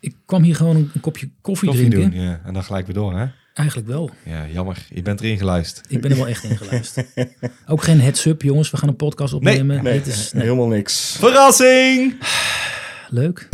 Ik kwam hier gewoon een, een kopje koffie, Koffie drinken. doen, ja. En dan gelijk weer door, hè? Eigenlijk wel. Ja, jammer. Je bent erin geluisterd. Ik ben er wel echt in geluisterd. Ook geen heads-up, jongens. We gaan een podcast opnemen. Nee, Dit is nee, helemaal niks. Verrassing! leuk.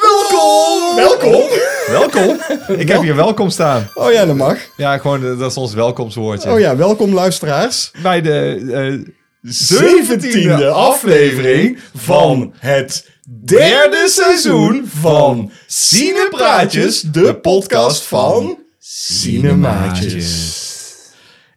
Welkom! Welkom! Welkom! Ik heb hier welkom staan. Oh ja, dat mag. Ja, gewoon, eh, dat is ons welkomstwoordje. Oh ja, welkom luisteraars. Bij de eh, 17e aflevering van het derde seizoen van Cinepraatjes, de podcast van Cinemaatjes.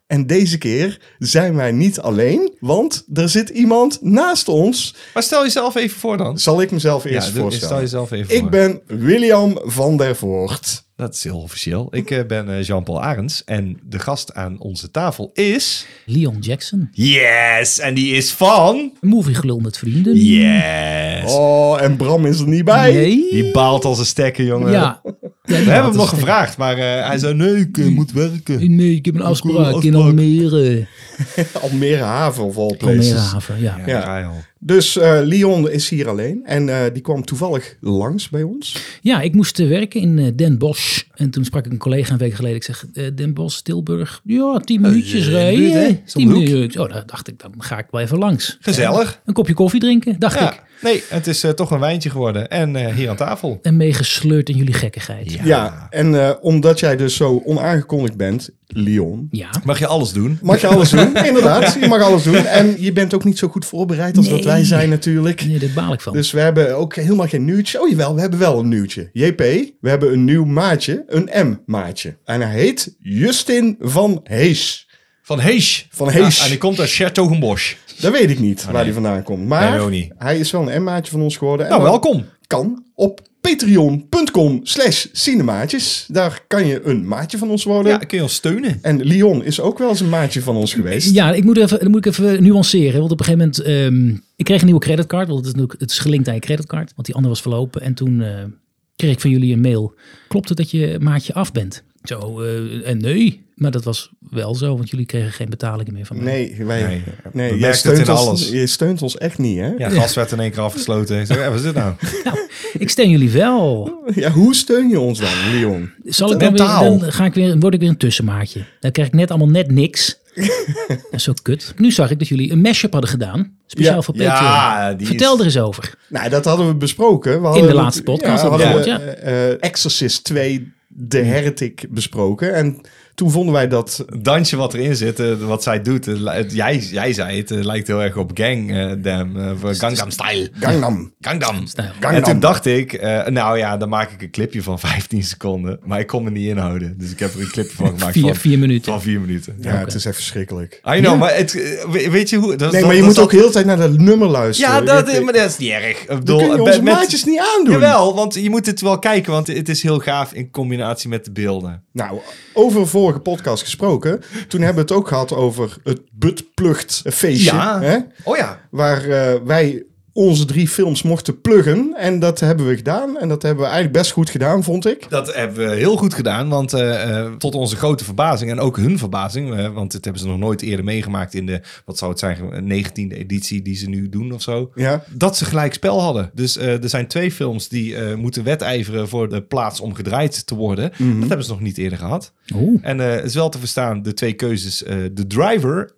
En deze keer zijn wij niet alleen, want er zit iemand naast ons. Maar stel jezelf even voor dan. Zal ik mezelf eerst ja, dus stel voorstellen? jezelf even voor. Ik ben William van der Voort. Dat is heel officieel. Ik eh, ben eh, Jean-Paul Arends en de gast aan onze tafel is... Leon Jackson. Yes! En die is van... Een movie gelul met vrienden. Yes! Oh, en Bram is er niet bij. Nee. Die baalt als een stekker, jongen. Ja. We hebben hem nog gevraagd, maar eh, hij zei... Nee, ik eh, moet werken. Nee, ik heb een afspraak in afspraak. Almere. Almere Haven of all places. Almere haven, ja. Ja, Ja. draai al. Dus eh Leon is hier alleen en eh, die kwam toevallig langs bij ons. Ja, ik moest eh, werken in eh, Den Bosch. En toen sprak ik een collega een week geleden. Ik zeg, eh, Den Bosch, Tilburg. Ja, tien minuutjes eh, rijden. buurt, hè? Is om tien de hoek. minuutjes. Oh, dan dacht ik, dan ga ik wel even langs. Gezellig. Een kopje koffie drinken, dacht Ja. ik. Nee, het is eh, toch een wijntje geworden. En eh, hier aan tafel. En meegesleurd in jullie gekkigheid. Ja. Ja, en eh, omdat jij dus zo onaangekondigd bent, Leon, Ja. Mag je alles doen? mag je alles doen. Inderdaad, je mag alles doen. En je bent ook niet zo goed voorbereid als dat Nee. wij zijn natuurlijk. Nee, daar baal ik van. Dus we hebben ook helemaal geen nieuwtje. Oh jawel, we hebben wel een nieuwtje. JP, we hebben een nieuw maatje, een M-maatje. En hij heet Justin van Hees. Van Heesch. Van Hees. Ja, en die komt uit Chateaugenbosch. Dat weet ik niet waar hij vandaan komt. Maar Oh, Nee, ook niet. hij is wel een M-maatje van ons geworden. En Nou, dan- welkom. kan op patreon.com slash cinemaatjes. Daar kan je een maatje van ons worden. Ja, kun je ons steunen? En Leon is ook wel eens een maatje van ons geweest. Ja, ik moet even, dan moet ik even nuanceren. Want op een gegeven moment, ehm, ik kreeg een nieuwe creditcard. Want het is, natuurlijk- het is gelinkt aan je creditcard. Want die andere was verlopen. En toen eh, kreeg ik van jullie een mail. Klopt het dat je maatje af bent? Zo, eh, en nee. Maar dat was wel zo, want jullie kregen geen betalingen meer van mij. Nee, wij, Nee. nee. We merken jij het steunt in ons, alles. Je steunt ons echt niet, hè? Ja, Ja, gas werd in één keer afgesloten. Ik zeg, ja, wat is dit nou? Ik steun jullie wel. hoe steun je ons dan, Leon? Zal ik dan, weer, Mentaal. dan ga ik weer, word ik weer een tussenmaatje. Dan krijg ik net allemaal net niks. dat is zo kut. Nu zag ik dat jullie een mashup hadden gedaan. Speciaal Ja. voor Patreon. Ja, die Vertel is... er eens over. Nou, dat hadden we besproken. We hadden de het- laatste podcast Ja, hadden we hadden we het, eh, eh, Exorcist 2, The Heretic besproken. En toen vonden wij dat... Het dansje wat erin zit, eh, wat zij doet. eh, li- het- jij, jij zei het, eh, lijkt heel erg op Gang, eh, Dam, eh, van Gangnam Style. Gangnam. Gangnam. Stijl. En Gangnam. toen dacht ik, eh, nou ja, dan maak ik een clipje van 15 seconden. Maar ik kon me niet inhouden. Dus ik heb er een clipje van gemaakt Vier, van, vier minuten. van vier minuten. Ja. ja, het is even verschrikkelijk. I know, maar het, we- weet je hoe... Dat, Nee, dat- maar je dat- moet ook heel de tijd naar dat nummer luisteren. Ja, dat, Je- maar dat is niet erg. Ik Dan bedoel, eh, kun je met- onze met- maatjes niet aandoen. Jawel, want je moet het wel kijken, want het is heel gaaf in combinatie met de beelden. Nou, over vorige podcast gesproken. Toen hebben we het ook gehad over het buttpluchtfeestje. Ja. Hè? Oh ja. Waar eh, wij onze drie films mochten pluggen. En dat hebben we gedaan. En dat hebben we eigenlijk best goed gedaan, vond ik. Dat hebben we heel goed gedaan, want eh, eh, tot onze grote verbazing en ook hun verbazing, eh, want dit hebben ze nog nooit eerder meegemaakt in de, wat zou het zijn, 19e editie die ze nu doen of zo. Ja. Dat ze gelijk spel hadden. Dus eh, er zijn twee films die eh, moeten wedijveren voor de plaats om gedraaid te worden. Mhm. Dat hebben ze nog niet eerder gehad. Oeh. En eh, het is wel te verstaan, de twee keuzes, eh The Driver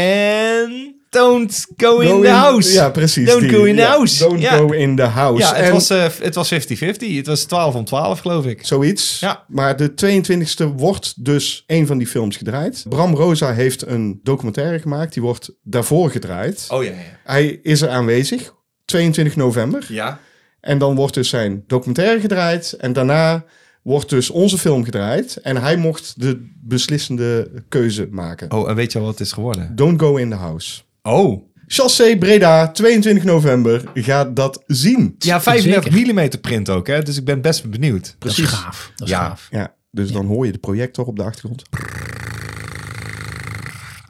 en Don't Go in the House. Ja, precies. Don't die. go in the Ja, house. Don't Ja. go in the house. Ja, het, En was, eh, het was 50-50. Het was 12 om 12, geloof ik. Zoiets. Ja. Maar de 22e wordt dus een van die films gedraaid. Bram Rosa heeft een documentaire gemaakt. Die wordt daarvoor gedraaid. Oh ja, ja. Hij is er aanwezig. 22 november. Ja, En dan wordt dus zijn documentaire gedraaid. En daarna wordt dus onze film gedraaid. En hij mocht de beslissende keuze maken. Oh, en weet je al wat het is geworden? Don't go in the house. Oh. Chassé Breda, 22 november. Ga dat zien. Ja, 35 mm print ook, hè? Dus ik ben best benieuwd. Dat is gaaf. Dat is Ja. gaaf. Ja, dus dan hoor je de projector op de achtergrond.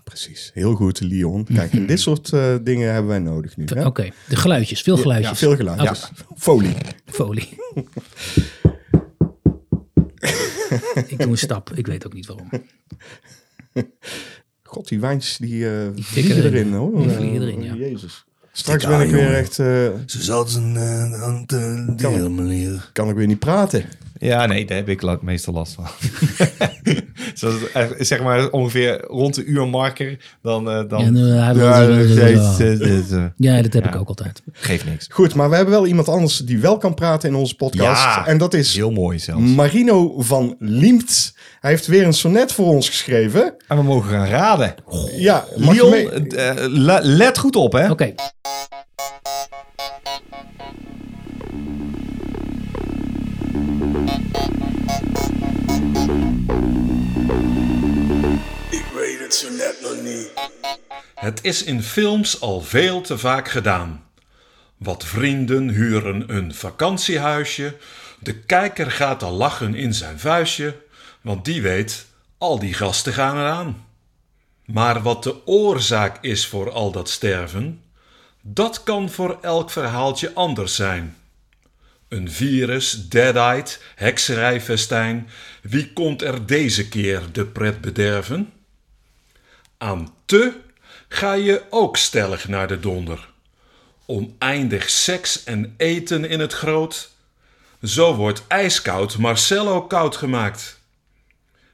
precies. Heel goed, Leon. Kijk, en dit soort eh, dingen hebben wij nodig nu. Hè? Oké, de geluidjes, veel geluidjes. Ja, veel geluid. Oh, Ja. Folie. Folie. ik doe een stap, ik weet ook niet waarom. God, die wijntjes die eh, erin. vliegen erin hoor. Die vliegen erin, Oh, ja. Jezus. Straks Stik aan, ben ik weer jongen. echt, eh, Ze zat een aan de deel, kan ik weer niet praten. Ja, nee, daar heb ik la- meestal last van. Zoals het, eh, zeg maar ongeveer rond de uurmarker, dan... eh, dan... Ja, nou, hij wil- Ja, eh, eh, eh, eh, Ja, dat heb Ja. ik ook altijd. Geeft niks. Goed, maar we hebben wel iemand anders die wel kan praten in onze podcast. Ja. En dat is Heel mooi zelfs. Marino van Liemt. Hij heeft weer een sonnet voor ons geschreven. En we mogen gaan raden. Ja, mag je Leon, mee- eh, la- let goed op, hè. Oké, Ik weet het zo net nog niet. Het is in films al veel te vaak gedaan. Wat vrienden huren een vakantiehuisje. De kijker gaat al lachen in zijn vuistje, want die weet, al die gasten gaan eraan. Maar wat de oorzaak is voor al dat sterven, dat kan voor elk verhaaltje anders zijn. Een virus, dead-eyed, hekserijfestijn, wie komt er deze keer de pret bederven? Aan te ga je ook stellig naar de donder. Oneindig seks en eten in het groot. Zo wordt ijskoud Marcello koud gemaakt.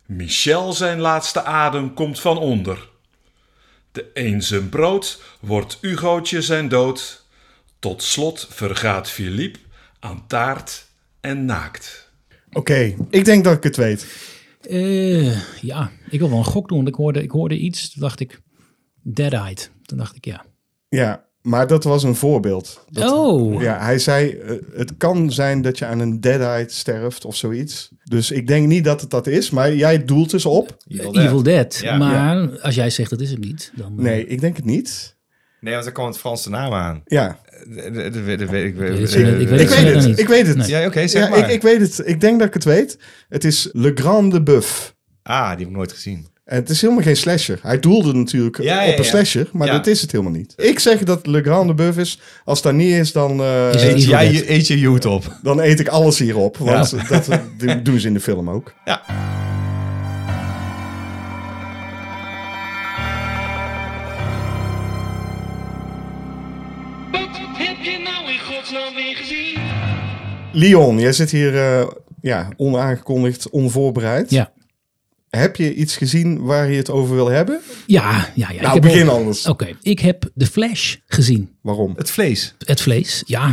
Michel zijn laatste adem komt van onder. De een zijn brood wordt Hugootje zijn dood. Tot slot vergaat Philippe aan taart en naakt. Oké, ik denk dat ik het weet. Eh, ja, ik wil wel een gok doen. want Ik hoorde, ik hoorde iets, toen dacht ik, dead-eyed. Toen dacht ik, ja. Ja, maar dat was een voorbeeld. Dat- oh, Ja, hij zei, eh, het kan zijn dat je aan een deadheid sterft of zoiets. Dus ik denk niet dat het dat is, maar jij doelt dus op. Evil, Dead. Dead. Ja. maar als jij zegt dat is het niet, dan... eh, Nee, ik denk het niet. Nee, want daar kwam het Franse naam aan. Ja, Eh, eh, dat weet- dat weet Ik weet- Ik weet het- ik weet ik het weet verder het. niet. Ik weet het. Nee. Ja, oké, zeg Ja, maar. ik, ik weet het. Ik denk dat ik het weet. Het is Le Grande Buff. Ah, die heb ik nooit gezien. En Eh, het is helemaal geen slasher. Hij doelde natuurlijk Ja, ja, op een ja. slasher, maar Ja. dat is het helemaal niet. Ik zeg dat Le Grande Buff is. Als dat niet is, dan, eh, Is het Eet Evil jij Dead. je, eet je jood op. dan eet ik alles hierop. Want dat do- doen ze in de film ook. Wat heb je nou in godsnaam weer gezien? Leon, jij zit hier eh, ja, onaangekondigd, onvoorbereid. Ja. Heb je iets gezien waar je het over wil hebben? Ja, ja, ja. Nou, ik heb begin al- anders. Oké, ik heb The Flash gezien. Waarom? Het vlees. Het vlees, ja.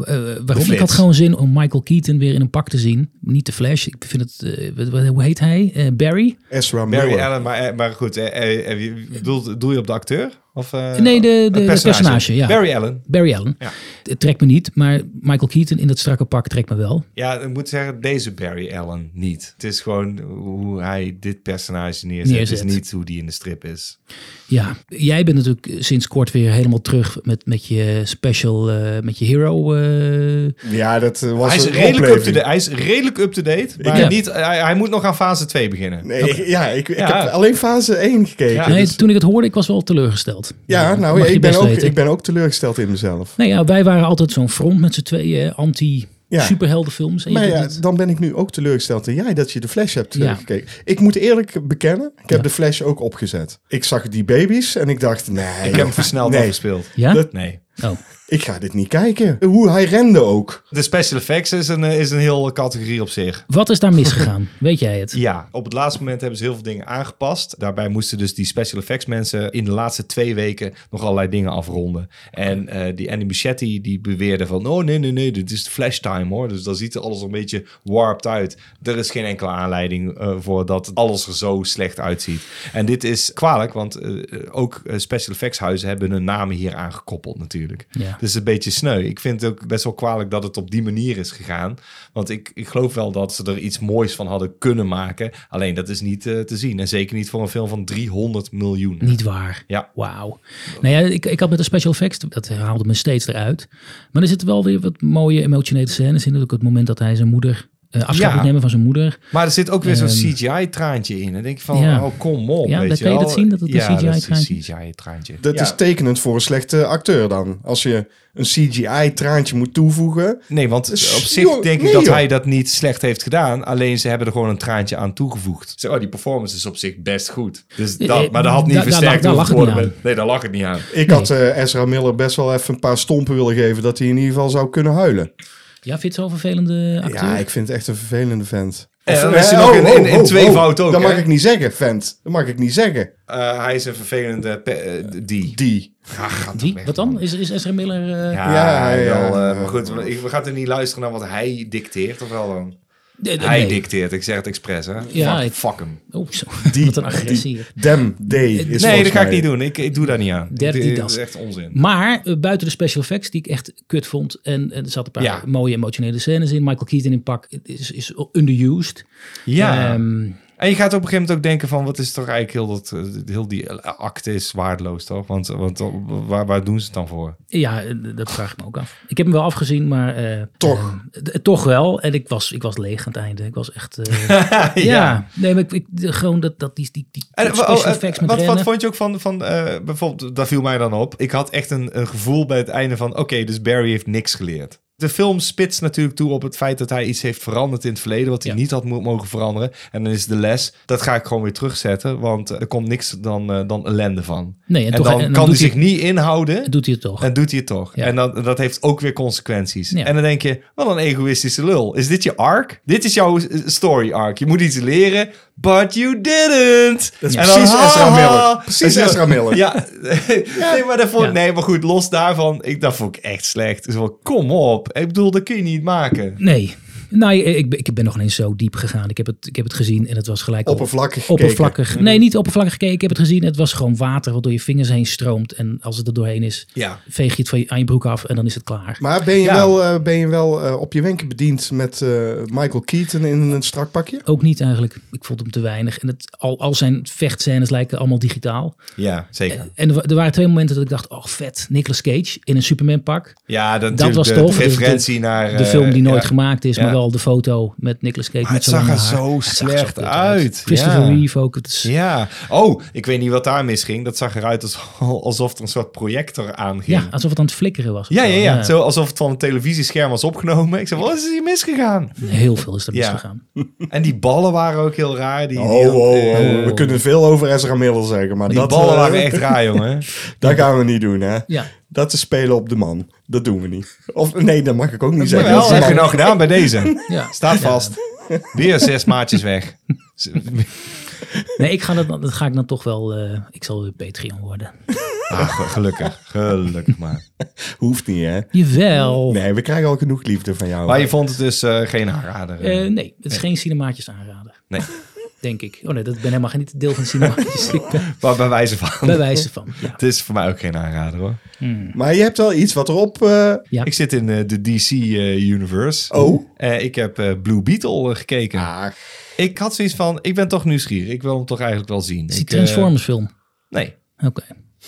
Eh, waarom? Flash. Ik had gewoon zin om Michael Keaton weer in een pak te zien. Niet The Flash, ik vind het... eh, wat- wat- hoe heet hij? Eh, Barry? Ezra Miller. Barry Allen, maar, eh, maar goed. eh, eh, eh, je- doel, doel je op de acteur? Of, eh, Nee, de- het de- de personage, ja. Barry Allen. Barry Allen. Ja. Het trekt me niet, maar Michael Keaton in dat strakke pak trekt me wel. Ja, ik moet zeggen, deze Barry Allen niet. Het is gewoon hoe hij dit personage neerzet. Neerzet. Het is niet hoe die in de strip is. Ja, jij bent natuurlijk eh, sinds kort weer helemaal terug met, met je special, eh, met je hero. eh. Ja, dat eh, was Hij is, een redelijk up opleving. to date, hij is redelijk up-to-date, maar Ja. niet, hij, hij moet nog aan fase 2 beginnen. Nee, ik- ja, ik, ik Ja. heb alleen fase 1 gekeken. Ja. Ja, nee, toen ik het hoorde, ik was wel teleurgesteld. Eh, dus- nou, mag je ik ben, best ook, weten. ik ben ook teleurgesteld in mezelf. Nee, ja, wij waren altijd zo'n front met z'n tweeën, hè, anti Ja. superheldenfilms. En je Maar doet ja, het. dan ben ik nu ook teleurgesteld in jij dat je de Flash hebt Ja. eh, gekeken. Ik moet eerlijk bekennen, ik heb de Flash ook opgezet. Ik zag die baby's en ik dacht, nee, Ik heb hem versneld nee, afgespeeld. ja? dat- Nee. Oh. ik ga dit niet kijken. Hoe hij rende ook. De special effects is een, eh, is een hele categorie op zich. Wat is daar misgegaan? Weet jij het? Ja, op het laatste moment hebben ze heel veel dingen aangepast. Daarbij moesten dus die special effects mensen in de laatste twee weken nog allerlei dingen afronden. En eh, die Andy Muschietti die beweerde van, oh nee, nee, nee, dit is de flash time hoor. Dus dan ziet er alles een beetje warped uit. Er is geen enkele aanleiding eh, voor dat alles er zo slecht uitziet. En dit is kwalijk, want eh, ook eh, special effects huizen hebben hun namen hier aangekoppeld natuurlijk. Ja. Dus het is een beetje sneu. Ik vind het ook best wel kwalijk dat het op die manier is gegaan. Want ik, ik geloof wel dat ze er iets moois van hadden kunnen maken. Alleen dat is niet eh, te zien. En zeker niet voor een film van 300 miljoen. Niet waar. Ja. Wauw. Nou ja, ik, ik had met de special effects, dat haalde me steeds eruit. Maar er zitten wel weer wat mooie emotionele scènes in. Ook het moment dat hij zijn moeder eh, afscheid Ja. moet nemen van zijn moeder. Maar er zit ook weer zo'n Ehm, CGI-traantje in. En dan denk je van, ja. oh, kom op. Ja, weet dat je kan je wel. dat zien, dat het een Ja, dat is CGI-traantje een is? CGI-traantje. Dat Ja. is tekenend voor een slechte acteur dan. Als je een CGI-traantje moet toevoegen. Nee, want op Sjoe, zich denk ik nee, dat joh. hij dat niet slecht heeft gedaan. Alleen ze hebben er gewoon een traantje aan toegevoegd. Zo, oh, die performance is op zich best goed. Dus Eh, dat, maar dat had niet daar- daar lag- versterkt daar lag hoeven het niet worden. Nee, daar lag het niet aan. Ik had eh, Ezra Miller best wel even een paar stompen willen geven. Dat hij in ieder geval zou kunnen huilen. Ja, vind je het zo'n vervelende acteur? Ja, ik vind het echt een vervelende vent. Eh, Of- dan is hij eh, nog oh, in- in- oh, in oh, tweevoud oh. ook, Dat hè? mag ik niet zeggen, vent. Dat mag ik niet zeggen. Eh, hij is een vervelende pe- eh, die. Die. Ja, ga toch Die? weg, Wat dan? man. Is, is Ezra Miller... eh, Ja, Ja, ja, wel, eh, ja. maar goed, we, ik- we gaan er niet luisteren naar wat hij dicteert, of wel dan? de- de- Hij nee. dicteert, ik zeg het expres, hè? Ja, fuck, ik- fuck hem. Oh, zo. Die. Wat een agressie. Die. Dem, D. Is nee, Dus volgens dat ga ik mij- niet doen. Ik, ik doe daar niet aan. Dirty Dit is dust. echt onzin. Maar eh, buiten de special effects, die ik echt kut vond. En, en er zaten een paar Ja. mooie emotionele scènes in. Michael Keaton in pak is, is underused. Ja. Ehm, En je gaat op een gegeven moment ook denken van... wat is toch eigenlijk heel, dat, eh, heel die act is waardeloos, toch? Want, want eh, waar, waar doen ze het dan voor? ja, eh, dat vraag ik me ook af. Ik heb hem wel afgezien, maar... eh, Toch. eh, d- toch wel. En ik was, ik was leeg aan het einde. Ik was echt... eh, ja. Nee, maar ik, ik- gewoon dat, dat die, die, die En, special oh, eh, effects met wat, wat rennen. vond je ook van, van eh, bijvoorbeeld, dat viel mij dan op. Ik had echt een, een gevoel bij het einde van, oké, dus Barry heeft niks geleerd. De film spitst natuurlijk toe op het feit dat hij iets heeft veranderd in het verleden, wat hij Ja. niet had mo- mogen veranderen. En dan is de les, dat ga ik gewoon weer terugzetten, want eh, er komt niks dan, eh, dan ellende van. Nee, en en, toch- dan en dan kan hij doet hij- zich niet inhouden. Doet hij het toch. En doet hij het toch. Ja. En dat, dat heeft ook weer consequenties. Ja. En dan denk je, wat een egoïstische lul. Is dit je arc? Dit is jouw eh, story arc. Je moet iets leren, but you didn't. Dat is precies Ezra Miller. Precies Ezra Miller. Ja, nee, maar dat vond, Ja. nee, maar goed, los daarvan. Ik, dat vond ik echt slecht. Dus wel, kom op. Ik bedoel, dat kun je niet maken. Nee. Nee, ik, ben- ik ben nog niet zo diep gegaan. Ik heb het, ik heb het gezien en het was gelijk... al- Oppervlakkig gekeken. Oppervlakkig. Nee, niet oppervlakkig gekeken. Ik heb het gezien. Het was gewoon water wat door je vingers heen stroomt. En als het er doorheen is, Ja. veeg je het van je, aan je broek af en dan is het klaar. Maar ben je Ja. wel, eh, ben je wel eh, op je wenken bediend met eh, Michael Keaton in een strak pakje? ook niet eigenlijk. Ik vond hem te weinig. En het, al, al zijn vechtscènes lijken allemaal digitaal. Ja, zeker. En er, wa- er waren twee momenten dat ik dacht, oh vet, Nicolas Cage in een Superman pak. Ja, dat, Dat natuurlijk was de, tof. de Dus referentie naar... De eh, film die nooit ja. gemaakt is, maar Ja. wel de foto met Nicolas Cage. Maar met het zo'n zag er haar. zo Het zag er slecht kut uit. Christopher Ja. Reeve ook. Het is- Ja, oh, ik weet niet wat daar misging. Dat zag eruit als, alsof er een soort projector aanging. ja, alsof het aan het flikkeren was. of Ja, zo. ja, ja. Zo alsof het van een televisiescherm was opgenomen. Ik zei, wat is hier misgegaan? Heel veel is er Ja. misgegaan. en die ballen waren ook heel raar. Die, die- Oh, We kunnen veel over Ezra Miller zeggen, maar Oh. Die dat, ballen eh, waren echt raar, jongen. dat gaan we niet doen, hè? Ja. Dat is spelen op de man. Dat doen we niet. Of nee, dat mag ik ook niet Maar zeggen. wel, Dat is heb je man. nou gedaan bij deze? Ja. Staat vast. Weer zes maatjes weg. Nee, ik ga dat, dat ga ik dan toch wel. eh, ik zal weer Patreon worden. Ah, ge- gelukkig. Gelukkig maar. Hoeft niet, hè? Jawel. Nee, Nee, we krijgen al genoeg liefde van jou. Maar je vond het dus eh, geen aanrader. eh. nee het is geen cinemaatjes aanraden. Nee. Denk ik. Oh nee, dat ik ben helemaal geen deel van cinemaatjes. Ik ben Maar bij wijze van. bij wijze van. Ja. Het is voor mij ook geen aanrader hoor. Maar je hebt wel iets wat erop... eh, Ja. Ik zit in eh, de DC-universe. Oh. ik heb eh, Blue Beetle eh, gekeken. ah, Ik had zoiets van, ik ben toch nieuwsgierig. Ik wil hem toch eigenlijk wel zien. Is die Ik, eh, Transformers film? nee, Oké.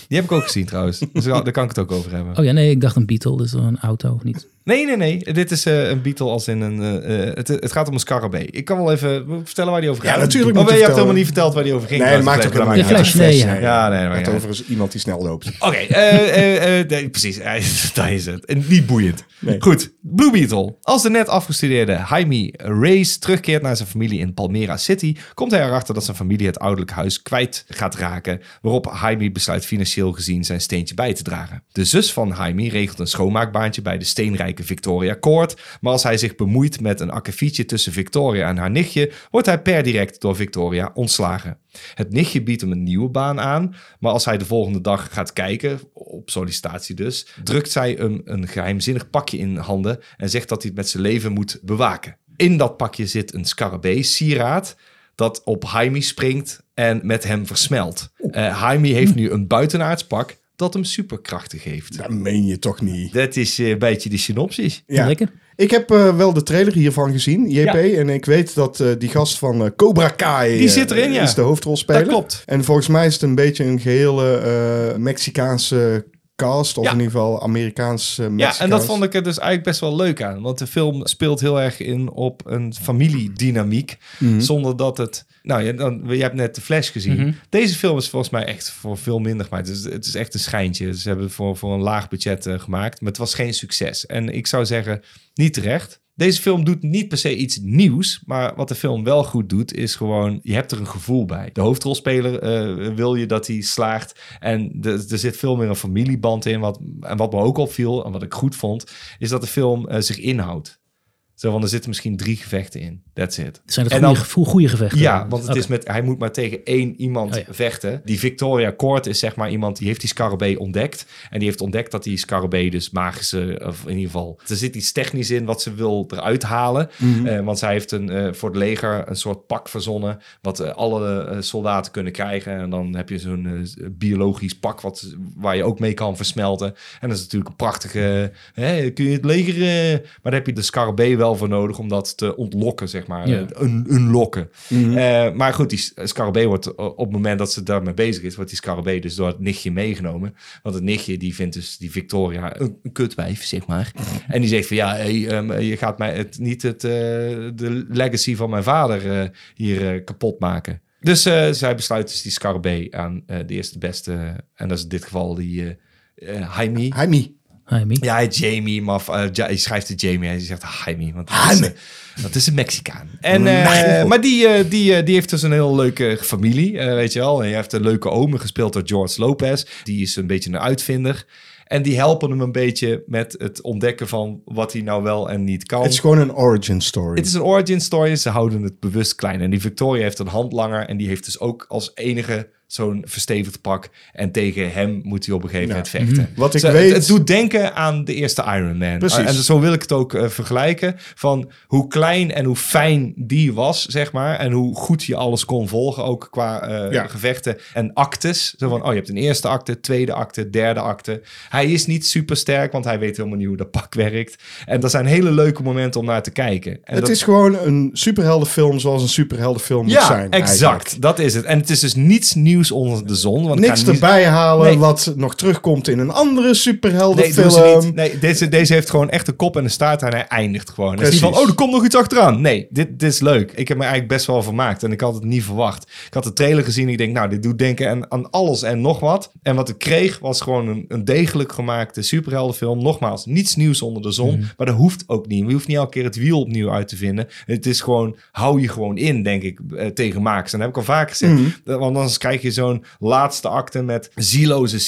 die heb ik ook gezien trouwens. Dus daar daar kan ik het ook over hebben. Oh ja, nee, ik dacht een Beetle. Dus een auto of niet? Nee, nee, nee. Dit is eh, een Beatle als in een... eh, eh, het, het gaat om een scarabee. Ik kan wel even eh, vertellen waar die over Ja, gaat. natuurlijk Oh, moet je je hebt helemaal niet vertellen. verteld waar die over ging. Nee, trouwens. maakt ook Dat helemaal De niet uit. Flash, nee, ja. Ja, nee, maar Het ja. gaat over iemand die snel loopt. Oké, eh, eh, eh, nee, precies. Eh, Daar is het. En Niet boeiend. Goed, Blue Beetle. Als de net afgestudeerde Jaime Reyes terugkeert naar zijn familie in Palmera City, komt hij erachter dat zijn familie het ouderlijk huis kwijt gaat raken, waarop Jaime besluit financieel gezien zijn steentje bij te dragen. De zus van Jaime regelt een schoonmaakbaantje bij de steenrijke Victoria Court, maar als hij zich bemoeit met een akkefietje tussen Victoria en haar nichtje, wordt hij per direct door Victoria ontslagen. Het nichtje biedt hem een nieuwe baan aan, maar als hij de volgende dag gaat kijken, op sollicitatie dus, drukt zij hem een geheimzinnig pakje in handen en zegt dat hij het met zijn leven moet bewaken. In dat pakje zit een scarabee, sieraad, dat op Jaime springt en met hem versmelt. Eh Jaime heeft nu een buitenaards pak dat hem superkrachten geeft. Dat meen je toch niet? Dat is eh, een beetje de synopsis. Ja. Lekker. Ik heb eh, wel de trailer hiervan gezien, JP. Ja. En ik weet dat eh, die gast van eh, Cobra Kai... Die eh, zit erin, ja. Is de hoofdrolspeler. Dat klopt. En volgens mij is het een beetje een gehele eh, Mexicaanse cast, of Ja. in ieder geval Amerikaans eh Ja, en dat vond ik er dus eigenlijk best wel leuk aan. Want de film speelt heel erg in op een familiedynamiek. Zonder dat het... Nou, je, dan, je hebt net de Flash gezien. Deze film is volgens mij echt voor veel minder gemaakt. Dus het is echt een schijntje. Ze hebben het voor, voor een laag budget eh, gemaakt. Maar het was geen succes. En ik zou zeggen, niet terecht. Deze film doet niet per se iets nieuws. Maar wat de film wel goed doet, is gewoon... Je hebt er een gevoel bij. De hoofdrolspeler eh, wil je dat hij slaagt. En de- er zit veel meer een familieband in. Wat, en wat me ook opviel, en wat ik goed vond... is dat de film eh, zich inhoudt. Zo, want er zitten misschien drie gevechten in. That's it. Zijn En het dan- goede, gevoel, goede gevechten? ja, want het Oké. is met, hij moet maar tegen één iemand Oh ja. vechten. Die Victoria Court is zeg maar iemand die heeft die scarabee ontdekt. En die heeft ontdekt dat die scarabee dus magische, of in ieder geval... Er zit iets technisch in wat ze wil eruit halen. Eh, want zij heeft een, eh, voor het leger een soort pak verzonnen... wat eh, alle eh, soldaten kunnen krijgen. En dan heb je zo'n eh, biologisch pak wat, waar je ook mee kan versmelten. En dat is natuurlijk een prachtige... Hè, kun je het leger... eh, maar daar heb je de scarabee wel voor nodig om dat te ontlokken, zeg maar. Ja. Een, een lokken. Eh, maar goed, die s- scarabee wordt eh, op het moment dat ze daarmee bezig is, wordt die scarabee dus door het nichtje meegenomen. Want het nichtje die vindt dus die Victoria een, een kutwijf, zeg maar. En die zegt van ja, hey, ehm, je gaat mij het, niet het, eh, de legacy van mijn vader eh, hier eh, kapot maken. Dus eh, zij besluit dus die scarabee aan eh, de eerste beste, en dat is in dit geval die eh, eh, Jaime. Jaime. Jaime. Ja, hij heet Jamie, maar eh, ja, hij schrijft het Jamie. Hij zegt Jaime, want dat is, Jaime. eh, dat is een Mexicaan. En, eh, maar die, eh, die, eh, die heeft dus een heel leuke familie, eh, weet je wel. En hij heeft een leuke oom, gespeeld door George Lopez. Die is een beetje een uitvinder. En die helpen hem een beetje met het ontdekken van wat hij nou wel en niet kan. Het is gewoon een origin story. Het is een origin story. Ze houden het bewust klein. En die Victoria heeft een handlanger. En die heeft dus ook als enige zo'n verstevigd pak. En tegen hem moet hij op een gegeven moment vechten. Mhm. Wat ik Ze- het- weet- Het doet denken aan de eerste Iron Man. Precies. En zo wil ik het ook eh, vergelijken. Van hoe klein en hoe fijn die was, zeg maar. En hoe goed je alles kon volgen. Ook qua eh, Ja. gevechten en actes. Zo van, oh, je hebt een eerste acte, tweede acte, derde acte. Hij is niet super sterk, want hij weet helemaal niet hoe dat pak werkt. En dat zijn hele leuke momenten om naar te kijken. En het dat- is gewoon een superheldenfilm zoals een superheldenfilm moet ja, zijn. exact. eigenlijk. Dat is het. En het is dus niets nieuws onder de zon. Want ik Niks ga niet- erbij halen Nee. wat nog terugkomt in een andere Nee, superheldenfilm. doen ze niet. nee deze, deze heeft gewoon echt een kop en een staart en hij eindigt gewoon. Het is niet van, Precies. oh, er komt nog iets achteraan. Nee, dit, dit is leuk. Ik heb me eigenlijk best wel vermaakt en ik had het niet verwacht. Ik had de trailer gezien en ik denk, nou, dit doet denken aan, aan alles en nog wat. En wat ik kreeg was gewoon een, een degelijk gemaakte superheldenfilm. Nogmaals, niets nieuws onder de zon, maar dat hoeft ook niet. Je hoeft niet elke keer het wiel opnieuw uit te vinden. Het is gewoon, hou je gewoon in, denk ik, eh, tegen makers. En dat heb ik al vaak gezegd. Eh, Want anders krijg je zo'n laatste akte met zieloze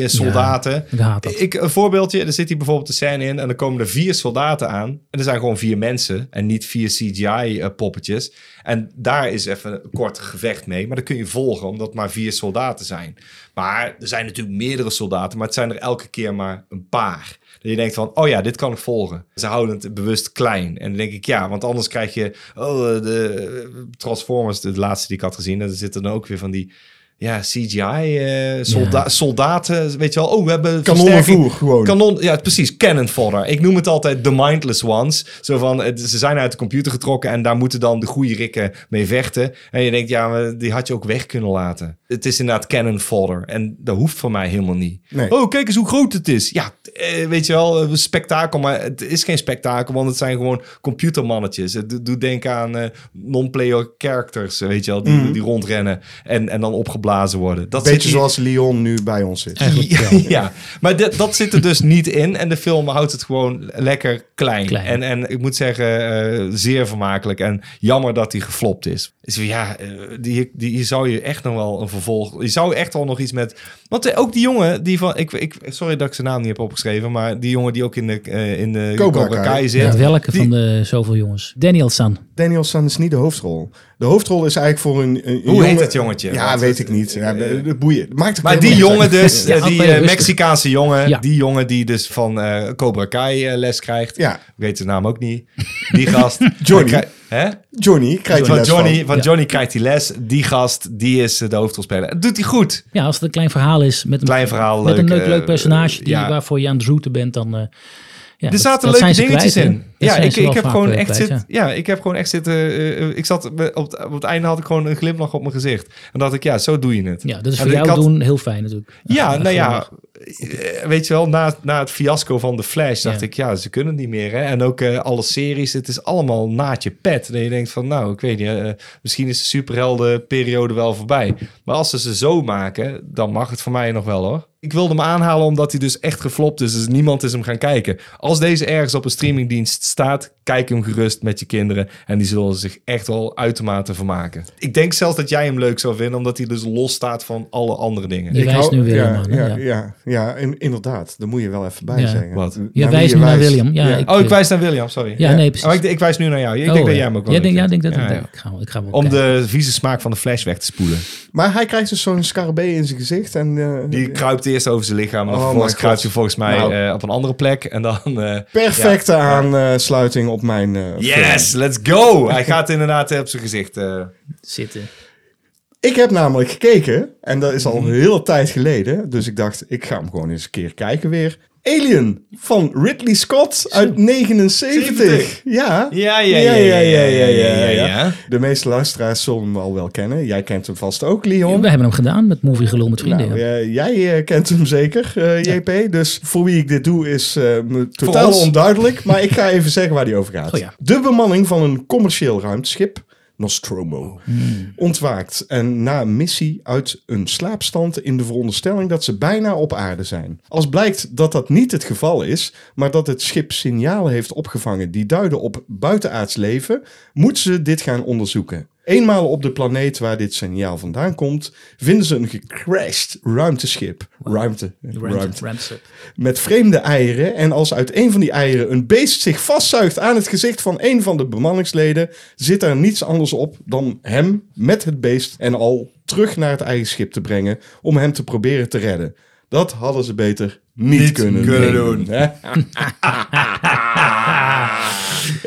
CGI-soldaten. Ik haat dat. Ik, een voorbeeldje, er zit hier bijvoorbeeld de scène in en dan komen er vier soldaten aan. En er zijn gewoon vier mensen en niet vier CGI-poppetjes. eh, en daar is even een kort gevecht mee, maar dat kun je volgen omdat het maar vier soldaten zijn. Maar er zijn natuurlijk meerdere soldaten, maar het zijn er elke keer maar een paar. Dat je denkt van, oh ja, dit kan ik volgen. Ze houden het bewust klein. En dan denk ik, ja, want anders krijg je... Oh, eh, de eh, Transformers, de laatste die ik had gezien... daar zitten dan ook weer van die ja, CGI, eh, solda- Ja. soldaten, weet je wel. Oh, we hebben Kanonnenvoer versterking. gewoon. Kanon, ja, precies. Cannon fodder. Ik noem het altijd de mindless ones. Zo van, het- ze zijn uit de computer getrokken en daar moeten dan de goede rikken mee vechten. En je denkt, ja, maar die had je ook weg kunnen laten. Het is inderdaad cannon fodder. En dat hoeft van mij helemaal niet. Nee. Oh, kijk eens hoe groot het is. Ja, eh, weet je wel, eh, spektakel. Maar het is geen spektakel, want het zijn gewoon computermannetjes. Het do- doet denken aan eh, non-player characters, eh, weet je wel, die, die rondrennen en, en dan opgeblazen worden. Dat zit Mhm. Beetje hier- zoals Leon nu bij ons zit. ja, ja. maar dat, dat zit er dus niet in. En de film houdt het gewoon lekker klein. Klein. En, en ik moet zeggen, eh, zeer vermakelijk. En jammer dat hij geflopt is. Dus ja, eh, die, die, hier zou je echt nog wel een vervolg... Je zou echt al nog iets met... Want eh, ook die jongen die van... Ik, ik, sorry dat ik zijn naam niet heb opgeschreven. Maar die jongen die ook in de, eh, in de Cobra Cobra Kai, Kai. zit. Ja, welke die- van de zoveel jongens? Daniel San. Daniel San is niet de hoofdrol. De hoofdrol is eigenlijk voor een, een Hoe heet jongen- het jongetje? Ja, Want het- weet ik niet. Ja, eh, de, de boeien. Dat Maakt ook Maar die helemaal niet jongen uit. dus, Ja, eh, die bij de eh, Westen. Mexicaanse jongen, Ja. die jongen die dus van eh, Cobra Kai eh, les krijgt. Ja. Ik weet de naam ook niet. Die gast. Johnny. Hij krij- Hè? Johnny krijgt Van les Johnny, van. van Ja. Johnny krijgt die les. Die gast, die is eh, de hoofdrolspeler. Dat doet hij goed. Ja, als het een klein verhaal is met een, Klein verhaal, met een leuk, leuk, eh, leuk personage die, ja. waarvoor je aan het routen bent, dan... eh, ja, Er dat- zaten dat zijn leuke ze dingetjes kwijt, hè? in. Ja, zijn ik, ze wel ik, heb vaak, gewoon eh, echt kwijt, zit, ja. ja, ik heb gewoon echt zitten. eh, eh, ik zat, me- op, het- op het einde had ik gewoon een glimlach op mijn gezicht. En dacht ik, ja, zo doe je het. Ja, dat is En voor ik jou had- doen heel fijn natuurlijk. Ja, nou ja, geweldig. eh, weet je wel, na, na het fiasco van The Flash dacht Ja. ik, ja, ze kunnen niet meer. Hè? En ook eh, alle series, het is allemaal naadje pet. Dat je denkt van, nou, ik weet niet, eh, misschien is de superheldenperiode wel voorbij. Maar als ze ze zo maken, dan mag het voor mij nog wel hoor. Ik wilde hem aanhalen omdat hij dus echt geflopt is, dus niemand is hem gaan kijken. Als deze ergens op een streamingdienst staat, kijk hem gerust met je kinderen. En die zullen zich echt wel uitermate vermaken. Ik denk zelfs dat jij hem leuk zou vinden, omdat hij dus los staat van alle andere dingen. Je Ik wijst hou- nu Willem ja, aan, hè? Ja, Ja. ja. ja, en inderdaad. Daar moet je wel even bij Ja. zeggen. Wat? Je Je wie wijst nu naar William. Ja, Oh, ik wijs naar William, sorry. ja, nee, precies. Oh, ik, ik wijs nu naar jou. Ik Oh, denk dat ja. jij hem ook wel Ja, leuk denk, ja, ik denk vindt. dat Ja, ja. Ik ga, hem- ik ga hem wel Om kijken. de vieze smaak van de flash weg te spoelen. Maar hij krijgt dus zo'n scarabee in zijn gezicht. En, eh, Die kruipt eerst over zijn lichaam. En dan Oh vervolgens my kruipt God. hij volgens mij Nou. eh, op een andere plek. En dan... eh, perfecte aansluiting op mijn eh, film. yes, let's go! Hij gaat inderdaad eh, op zijn gezicht. eh, Zitten. Ik heb namelijk gekeken, en dat is al Mhm. een hele tijd geleden. Dus ik dacht, ik ga hem gewoon eens een keer kijken weer. Alien van Ridley Scott uit 79. 70. Ja. Ja, ja, ja, ja, ja, ja, ja, ja. De meeste luisteraars zullen hem al wel kennen. Jij kent hem vast ook, Leon. We hebben hem gedaan met Movie Gelul met Vrienden. Nou, ja. eh, jij eh, kent hem zeker, eh, JP. Dus voor wie ik dit doe is eh, me totaal ons. onduidelijk. Maar ik ga even zeggen waar die over gaat. Oh ja. De bemanning van een commercieel ruimteschip, Oh. Nostromo, ontwaakt en na een missie uit een slaapstand in de veronderstelling dat ze bijna op aarde zijn. Als blijkt dat dat niet het geval is, maar dat het schip signalen heeft opgevangen die duiden op buitenaards leven, moeten ze dit gaan onderzoeken. Eenmaal op de planeet waar dit signaal vandaan komt, vinden ze een gecrashed ruimteschip. Ruimte. Ruimte. Met vreemde eieren. En als uit een van die eieren een beest zich vastzuigt aan het gezicht van een van de bemanningsleden, zit er niets anders op dan hem met het beest en al terug naar het eigen schip te brengen om hem te proberen te redden. Dat hadden ze beter niet, Niet kunnen, kunnen doen. hè?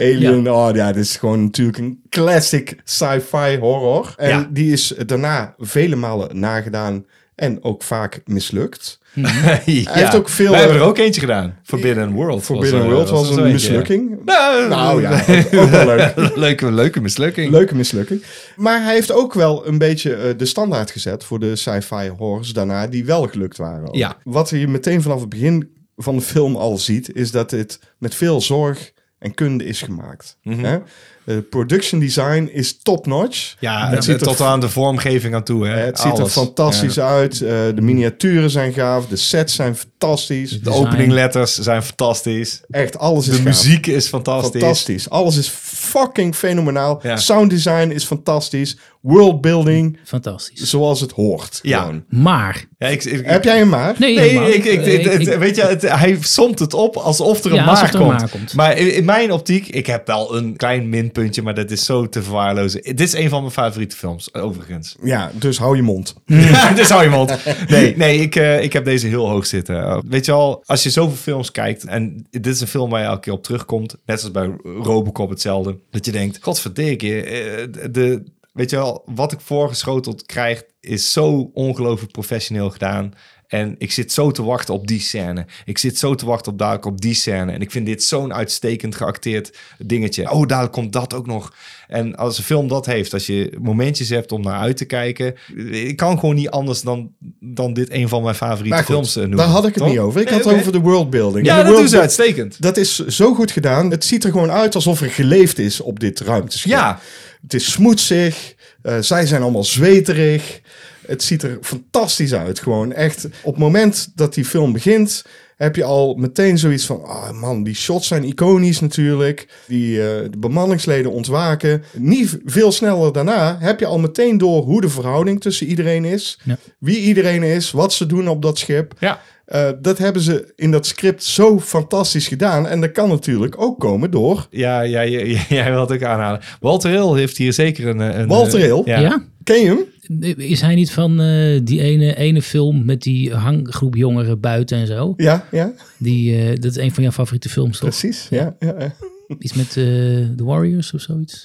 Alien, oh ja, dit is gewoon natuurlijk een classic sci-fi horror. En Ja. die is daarna vele malen nagedaan en ook vaak mislukt. ja. heeft ook veel, Wij hebben er eh, ook eentje gedaan. Forbidden World. Forbidden er- World was er zo een eentje. mislukking. Nou, Nou ja, ook- ook wel leuk. leuke, leuke mislukking. Leuke mislukking. Maar hij heeft ook wel een beetje eh, de standaard gezet voor de sci-fi horrors daarna, die wel gelukt waren. ook. Ja. Wat je meteen vanaf het begin van de film al ziet, is dat dit met veel zorg en kunde is gemaakt. Mhm. Hè? Eh, production design is top-notch. Ja, het ziet er tot aan de vormgeving aan toe. Hè. Eh, het ziet er Alles. fantastisch uit. Eh, de miniaturen zijn gaaf. De sets zijn fantastisch. De openingletters zijn fantastisch. Echt, alles is De gaaf. muziek is Dus fantastisch. Fantastisch. Alles is fucking fenomenaal. Ja. Sound design is fantastisch. Worldbuilding, Fantastisch. zoals het hoort. Ja. gewoon. Maar. Ja, ik, ik- Heb jij hem maar? Nee, Nee, helemaal. ik, ik, Eh, het- het- weet je, het- hij somt het op alsof er een, Ja, maar, alsof er een komt. maar komt. Maar in, in mijn optiek, ik heb wel een klein minpuntje, maar dat is zo te verwaarlozen. Dit is een van mijn favoriete films, overigens. Ja, dus hou je mond. dus hou je mond. Nee, nee ik, eh, ik heb deze heel hoog zitten. Uh, weet je al, als je zoveel films kijkt... en dit is een film waar je elke keer op terugkomt... net als bij Robocop hetzelfde... dat je denkt, godverdikkie, eh, de... Weet je wel, wat ik voorgeschoteld krijg... is zo ongelooflijk professioneel gedaan... En ik zit zo te wachten op die scène. Ik zit zo te wachten op dadelijk op die scène. En ik vind dit zo'n uitstekend geacteerd dingetje. Oh, dadelijk komt dat ook nog. En als een film dat heeft, als je momentjes hebt om naar uit te kijken. Ik kan gewoon niet anders dan, dan dit een van mijn favoriete Maar goed, films eh, noemen. daar had ik het toch? niet over. Ik Nee, had het oké. over de worldbuilding. Ja, En de dat doen ze worldbuilding- uitstekend. Dat is zo goed gedaan. Het ziet er gewoon uit alsof er geleefd is op dit ruimteschip. Ja. Het is smoetsig. eh, zij zijn allemaal zweterig. Het ziet er fantastisch uit. Gewoon echt. Op het moment dat die film begint, heb je al meteen zoiets van: ah man, die shots zijn iconisch natuurlijk. Die eh, de bemanningsleden ontwaken. Niet veel sneller daarna heb je al meteen door hoe de verhouding tussen iedereen is. Ja. Wie iedereen is, wat ze doen op dat schip. Ja. Eh, dat hebben ze in dat script zo fantastisch gedaan. En dat kan natuurlijk ook komen door Ja, ja, ja, ja, jij wilt ook aanhalen. Walter Hill heeft hier zeker een... eh, een Walter eh, Hill? Ja. Ken je hem? Is hij niet van eh, die ene, ene film met die hanggroep jongeren buiten en zo? Ja, ja, Die, eh, dat is een van jouw favoriete films, toch? precies. Ja, ja, ja. Iets met eh, de Warriors of zoiets.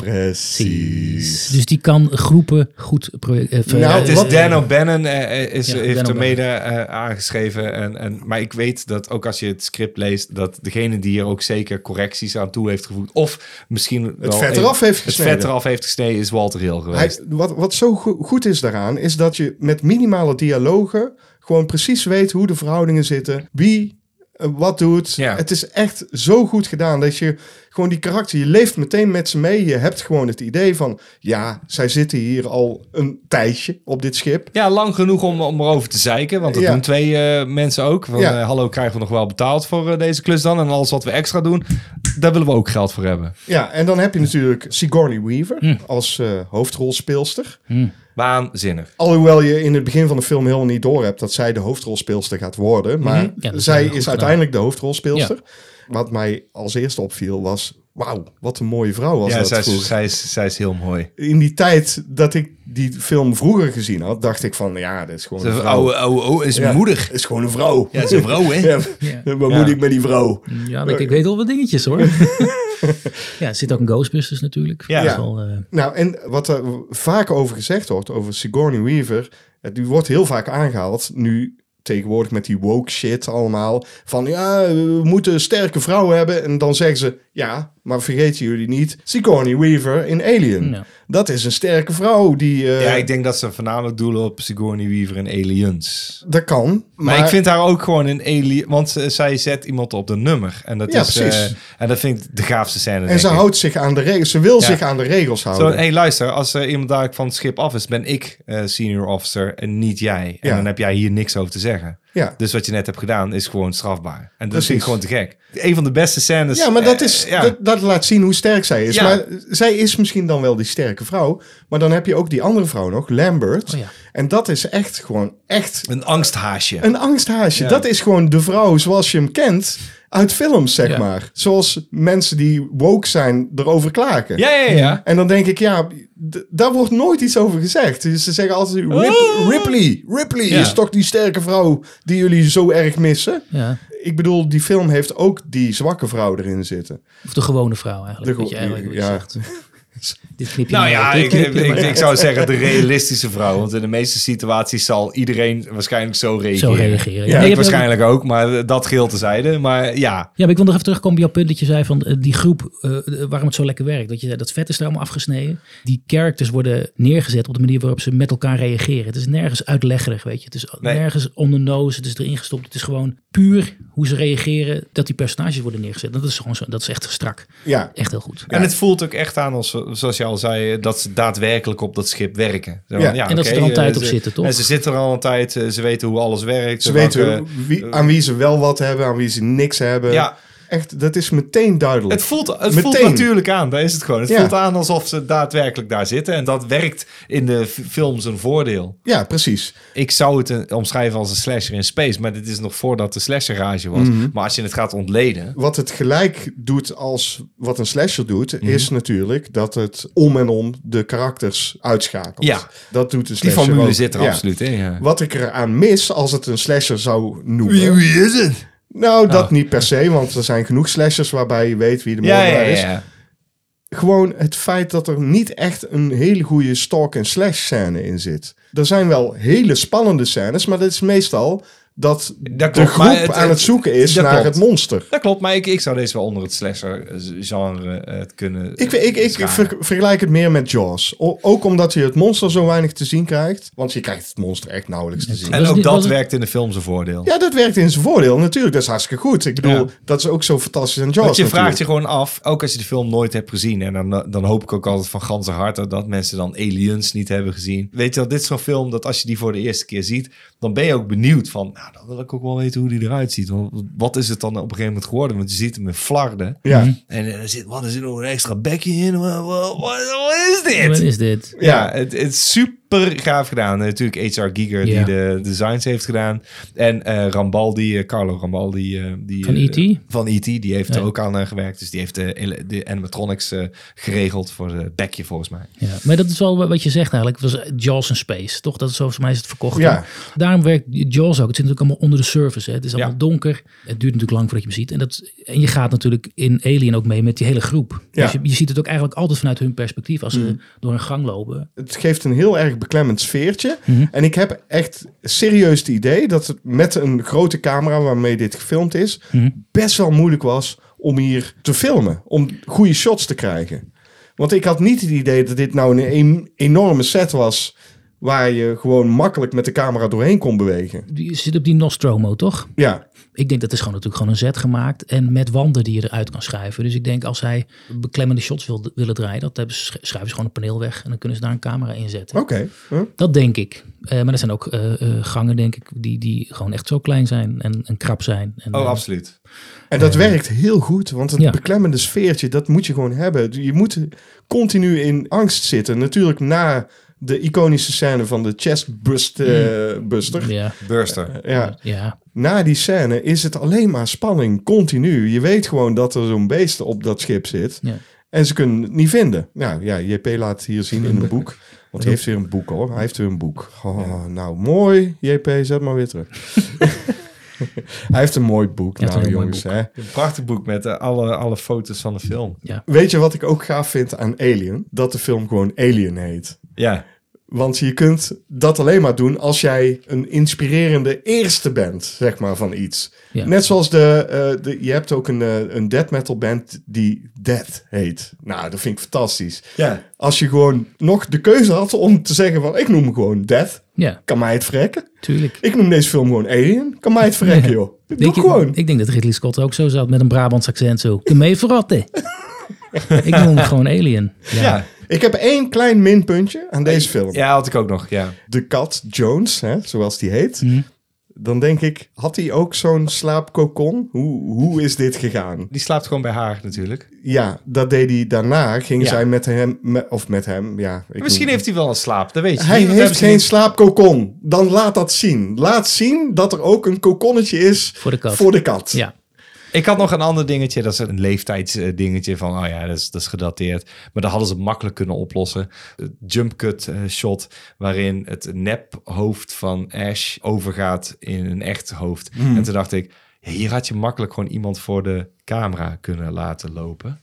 Precies. Dus die kan groepen goed... proje- eh, ver- Nou, het is wat- Dan O'Bannon eh, eh, is, Ja, Dan heeft er O'Bannon. mede eh, aangeschreven. En, en, maar ik weet dat ook als je het script leest... dat degene die er ook zeker correcties aan toe heeft gevoegd... of misschien wel vet even- eraf heeft gesneden. Het vet eraf heeft gesneden is Walter Hill Hij, geweest. wat, wat zo go- goed is daaraan, is dat je met minimale dialogen gewoon precies weet hoe de verhoudingen zitten. Wie eh, wat doet. Ja. Het is echt zo goed gedaan dat je gewoon die karakter, je leeft meteen met ze mee. Je hebt gewoon het idee van, ja, zij zitten hier al een tijdje op dit schip. Ja, lang genoeg om, om erover te zeiken. Want dat Ja. doen twee eh, mensen ook. Van, Ja. eh, hallo, krijgen we nog wel betaald voor eh, deze klus dan? En alles wat we extra doen, daar willen we ook geld voor hebben. Ja, en dan heb je natuurlijk Sigourney Weaver Hm. als eh, hoofdrolspeelster. Waanzinnig. Alhoewel je in het begin van de film helemaal niet door hebt dat zij de hoofdrolspeelster gaat worden. Maar Mhm. Ja, dat is zij heel is goed gedaan. uiteindelijk de hoofdrolspeelster. Wat mij als eerste opviel was, wauw, wat een mooie vrouw was Ja, dat zij vroeger. is, zij, is, zij is heel mooi. In die tijd dat ik die film vroeger gezien had, dacht ik van, ja, dat is gewoon een Ze vrouw. oude, oude, oude is Ja, moedig. is gewoon een vrouw. Ja, ze is een vrouw, hè? Ja, Ja. Wat moet ik met die vrouw? Ja, ik, ik weet al wat dingetjes hoor. ja, er zit ook een Ghostbusters natuurlijk. Ja. Dat is wel, eh, Nou, en wat er vaak over gezegd wordt, over Sigourney Weaver, eh, die wordt heel vaak aangehaald nu tegenwoordig met die woke shit allemaal. Van ja, we moeten een sterke vrouw hebben. En dan zeggen ze, ja, maar vergeten jullie niet, Sigourney Weaver in Alien. Ja. Dat is een sterke vrouw die... eh, Ja, ik denk dat ze voornamelijk doelen op Sigourney Weaver en Aliens. Dat kan. Maar, ik vind haar ook gewoon een alien, want ze- zij zet iemand op de nummer. En dat Ja, is, precies. eh, en dat vind ik de gaafste scène. En denk ze ik. houdt zich aan de regels. Ze wil Ja. zich aan de regels houden. Zo, hé, luister, als er iemand daar van het schip af is, ben ik eh, senior officer en niet jij. En Ja. dan heb jij hier niks over te zeggen. Ja. Dus wat je net hebt gedaan is gewoon strafbaar. En dat Precies. vind ik gewoon te gek. Een van de beste scènes. Ja, maar dat, eh, is, ja. dat, dat laat zien hoe sterk zij is. Ja. Maar zij is misschien dan wel die sterke vrouw. Maar dan heb je ook die andere vrouw nog, Lambert. Oh ja. En dat is echt gewoon echt Een angsthaasje. een angsthaasje. Dat is gewoon de vrouw zoals je hem kent uit films, zeg Ja. maar. Zoals mensen die woke zijn erover klagen. Ja, ja, ja. En dan denk ik, ja, d- daar wordt nooit iets over gezegd. Dus ze zeggen altijd, Rip- Ripley, Ripley Oh. Ja. is toch die sterke vrouw die jullie zo erg missen? ja. Ik bedoel, die film heeft ook die zwakke vrouw erin zitten. Of de gewone vrouw De eigenlijk. gewo- wat je eigenlijk ja. ja. zegt. Dit knip je Nou maar ja, uit, dit ik, knip ik, je maar ik, uit. zou zeggen de realistische vrouw. Want in de meeste situaties zal iedereen waarschijnlijk zo Zo reageren. reageren. Ja, Nee, ik je hebt- waarschijnlijk ook, maar dat geheel tezijde. Maar ja, Ja, maar ik wil nog even terugkomen bij jouw punt dat je zei van eh, die groep, eh, eh, waarom het zo lekker werkt. Dat je zei, dat vet is er allemaal afgesneden. Die characters worden neergezet op de manier waarop ze met elkaar reageren. Het is nergens uitleggerig, weet je. Het is Nee. nergens on the nose, het is erin gestopt. Het is gewoon puur hoe ze reageren, dat die personages worden neergezet. Dat is gewoon zo, dat is echt strak. Ja. Echt heel goed. En het voelt ook echt aan, als, zoals je al zei, dat ze daadwerkelijk op dat schip werken. Zo van, Ja. En dat ze oké, er al een eh, tijd op ze- zitten, toch? En ze zitten er al een tijd, eh, ze weten hoe alles werkt. Ze welke- weten wie, aan wie ze wel wat hebben, aan wie ze niks hebben. Ja. Echt, dat is meteen duidelijk. Het, voelt, het voelt Meteen. natuurlijk aan, daar is het gewoon. Het Ja. voelt aan alsof ze daadwerkelijk daar zitten. En dat werkt in de f- film zijn voordeel. Ja, precies. Ik zou het eh, omschrijven als een slasher in space. Maar dit is nog voordat de slasher rage was. Mhm. Maar als je het gaat ontleden... Wat het gelijk doet als wat een slasher doet, Mhm. is natuurlijk dat het om en om de karakters uitschakelt. Ja. Dat doet een Die slasher formule ook. zit er Ja. absoluut in, ja. Wat ik eraan mis als het een slasher zou noemen. is het? Nou, dat niet per se, want er zijn genoeg slashers waarbij je weet wie de Ah. Ja, moordenaar ja, is. ja. gewoon het feit dat er niet echt een hele goede stalk en slash scène in zit. Er zijn wel hele spannende scènes, maar dat is meestal dat, klopt, de groep maar het- aan het zoeken is dat naar klopt. het monster. Dat klopt, maar ik, ik zou deze wel onder het slasher-genre eh, kunnen Ik, ik, ik scharen. ver- vergelijk het meer met Jaws. O- ook omdat je het monster zo weinig te zien krijgt. Want je krijgt het monster echt nauwelijks te zien. En- En Was ook dit- dat was het- werkt in de film zijn voordeel. Ja, dat werkt in zijn voordeel natuurlijk. Dat is hartstikke goed. Ik bedoel, Ja. dat is ook zo fantastisch aan Jaws Want je natuurlijk. vraagt je gewoon af, ook als je de film nooit hebt gezien. En dan, dan hoop ik ook altijd van ganse harte dat mensen dan Aliens niet hebben gezien. Weet je wel, dit is zo'n film dat als je die voor de eerste keer ziet, dan ben je ook benieuwd van, nou, dan wil ik ook wel weten hoe die eruit ziet. Want wat is het dan op een gegeven moment geworden? Want je ziet hem in flarden. Ja. En er zit, wat, er zit nog een extra bekje in. Wat, wat- wat is Wat dit? is dit? Ja, het, het is super super gaaf gedaan. Eh, natuurlijk HR Giger Ja. die de designs heeft gedaan. En eh, Rambaldi, eh, Carlo Rambaldi. eh, die, Van eh, E.T.? van E.T. Die heeft Ja. er ook aan eh, gewerkt. Dus die heeft de, hele- de animatronics eh, geregeld voor het eh, bekje volgens mij. Ja, maar dat is wel wat je zegt eigenlijk. Het was Jaws in Space, toch? Dat is volgens mij is het verkocht. Ja. Daarom werkt Jaws ook. Het zit natuurlijk allemaal onder de surface. Hè? Het is allemaal Ja. donker. Het duurt natuurlijk lang voordat je hem ziet. En, dat, en je gaat natuurlijk in Alien ook mee met die hele groep. Ja. Mm. Dus je, je ziet het ook eigenlijk altijd vanuit hun perspectief. Als ze door een gang lopen. Het geeft een heel erg beklemmend sfeertje. En ik heb echt serieus het idee dat het met een grote camera waarmee dit gefilmd is, best wel moeilijk was om hier te filmen. Om goede shots te krijgen. Want ik had niet het idee dat dit nou een em- enorme set was waar je gewoon makkelijk met de camera doorheen kon bewegen. Je zit op die Nostromo, toch? Ja, Ik denk dat is gewoon natuurlijk gewoon een set gemaakt. En met wanden die je eruit kan schuiven. Dus ik denk als zij beklemmende shots wil, willen draaien. Dat hebben ze, schuiven ze gewoon een paneel weg. En dan kunnen ze daar een camera in zetten. oké. Huh? Dat denk ik. Eh, maar er zijn ook eh, eh, gangen, denk ik, die, die gewoon echt zo klein zijn en, en krap zijn. En, Oh, eh, absoluut. En dat werkt heel goed, want het Ja. beklemmende sfeertje, dat moet je gewoon hebben. Je moet continu in angst zitten. Natuurlijk na de iconische scène van de chestbuster. buster. Ja, Burster. Ja, Mm. ja. na die scène is het alleen maar spanning, continu. Je weet gewoon dat er zo'n beest op dat schip zit. Ja. En ze kunnen het niet vinden. Nou ja, JP laat het hier zien in een boek. Want hij heeft weer een boek hoor. Hij heeft weer een boek. Oh, Nou, mooi. JP, zet maar weer terug. hij heeft een mooi boek. Hij heeft nou een heel mooi jongens, hè. Een prachtig boek met eh, alle, alle foto's van de film. Weet je wat ik ook gaaf vind aan Alien? Dat de film gewoon Alien heet. Ja, Want je kunt dat alleen maar doen als jij een inspirerende eerste bent, zeg maar, van iets. Ja. Net zoals de, eh, de... Je hebt ook een, eh, een death metal band die Death heet. Nou, dat vind ik fantastisch. ja. Als je gewoon nog de keuze had om te zeggen van... Ik noem hem gewoon Death. ja, Kan mij het verrekken. tuurlijk. Ik noem deze film gewoon Alien. Kan mij het verrekken, joh. Doe Denk je- gewoon. Ik denk dat Ridley Scott ook zo zat met een Brabants accent zo. Kom mee verratten. ik noem hem gewoon Alien. Ja. Ja. Ik heb één klein minpuntje aan deze film. ja, had ik ook nog. Ja. de kat Jones, hè, zoals die heet. Dan denk ik, had hij ook zo'n slaapkokon? Hoe, hoe is dit gegaan? Die slaapt gewoon bij haar natuurlijk. Ja, dat deed hij daarna. Ging Ja. zij met hem, me- of met hem, ja. ik Misschien noem- heeft hij wel een slaap, dat weet je. Hij niet, want heeft hebben ze geen niet- slaapkokon. Dan laat dat zien. Laat zien dat er ook een kokonnetje is Voor de kat. Voor de kat. ja. Ik had nog een ander dingetje, dat is een leeftijdsdingetje van, oh ja, dat is, dat is gedateerd. Maar dat hadden ze makkelijk kunnen oplossen. Het jump cut eh, shot, waarin het nep hoofd van Ash overgaat in een echt hoofd. En toen dacht ik, hier had je makkelijk gewoon iemand voor de camera kunnen laten lopen.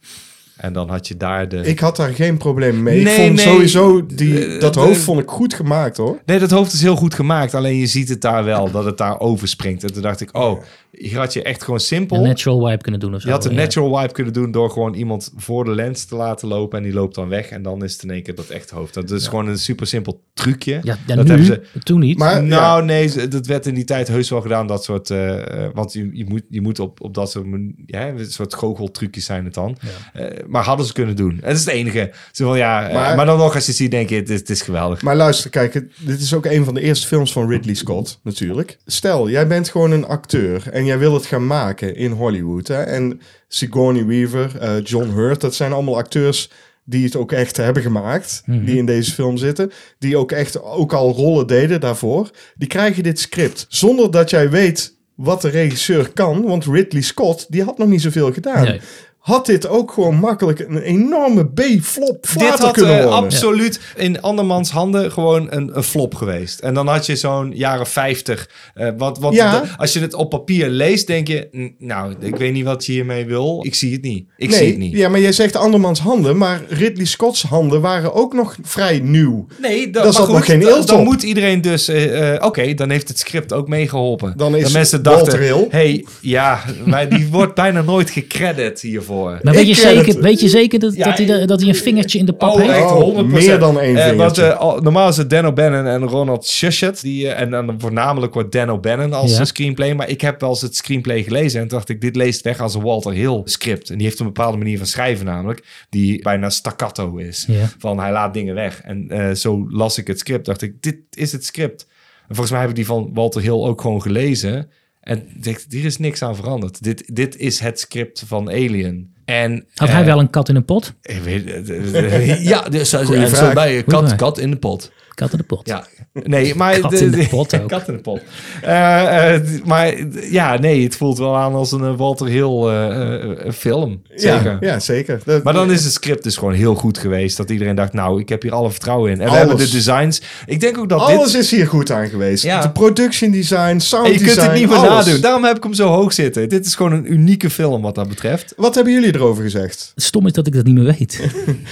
En dan had je daar de... Ik had daar geen probleem mee. Nee, ik vond nee. sowieso die, dat de- hoofd vond ik goed gemaakt hoor. Nee, dat hoofd is heel goed gemaakt. Alleen je ziet het daar wel, dat het daar overspringt. En toen dacht ik, oh, hier had je echt gewoon Een simpel... natural wipe kunnen doen of zo. Je had een ja. natural wipe kunnen doen door gewoon iemand voor de lens te laten lopen en die loopt dan weg en dan is het in één keer dat echt hoofd. Dat is gewoon een super simpel trucje. Ja, ja, dat nu, hebben ze. toen niet. Maar ja. Nou, nee, ze- dat werd in die tijd heus wel gedaan, dat soort. eh, eh, want je, je, moet, je moet op, op dat soort, men- ja, een soort goocheltrucjes zijn het dan. Eh, maar hadden ze kunnen doen. Het is het enige. Zo van, ja, eh, maar, Maar- dan nog als je het ziet, denk je, het is, het is geweldig. Maar luister, kijk, het- dit is ook een van de eerste films van Ridley Scott, natuurlijk. Stel, jij bent gewoon een acteur en jij wil het gaan maken in Hollywood. Hè? En Sigourney Weaver, eh, John Hurt, dat zijn allemaal acteurs die het ook echt hebben gemaakt. Die in deze film zitten. Die ook echt ook al rollen deden daarvoor. Die krijgen dit script zonder dat jij weet wat de regisseur kan. Want Ridley Scott, die had nog niet zoveel gedaan. Nee. Had dit ook gewoon makkelijk een enorme B-flop Dit had kunnen eh, worden. absoluut in andermans handen gewoon een, een flop geweest. En dan had je zo'n jaren 50. eh, wat, wat, Ja. d- als je het op papier leest, denk je... "N- Nou, ik weet niet wat je hiermee wil. Ik zie het niet. Ik zie het niet. Ja, maar jij zegt andermans handen, maar Ridley Scott's handen waren ook nog vrij nieuw. Nee, Daar dat, maar zat nog goed, geen da- eelt dan op. moet iedereen dus... eh, eh, Oké, dan heeft het script ook meegeholpen. Dan is dat mensen Walter dachten... Hill. hey, ja, maar die wordt bijna nooit gecredit hiervoor. Maar weet Ik je, ken zeker, het. weet je zeker dat, Ja, dat, hij, da- dat hij een vingertje in de pap Oh, heeft? echt Oh, 100%. meer dan één Eh, vingertje. want, eh, al- normaal is het Dan O'Bannon en Ronald Shushet. Die, eh, en dan voornamelijk wordt Dan O'Bannon als Ja. een screenplay. Maar ik heb wel eens het screenplay gelezen. En toen dacht ik, dit leest weg als een Walter Hill script. En die heeft een bepaalde manier van schrijven namelijk. Die bijna staccato is. Ja. Van hij laat dingen weg. En eh, zo las ik het script. Dacht ik, dit is het script. En volgens mij heb ik die van Walter Hill ook gewoon gelezen. En dacht, hier is niks aan veranderd. Dit, dit is het script van Alien. En, Had hij wel een kat in een pot? Ik weet, het. ja, dus, en Goeie zo vraag. bij je Goeie kat, vraag. kat in de pot. Kat in de pot. Ja, nee, maar... Kat in de pot ook. Kat in de pot. Eh, eh, d- maar d- ja, nee, het voelt wel aan als een eh, Walter Hill eh, eh, eh, film. Zeker. Ja, ja, zeker. Dat- Maar dan is het script dus gewoon heel goed geweest. Dat iedereen dacht, nou, ik heb hier alle vertrouwen in. En we Alles. hebben de designs. Ik denk ook dat alles dit... is hier goed aan geweest. Ja. De production design, sound En je kunt het design, niet meer alles. nadoen. Daarom heb ik hem zo hoog zitten. Dit is gewoon een unieke film wat dat betreft. Wat hebben jullie erover gezegd? Het stom is dat ik dat niet meer weet.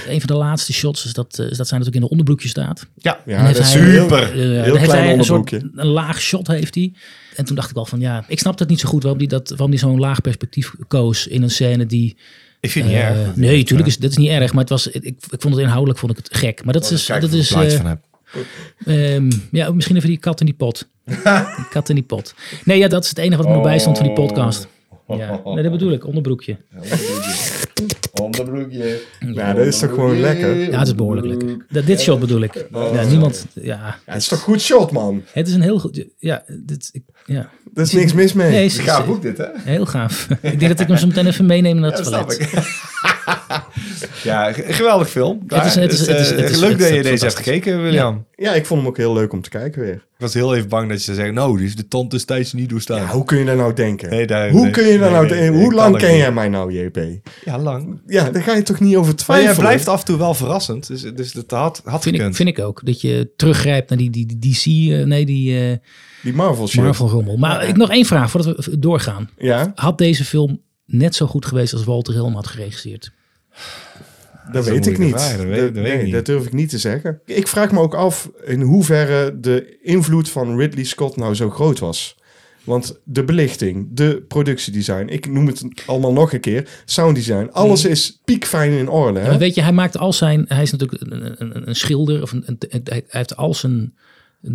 een van de laatste shots is dat, eh, is dat zij natuurlijk in een onderbroekje staat. Ja, Ja, En heeft dat is hij- super. eh, dan heel heeft klein hij een soort- onderbroekje. Een laag shot heeft hij. En toen dacht ik al van ja, ik snap het niet zo goed waarom hij, dat, waarom hij zo'n laag perspectief koos in een scène die... ik vind het niet eh, erg. Dat nee, natuurlijk is dat is niet erg, maar het was, ik, ik vond het inhoudelijk vond ik het gek. Maar dat Oh, is... Kijk, Dat hoeveel is plaatjes eh, van heb. Ehm, ja, misschien even die kat in die pot. die kat in die pot. Nee, ja, dat is het enige wat me erbij stond van die podcast. Ja, nee, Oh. dat bedoel ik, onderbroekje. Ja, dat is toch gewoon lekker? Ja, het is behoorlijk lekker. Dat, dit shot bedoel ik. Oh. Ja, niemand, ja, Ja, het is toch goed shot, man? het is een heel goed, ja, dit, ik, ja. Er is niks mis mee. Nee, het is- dit, hè? heel gaaf. ik denk dat ik hem zo meteen even meeneem naar het toilet. ja, ge- geweldig film. Ja, Het is- het is- eh, het is- het is- leuk het dat is je deze hebt fantastisch. gekeken, William. Ja, ik vond hem ook heel leuk om te kijken weer. Ik was heel even bang dat je zou zeggen, nou, die is de tand destijds niet doorstaan. Ja, hoe kun je daar nou denken? Nee, daar- hoe nee, kun je daar nee, nou nee, denken? nee, hoe ik lang kan ken het jij mij nou, JP? Ja, lang. Ja, daar ga je toch niet over Maar twijfelen? jij blijft af en toe wel verrassend, dus, dus dat had, had Vind ik, gekund. vind ik ook. Dat je teruggrijpt naar die, die, die DC, eh, nee, die eh, Die Marvel shit. Marvel rommel. Maar ik nog één vraag voordat we doorgaan. Ja, Had deze film net zo goed geweest als Walter Hill hem had geregisseerd? dat, is een weet ik moeilijke niet. vraag, dat weet- dat weet ik nee, niet. dat durf ik niet te zeggen. Ik vraag me ook af in hoeverre de invloed van Ridley Scott nou zo groot was. Want de belichting, de productiedesign, ik noem het allemaal nog een keer, sounddesign, alles is piekfijn in orde. Ja, maar Hè? weet je, hij maakt al zijn. Hij is natuurlijk een, een- een, een schilder. Of een, een- een- hij heeft al zijn.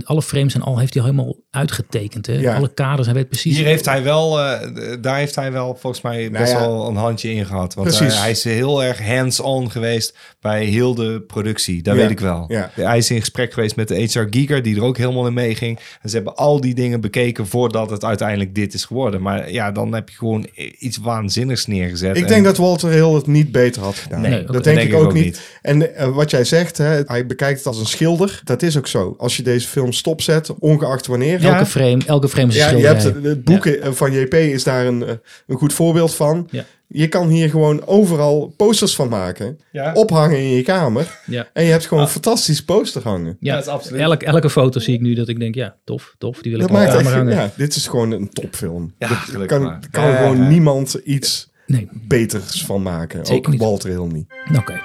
Alle frames en al heeft hij helemaal uitgetekend. Hè? Ja. Alle kaders, hij weet precies. Hier heeft hij wel, eh, daar heeft hij wel volgens mij best Nou ja. wel een handje in gehad. Want eh, Precies. Hij, hij is heel erg hands-on geweest bij heel de productie. Dat Ja, weet ik wel. ja. Hij is in gesprek geweest met de HR Giger, die er ook helemaal in meeging. En ze hebben al die dingen bekeken voordat het uiteindelijk dit is geworden. Maar ja, dan heb je gewoon iets waanzinnigs neergezet. Ik En- denk dat Walter Hill het niet beter had gedaan. Nee, oké. dat denk, ik ook, niet. En eh, wat jij zegt, hè, hij bekijkt het als een schilder. Dat is ook zo. Als je deze film stopzet, ongeacht wanneer. elke, Ja, frame, elke frame is een ja, je schilderij. hebt het, het boek eh, van JP is daar een, eh, een goed voorbeeld van. Ja. Je kan hier gewoon overal posters van maken. Ja. Ophangen in je kamer. ja. En je hebt gewoon een fantastisch poster hangen. Ja, dat is absoluut. Elk, elke foto zie ik nu dat ik denk, ja, tof, tof. Die wil ik Dat op mijn maakt echt, kamer hangen. ja, dit is gewoon een topfilm. Ja, Er gelukkig kan, maar. kan Ja, gewoon ja. niemand iets Nee, beters van maken. Zeker ook niet. Walter Hill niet. oké.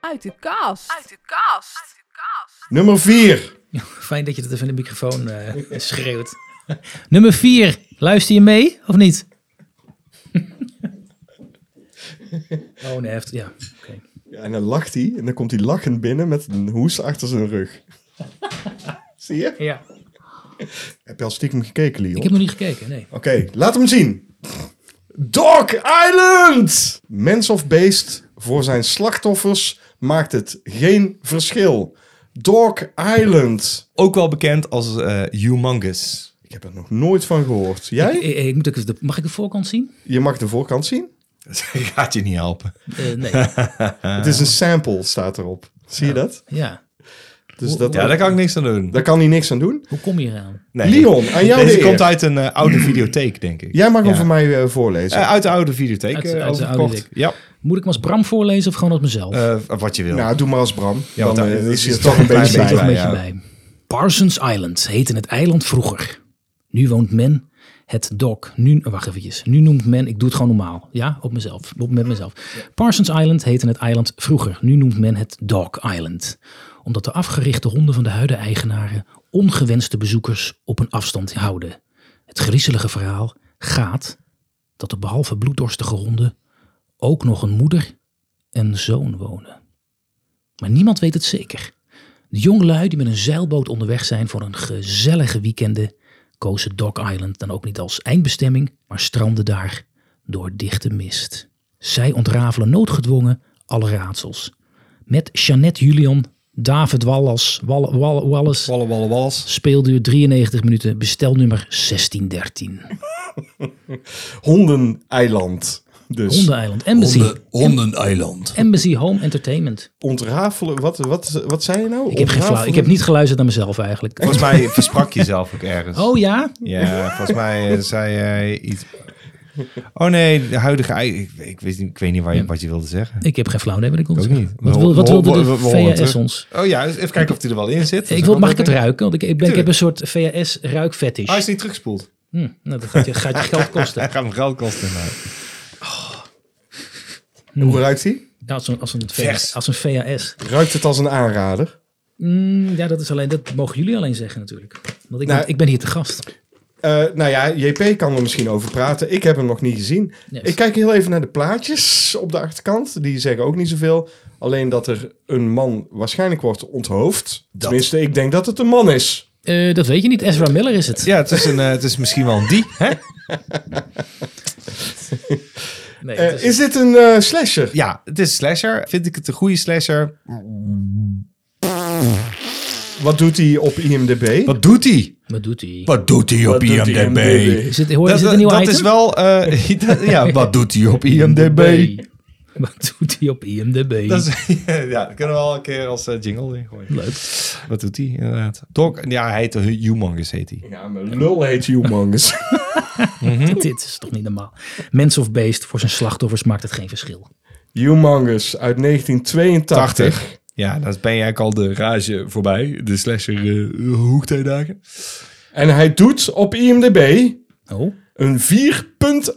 Uit de kast. Uit de kast. Uit de kast. Nummer vier. Fijn dat je dat even in de microfoon eh, schreeuwt. Nummer vier. Luister je mee of niet? oh nee, heeft, ja. oké. Ja, en dan lacht hij. En dan komt hij lachend binnen met een hoes achter zijn rug. Zie je? ja. Heb je al stiekem gekeken, Leon? Ik heb nog niet gekeken, nee. Oké, laat hem zien. Dog Island! Mens of beest, voor zijn slachtoffers maakt het geen verschil. Dog Island. Ook wel bekend als eh, Humongous. Ik heb er nog nooit van gehoord. Jij? Ik, ik moet ook even de- mag ik de voorkant zien? Je mag de voorkant zien. Gaat je niet helpen. Eh, nee, Het is een sample, staat erop. Zie je dat? ja. Dus dat, Ja, daar kan ik niks aan doen. daar kan hij niks aan doen. Hoe kom je eraan? Nee. Leon, aan jou Deze de komt eer. uit een eh, oude videotheek, denk ik. Jij mag hem Ja. voor mij eh, voorlezen. Eh, uit de oude videotheek. Uit- eh, uit de oude overgekocht. videotheek. Ja, Moet ik hem als Bram voorlezen of gewoon als mezelf? eh, wat je wil. nou, doe maar als Bram. Ja, Dan want daar eh, is is hij het er toch een toch een Daar beetje zit bij. toch een bij, beetje ja. bij. Parsons Island heette het eiland vroeger. Nu woont men het dok. Nu, oh, wacht eventjes. Nu noemt men, ik doe het gewoon normaal. Ja, op mezelf. Op, met mezelf. Parsons Island heette het eiland vroeger. Nu noemt men het Dog Island. Omdat de afgerichte honden van de huideneigenaren ongewenste bezoekers op een afstand houden. Het griezelige verhaal gaat dat er behalve bloeddorstige honden ook nog een moeder en zoon wonen. Maar niemand weet het zeker. De jongelui die met een zeilboot onderweg zijn voor een gezellige weekende, kozen Dog Island dan ook niet als eindbestemming, maar stranden daar door dichte mist. Zij ontrafelen noodgedwongen alle raadsels. Met Jeannette Julian David Wallace, Wall- Wall- Wallace Walle, walle, walles. speelduur 93 minuten, bestelnummer 1613. Hondeneiland. Dus Hondeneiland, Embassy, hondeneiland. Embassy Home Entertainment. ontrafelen. Wat, wat, wat zei je nou? Ik heb, geen flauw- ik heb niet geluisterd naar mezelf eigenlijk. Volgens mij versprak je zelf ook ergens. Oh ja? Ja, volgens mij eh, zei jij iets. Oh nee, de huidige. ei- Ik, ik, weet, niet- ik weet niet waar je, wat je wilde zeggen. Ik heb geen flauw idee wat ik kon Ook zeggen. niet. Wat, We- wil- wat we- wilde we- de we- we horen het VHS terug. ons? Oh ja, eens even kijken of hij er wel in zit. Ik wil, mag ik het ruiken? Want ik, ik, ben, ik heb nou Tuurlijk. een soort VHS ruikfetish. Hij is niet teruggespoeld. Hm, nou, dat gaat je, gaat je geld kosten. Hij gaat hem geld kosten. maar- Oh. Hoe ruikt hij? Ja, als, een, als, een Vers. VHS, als een VHS. Ruikt het als een aanrader? Mm, ja, dat, is alleen, dat mogen jullie alleen zeggen natuurlijk. Want ik, Nou, ben, ik ben hier te gast. Eh, nou ja, JP kan er misschien over praten. Ik heb hem nog niet gezien. Yes. Ik kijk heel even naar de plaatjes op de achterkant. Die zeggen ook niet zoveel. Alleen dat er een man waarschijnlijk wordt onthoofd. Tenminste, ik denk dat het een man is. Eh, dat weet je niet. Ezra Miller is het. Ja, het is, een, eh, het is misschien wel een die. Hè? Nee, Eh, dat is dit een eh, slasher? Ja, het is een slasher. Vind ik het een goede slasher? Wat doet hij op IMDb? Wat doet hij? Wat doet hij? Wat doet hij op IMDb? Is het, hoor, Dat, is het een nieuw dat item? is wel. eh, dat- ja, wat doet hij op IMDb? Wat doet hij op IMDb? Dat is, ja, dat kunnen we al een keer als eh, jingle in gooien. leuk. Wat doet hij inderdaad? Doc, ja, hij heet de Humongous, heet hij. Ja, maar lul heet humongous. Dit is toch niet normaal. Mens of beest, voor zijn slachtoffers maakt het geen verschil. humongous uit 1982. 80. Ja, dan ben je eigenlijk al de rage voorbij. De slasher uh, hoektijddagen. En hij doet op IMDb Oh? een 4,8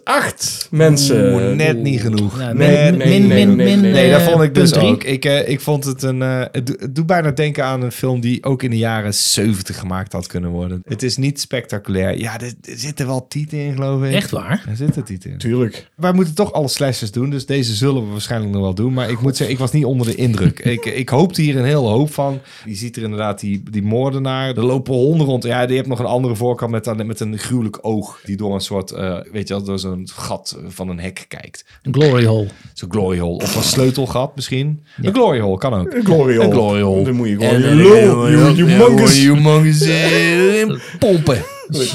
Eh, mensen. net niet genoeg. Ja, Nee, min- nee, min- min- nee, nee, min- nee, min, nee. Nee, eh, dat vond ik dus punt drie. ook. Ik, eh, ik vond het een. eh, het, do- het doet bijna denken aan een film die ook in de jaren 70 gemaakt had kunnen worden. Het is niet spectaculair. Ja, er, er zitten wel tieten in, geloof ik. Echt waar? Er zitten tieten in. Tuurlijk. Wij moeten toch alle slashers doen, dus deze zullen we waarschijnlijk nog wel doen. Maar ik moet zeggen, ik was niet onder de indruk. ik, ik hoopte hier een hele hoop van. Je ziet er inderdaad die, die moordenaar. Er lopen honden rond. Ja, die hebt nog een andere voorkant met, een- met een gruwelijk oog. Die door een soort, eh, weet je wel, door zo'n gat van een hek kijkt. Een glory hole. Zo'n glory hole. Of een sleutelgat misschien. Een glory hole kan ook. Een glory hole. Een glory hole. Dan moet je gewoon je lul, je humongous. Humongous. eh, Pompen.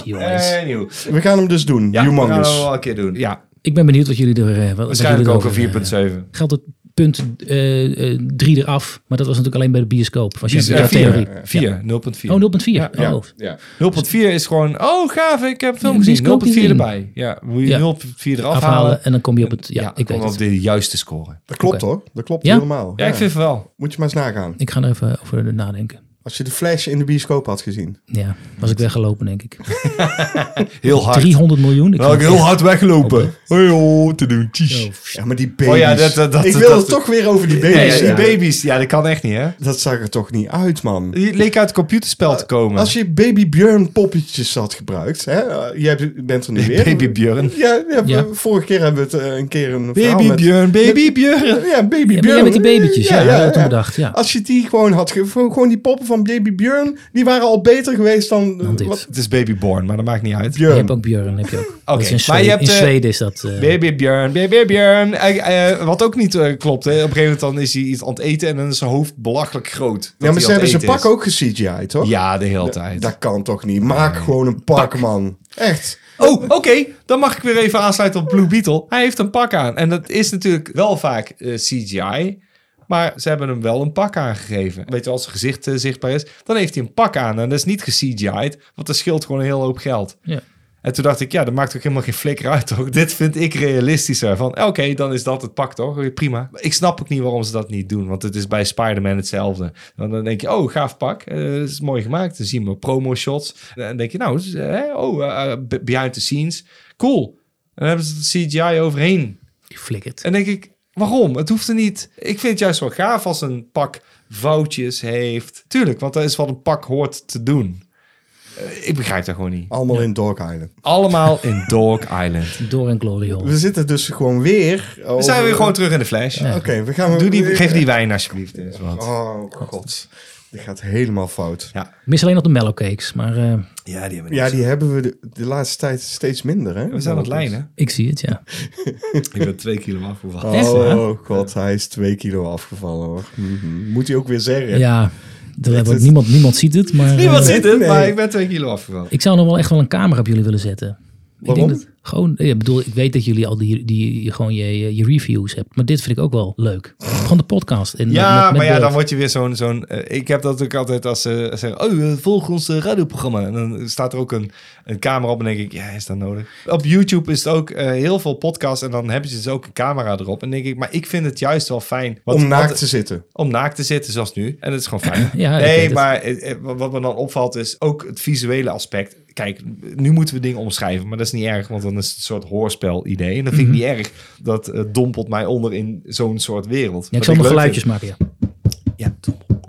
Jongens. Anywho. We gaan hem dus Ja, doen, we gaan het humongous. wel een keer doen. Ja, Ik ben benieuwd wat jullie er... eh, wat- wat waarschijnlijk jullie ook erover, eh, een 4.7. Geldt het punt 3 eraf, maar dat was natuurlijk alleen bij de bioscoop. Was je Vier, jouw theorie. 4, 4, 0.4. Oh, 0.4. ja. Oh. Ja. 0.4 is gewoon, oh gaaf, ik heb film Ja, die is gezien. 0.4 gezien. erbij. Ja, moet je Ja. 0.4 eraf halen. Afhalen en dan kom je op het... Ja, ik kom weet op het. de juiste score. Dat klopt Oké. hoor. Dat klopt Ja? helemaal. Ja, ik vind het wel. Moet je maar eens nagaan. Ik ga er even over nadenken. Als je de Flash in de bioscoop had gezien. Ja, was ik weggelopen, denk ik. Heel hard. 300 miljoen. Ik Nou, ik vind heb het heel hard weglopen. Hoi, oh, te doen. tjies. echt- Oh, Ja, maar die baby's. Oh ja, dat- dat- dat- ik wil dat- het toch weer over die Ja, ja, baby's. die hebben. baby's, ja, dat kan echt niet, hè? Dat zag er toch niet uit, man. Die leek uit het computerspel te komen. Als je baby Björn poppetjes had gebruikt. Hè? eh, jij bent er nu weer. Baby Björn. Ja, ja, Ja. vorige keer hebben we het eh, een keer een verhaal Baby met- Björn, baby Björn. Ja, baby Ja, maar Björn. jij met die babytjes, ja, dat had ik toen bedacht, ja. Als je die gewoon had, ge- gewoon die poppen van baby Björn, die waren al beter geweest dan, Dan dit. wat Het is baby Born, maar dat maakt niet uit. Je hebt Björn. ook Björn, heb je ook. Dat is Oké, in, maar Zweden, je hebt, in eh, Zweden is dat... eh, Baby Björn, baby Björn. Eh, eh, wat ook niet eh, klopt, hè? Op een gegeven moment dan is hij iets aan het eten en dan is zijn hoofd belachelijk groot. dat hij Ja, aan maar het ze hebben zijn eten pak is. ook ge-CGI'd, toch? Ja, de hele tijd. Dat kan toch niet? Maak gewoon een pak, man. Echt. Oh, oké. Dan mag ik weer even aansluiten op Blue Beetle. Hij heeft een pak aan. En dat is natuurlijk wel vaak eh, CGI. Maar ze hebben hem wel een pak aangegeven. Weet je, als zijn gezicht eh, zichtbaar is, dan heeft hij een pak aan. En dat is niet ge-CGI'd, want dat scheelt gewoon een hele hoop geld. Ja. En toen dacht ik, ja, dat maakt ook helemaal geen flikker uit, toch? Dit vind ik realistischer. Van, oké, dan is dat het pak, toch? Prima. Ik snap ook niet waarom ze dat niet doen, want het is bij Spider-Man hetzelfde. Want dan denk je, oh, gaaf pak. eh is mooi gemaakt. Dan zien we promo-shots. En dan denk je, nou, is, eh, hè, oh, eh, be- behind the scenes. Cool. En dan hebben ze het CGI overheen. die flikkert. En denk ik, waarom? Het hoeft er niet. Ik vind het juist wel gaaf als een pak vouwtjes heeft. Tuurlijk, want dat is wat een pak hoort te doen. Eh, ik begrijp dat gewoon niet. Allemaal in Dog Island. Allemaal in Dog Island. Door en glory hole. We zitten dus gewoon weer... We zijn weer gewoon terug in de flash. Oké, we gaan... Doe die, geef die wijn alsjeblieft. eens, want- Oh, god. Dit gaat helemaal fout. Ik mis alleen nog de mellowcakes, maar eh, Ja, die hebben Ja, niks. die hebben we de, de laatste tijd steeds minder, hè? We zijn aan het lijnen. ik zie het, ja. Ik ben twee kilo afgevallen. Echt, hè? Oh god, hij is twee kilo afgevallen hoor. Mhm. Moet hij ook weer zeggen. Ja, er hebben is- niemand, niemand ziet het, maar... Niemand eh, ziet het, Nee. maar ik ben twee kilo afgevallen. Ik zou nog wel echt wel een camera op jullie willen zetten. Waarom? Ik denk dat, gewoon, eh, ik bedoel, ik weet dat jullie al die, die gewoon je, je reviews hebt, maar dit vind ik ook wel leuk. Gewoon de podcast. En Ja, met- met maar ja, beeld. dan word je weer zo'n... zo'n eh, ik heb dat ook altijd als ze zeggen... Oh, eh, volg ons eh, radioprogramma. En dan staat er ook een, een camera op en denk ik... Ja, is dat nodig? Op YouTube is het ook eh, heel veel podcasts... en dan hebben ze dus ook een camera erop. En denk ik... Maar ik vind het juist wel fijn... Wat, Om naakt wat- te zitten. om naakt te zitten, zoals nu. En dat is gewoon fijn. Ja, ik weet nee, het. maar eh, eh, wat me dan opvalt is ook het visuele aspect. Kijk, nu moeten we dingen omschrijven, maar dat is niet erg, want dan is het een soort hoorspel-idee. En dat Mhm. vind ik niet erg. Dat eh, dompelt mij onder in zo'n soort wereld. Ja, ik Wat zal nog leuk geluidjes vind. maken, ja. Ja, dompel.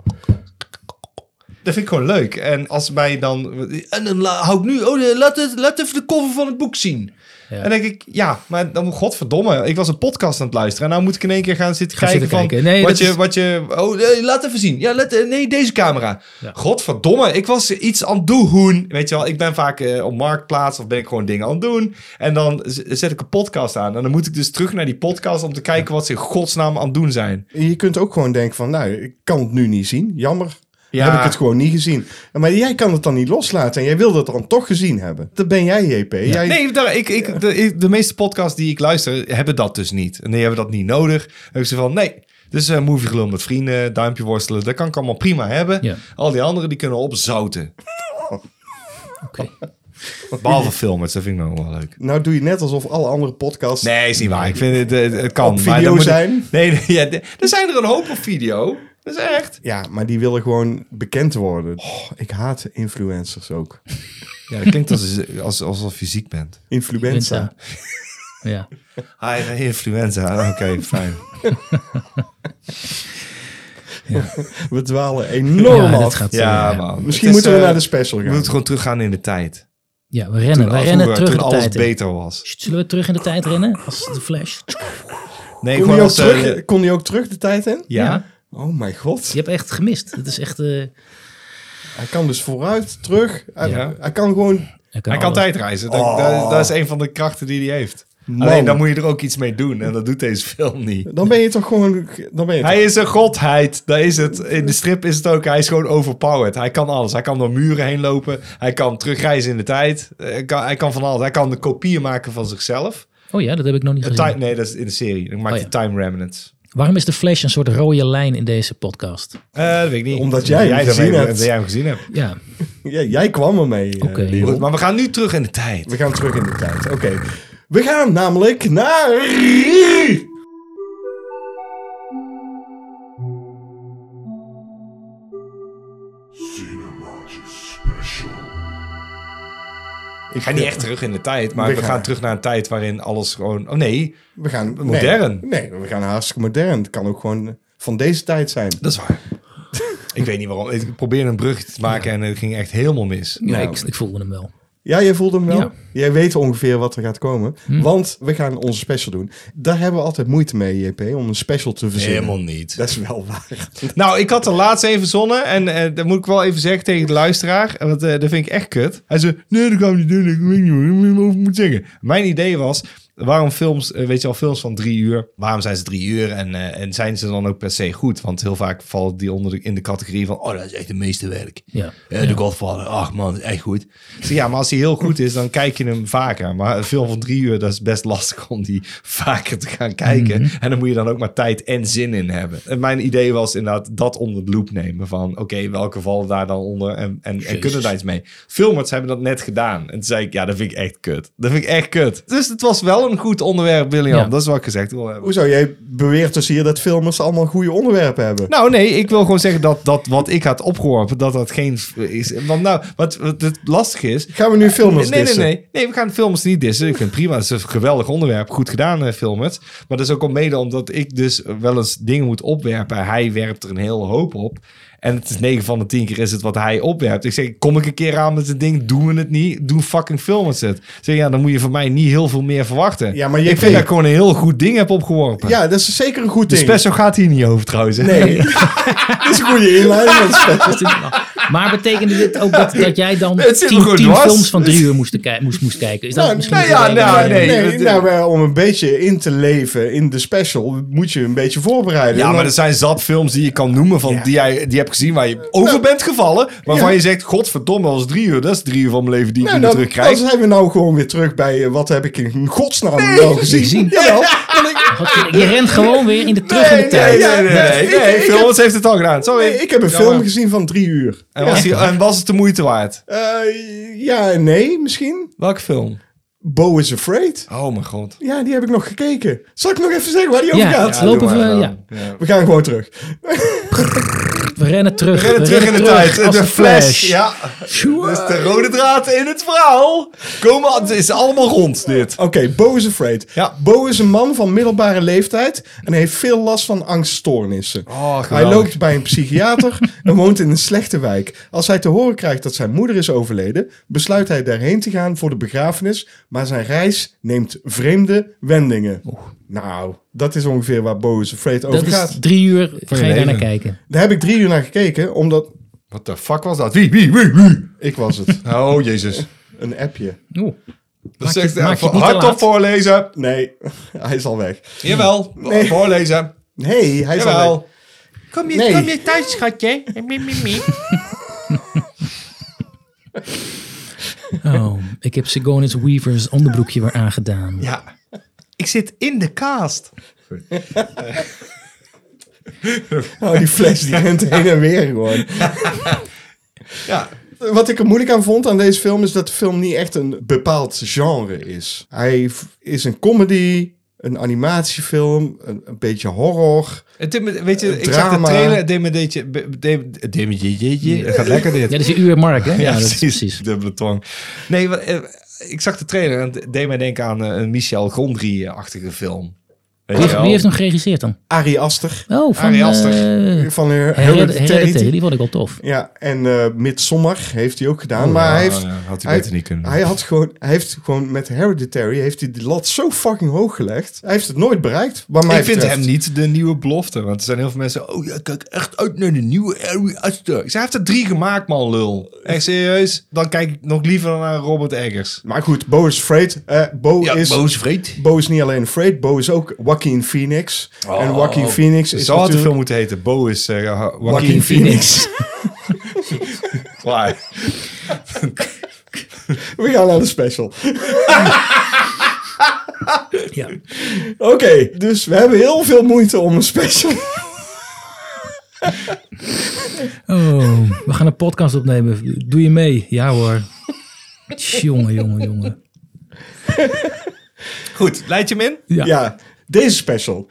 Dat vind ik gewoon leuk. En als mij dan. En dan la- hou ik nu. Oh, eh, laat, het, laat even de cover van het boek zien. Ja. En dan denk ik, ja, maar dan, godverdomme, ik was een podcast aan het luisteren. En nou moet ik in één keer gaan zitten Gaan kijken zitten van, kijken. Nee, wat, dat je, is- wat je, oh, eh, laat even zien. Ja, let, eh, nee, deze camera. Ja. Godverdomme, ik was iets aan het doen. Weet je wel, ik ben vaak eh, op marktplaats of ben ik gewoon dingen aan het doen. En dan z- zet ik een podcast aan. En dan moet ik dus terug naar die podcast om te kijken wat ze in godsnaam aan het doen zijn. En Je kunt ook gewoon denken van, nou, ik kan het nu niet zien. Jammer. Ja. Heb ik het gewoon niet gezien. Maar jij kan het dan niet loslaten. En jij wil dat dan toch gezien hebben. Dat ben jij, JP. Jij, Nee, daar, ik, ik, de, ik- de meeste podcasts die ik luister hebben dat dus niet. En die hebben dat niet nodig. Dan heb ik ze van, nee, dus eh movie gelul met vrienden, duimpje worstelen. Dat kan ik allemaal prima hebben. Ja. Al die anderen die kunnen opzouten. Oké. Oh, Behalve filmers, dat vind ik nog wel leuk. Nou doe je net alsof alle andere podcasts... Nee, is niet waar. Ik vind het, het, het kan. Op maar video dan moet ik- zijn? nee, nee, ja, de- er zijn er een hoop op video. Dat is echt. Ja, maar die willen gewoon bekend worden. Oh, ik haat influencers ook. Ja, dat klinkt als, als, alsof je ziek bent. Influenza. Ja. Hi, Ah, influenza. Ah, Oké, fijn. We dwalen enorm Ja, dat af. gaat, Ja, eh, man. Misschien Het is, moeten we eh, naar de special We gaan. moeten gewoon teruggaan in de tijd. ja, we rennen. we Toen- rennen vroeger, terug in toen de alles tijd. in. beter was. Sst, Zullen we terug in de tijd rennen? Als de flash. Nee, Kon hij, ook als, eh, terug, kon hij ook terug de tijd in? ja. Oh mijn god. Je hebt echt gemist. Het is echt... eh, Hij kan dus vooruit, terug. Hij, Ja. hij kan gewoon... hij kan Hij kan alles. tijdreizen. Dat, Oh. dat, dat is een van de krachten die hij heeft. Man. Alleen dan moet je er ook iets mee doen. En dat doet deze film niet. Dan ben je toch gewoon... Dan ben je Hij is een godheid. Daar is het. In de strip is het ook. Hij is gewoon overpowered. Hij kan alles. Hij kan door muren heen lopen. Hij kan terugreizen in de tijd. Eh, Hij kan, hij kan van alles. Hij kan de kopieën maken van zichzelf. Oh ja, dat heb ik nog niet Een gezien. Time, nee, dat is in de serie. Dan maakt Oh, hij Time Remnants. Waarom is de flash een soort rode lijn in deze podcast? Eh, dat weet ik niet. Omdat jij hem dat gezien weet- hebt. dat jij hem gezien hebt. Ja, Ja, jij kwam ermee, mee. Oké. Goed, maar we gaan nu terug in de tijd. We gaan terug in de tijd. Oké. We gaan namelijk naar... Cinematisch special. Ik ga niet eh, echt terug in de tijd, maar We we, gaan- gaan, terug naar een tijd waarin alles gewoon... Oh nee, We gaan... nee. Modern. Nee, we gaan hartstikke modern. Het kan ook gewoon eh, van deze tijd zijn. dat is waar. ik weet niet waarom. Ik probeerde een brug te maken en het ging echt helemaal mis. ja, Nou. ik, ik voelde hem wel. Ja, jij voelde hem wel. Ja. Hm. Jij weet ongeveer wat er gaat komen. Want we gaan onze special doen. Daar hebben we altijd moeite mee, JP, om een special te verzinnen. Helemaal niet. Dat is wel waar. Nou, ik had de laatste even verzonnen. En eh dat moet ik wel even zeggen tegen de luisteraar. Want eh, dat vind ik echt kut. Hij zei, nee, dat gaan we niet doen. Ik weet niet hoe ik over moet zeggen. Mijn idee was, waarom films, eh, weet je al, films van drie uur. Waarom zijn ze drie uur? En, eh, en zijn ze dan ook per se goed? Want heel vaak vallen die onder de, in de categorie van, oh, dat is echt de meeste werk. Ja. Ja, de Godfather. Ach man, dat is echt goed. Ik zeg, ja, maar als hij heel goed is, dan kijk je hem vaker. Maar een film van drie uur, dat is best lastig om die vaker te gaan kijken. En dan moet je dan ook maar tijd en zin in hebben. En mijn idee was inderdaad dat onder de loep nemen. Van oké, welke vallen daar dan onder en, en, en kunnen daar iets mee? Filmers hebben dat net gedaan. En toen zei ik, ja, dat vind ik echt kut. Dat vind ik echt kut. Dus het was wel een goed onderwerp, William. Ja. Dat is wat ik gezegd wil hebben. Hoezo? Jij beweert dus hier dat filmers allemaal goede onderwerpen hebben. Nou, nee, ik wil gewoon zeggen dat, dat wat ik had opgeworpen, dat dat geen is. Want nou, wat, wat het lastig is. Gaan we nu nu filmers nee, nee, dissen. nee, nee. We gaan films niet dissen. Ik vind het prima. Het is een geweldig onderwerp. Goed gedaan, eh, Filmert. Maar dat is ook al mede omdat ik dus wel eens dingen moet opwerpen. Hij werpt er een hele hoop op. En het is 9 van de 10 keer is het wat hij opwerpt. Ik zeg, kom ik een keer aan met het ding? Doen we het niet? Doen fucking Filmers het? Ik zeg, ja, dan moet je van mij niet heel veel meer verwachten. Ja, maar ik je vind dat weet- ik gewoon een heel goed ding heb opgeworpen. Ja, dat is zeker een goed de ding. special gaat hier niet over trouwens. hè? Nee. dat is een goede inleiding. dat is best- Maar betekende dit ook dat, dat jij dan Het zit tien, nog goed tien dwars. films van drie uur moest, ki- moest, moest kijken? Is dat Nou, misschien nou de ja, reden nou, waarom- nee. Nee, dat- nou, wel, om een beetje in te leven in de special moet je een beetje voorbereiden. Ja, En maar dan- er zijn zat films die je kan noemen van Ja. die, jij, die je hebt gezien waar je over bent gevallen. Waarvan Ja. je zegt, godverdomme, dat is drie uur. Dat is drie uur van mijn leven die ik Nou, niet meer dan, dan terugkrijg. zijn we nou gewoon weer terug bij eh, wat heb ik in godsnaam wel gezien. gezien. Jawel. Wat- Oh, Je rent gewoon weer in de terug in de Nee, nee, tijd. nee, nee, nee. Ik- ik- nee, ik Filmers heeft het al gedaan. Sorry. Nee, ik heb een Jammer. film gezien van drie uur. En was, die- en was het de moeite waard? Eh, ja en nee, misschien. Welke film? Bo is Afraid. Oh mijn god. Ja, die heb ik nog gekeken. Zal ik nog even zeggen waar die over Ja, gaat? ja, lopen doe maar we- dan. ja. Ja. We gaan gewoon terug. We rennen terug. We rennen terug in de tijd. als De Flash. Ja. Ja, dat is de rode draad in het verhaal. Komen, het is allemaal rond dit. Oké, Bo is Afraid. Ja. Bo is een man van middelbare leeftijd en heeft veel last van angststoornissen. Oh, geweldig. hij loopt bij een psychiater en woont in een slechte wijk. Als hij te horen krijgt dat zijn moeder is overleden, besluit hij daarheen te gaan voor de begrafenis, maar zijn reis neemt vreemde wendingen. Nou, dat is ongeveer waar Bo is Afraid over Dat gaat. is drie uur. Ga je daar leven. naar kijken. Daar heb ik drie uur naar gekeken, omdat Wat de fuck was dat? Wie, wie, wie, wie? ik was het. Oh, jezus. een appje. Oeh. Dat je- zegt maak je het niet te hardop laat. voorlezen. Nee, hij is al weg. Jawel, voorlezen. Nee, hij is al weg. Jawel. Kom je, Nee. kom je thuis, schatje? Mie, mie, mie. Oh, ik heb Sigonis Weaver's onderbroekje weer aangedaan. Ja. Ik zit in de cast. Oh, die fles die rent heen en weer gewoon. Ja. Wat ik er moeilijk aan vond aan deze film is dat de film niet echt een bepaald genre is. Hij v- is een comedy, een animatiefilm, een, een beetje horror. Het deed me- weet je, ik zag de Drama. trailer, het deed me deed je- be- deed- het deed me je- je- je. Het gaat lekker dit. Ja, dat is een uur Mark, hè? Ja, dat is precies. Dubbele tong. Nee, wat- eh, ik zag de trailer en het deed mij denken aan eh, een Michel Gondry-achtige film. Weet Wie, je wel? wie heeft hem geregisseerd dan? Ari Aster Oh, van Ari Aster. eh, Hm. van eh, Hereditary. Hereditary. Die vond ik wel tof. Ja, en eh Midsommar heeft hij ook gedaan. maar Oh, ja, hij heeft... ja, had hij hij, beter niet kunnen. hij had gewoon, hij heeft gewoon met Hereditary heeft hij de lat zo fucking hoog gelegd. Hij heeft het nooit bereikt. Wat mij ik vind betreft. hem niet de nieuwe belofte. Want er zijn heel veel mensen... Oh, ja, ik kijk echt uit naar de nieuwe Ari Aster. Ik zei, hij heeft er drie gemaakt, man, lul. Echt serieus? Dan kijk ik nog liever naar Robert Eggers. Maar goed, Bo is afraid. Eh, Bo Ja, is boos vreed. Bo is niet alleen afraid, Bo is ook Joaquin Phoenix. en Joaquin Phoenix is Zou het natuurlijk... veel moeten heten? Bo is eh, ja, Joaquin, Joaquin Phoenix. Klaar. We gaan naar de special. Ja. Oké, dus we hebben heel veel moeite om een special. Oh, we gaan een podcast opnemen. Doe je mee? Ja hoor. Jongen, jongen, jongen. Goed, leid je hem in? Ja. Ja, deze special.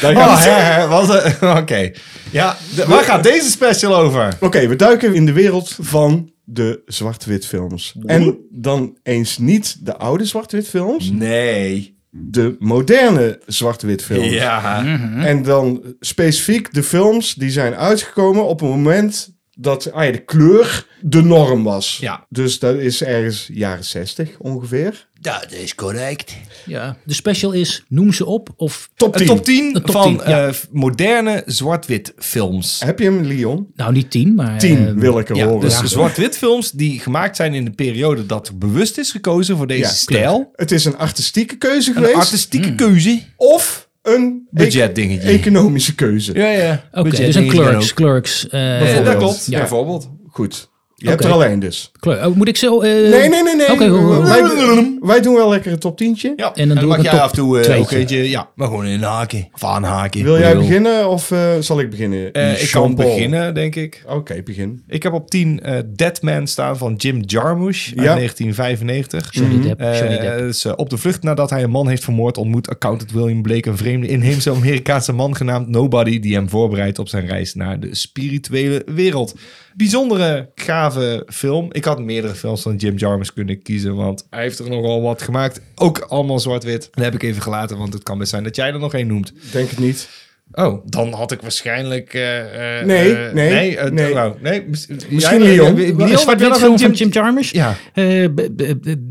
Daar Oh, gaat het- hè, hè, was het- eh, Oké. Ja, de- waar gaat deze special over? Oké, we duiken in de wereld van de zwart-wit films. En dan eens niet de oude zwart-wit films, Nee. de moderne zwart-wit films. Ja. En dan specifiek de films die zijn uitgekomen op het moment dat ah ja, de kleur de norm was. Ja. Dus dat is ergens jaren 60 ongeveer. Dat is correct. Ja. De special is, noem ze op of... Top Een 10. top 10 Een top van 10, ja. eh, moderne zwart-wit films. Heb je hem, Leon? Nou, niet tien, maar... 10 eh, wil ik er Ja, horen. dus zwart-wit films die gemaakt zijn in de periode dat er bewust is gekozen voor deze Ja, stijl. Het is een artistieke keuze Een geweest. artistieke keuze. of een Budget dingetje. ec- economische keuze. Ja, ja. Oké, dus een Clerks. Clerks. eh, Ja, dat Bijvoorbeeld. klopt. Ja. Bijvoorbeeld. Goed. Je Oké. hebt er alleen dus. Clerks. Oh, moet ik zo... eh, Nee, nee, nee, nee. Oké, hoe- hoe- wij, wij doen wel lekker een top 10. Ja, En dan doe ik mag een jij top af en toe eh, tweetje. ook eentje, ja, maar gewoon inhaken of aanhaken. Wil jij Bedoel. beginnen of eh, zal ik beginnen? Eh, ik kan Jean-Paul. beginnen, denk ik. Oké, begin. Ik heb op 10 eh Deadman staan van Jim Jarmusch uit Ja. 1995. Johnny Depp. Eh, Johnny Depp. eh, is, eh, op de vlucht nadat hij een man heeft vermoord, ontmoet accountant William Blake een vreemde inheemse Amerikaanse man genaamd Nobody, die hem voorbereidt op zijn reis naar de spirituele wereld. Bijzondere, gave gave film. Ik had meerdere films van Jim Jarmusch kunnen kiezen, want hij heeft er nogal wat gemaakt. Ook allemaal zwart-wit. Dat heb ik even gelaten, want het kan best zijn dat jij er nog één noemt. Denk het niet. Oh, dan had ik waarschijnlijk... eh, eh, Nee, eh, nee, nee, eh, nee. nou, nee. mis- jij- Misschien Leon. eh, Een zwart-wit wel film een van Jim Jarmusch. Ja, Oh, Eh, b- b- b-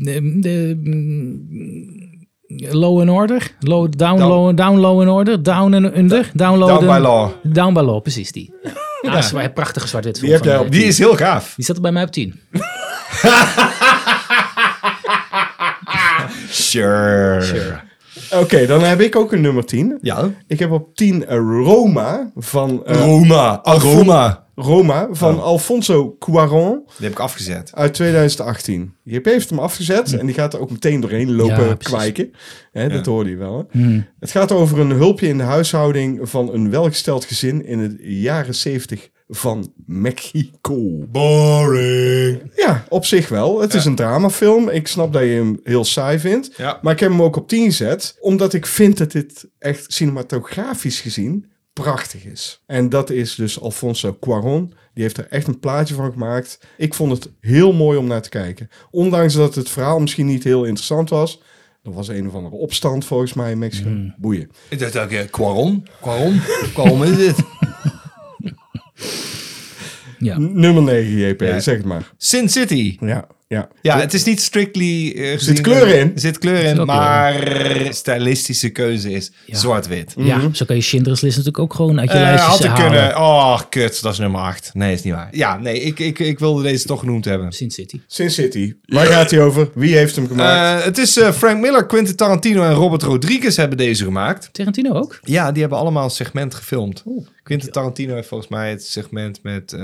eh, eh, mm, Low and Order. Low, down, Down. low, down, low and Order. Down and Under. Down, low, Down and- by Law. Down by Law, precies die. Ja, dat is een prachtige zwart-wit film. Die heb van, jij eh, op- Die is heel gaaf. die zat er bij mij op 10. Sure. Oké, dan heb ik ook een nummer 10. Ja. Ik heb op 10 Roma van, eh, Oh, Roma. Aroma. Roma van Oh. Alfonso Cuaron Die heb ik afgezet. uit 2018. JP E heeft hem afgezet en die gaat er ook meteen doorheen lopen Hm. Ja, precies. Hm. kwijken. Hè, Dat hoorde je wel. Hè? Het gaat over een hulpje in de huishouding van een welgesteld gezin in de jaren 70 van Mexico. Boring. Ja, op zich wel. Het is een dramafilm. Ik snap dat je hem heel saai vindt. Ja. Maar ik heb hem ook op 10 gezet. Omdat ik vind dat dit echt cinematografisch gezien prachtig is. En dat is dus Alfonso Cuaron. Die heeft er echt een plaatje van gemaakt. Ik vond het heel mooi om naar te kijken. Ondanks dat het verhaal misschien niet heel interessant was. Er was een of andere opstand volgens mij in Mexico. Boeien. Ik dacht ook, eh, Quaron? Quaron? Quaron is dit? Ja. N- Nummer 9, JP. Ja. Zeg het maar. Sin City. Ja, ja. Ja, het is niet strictly... eh, gezien- kleur in? Er zit kleur in, wel kleur in. maar stylistische keuze is Ja. zwart-wit. ja, zo kan je Schindler's List natuurlijk ook gewoon uit je Eh, lijstjes had ik halen. kunnen... Oh, kut. Dat is nummer 8. Nee, is niet waar. Ja, nee, ik, ik, ik wilde deze toch genoemd hebben. Sin City. Sin City. Waar gaat hij over? Wie heeft hem gemaakt? Eh, het is eh, Frank Miller, Quentin Tarantino en Robert Rodriguez hebben deze gemaakt. Tarantino ook? Ja, die hebben allemaal een segment gefilmd. Quentin Tarantino heeft volgens mij het segment met... eh,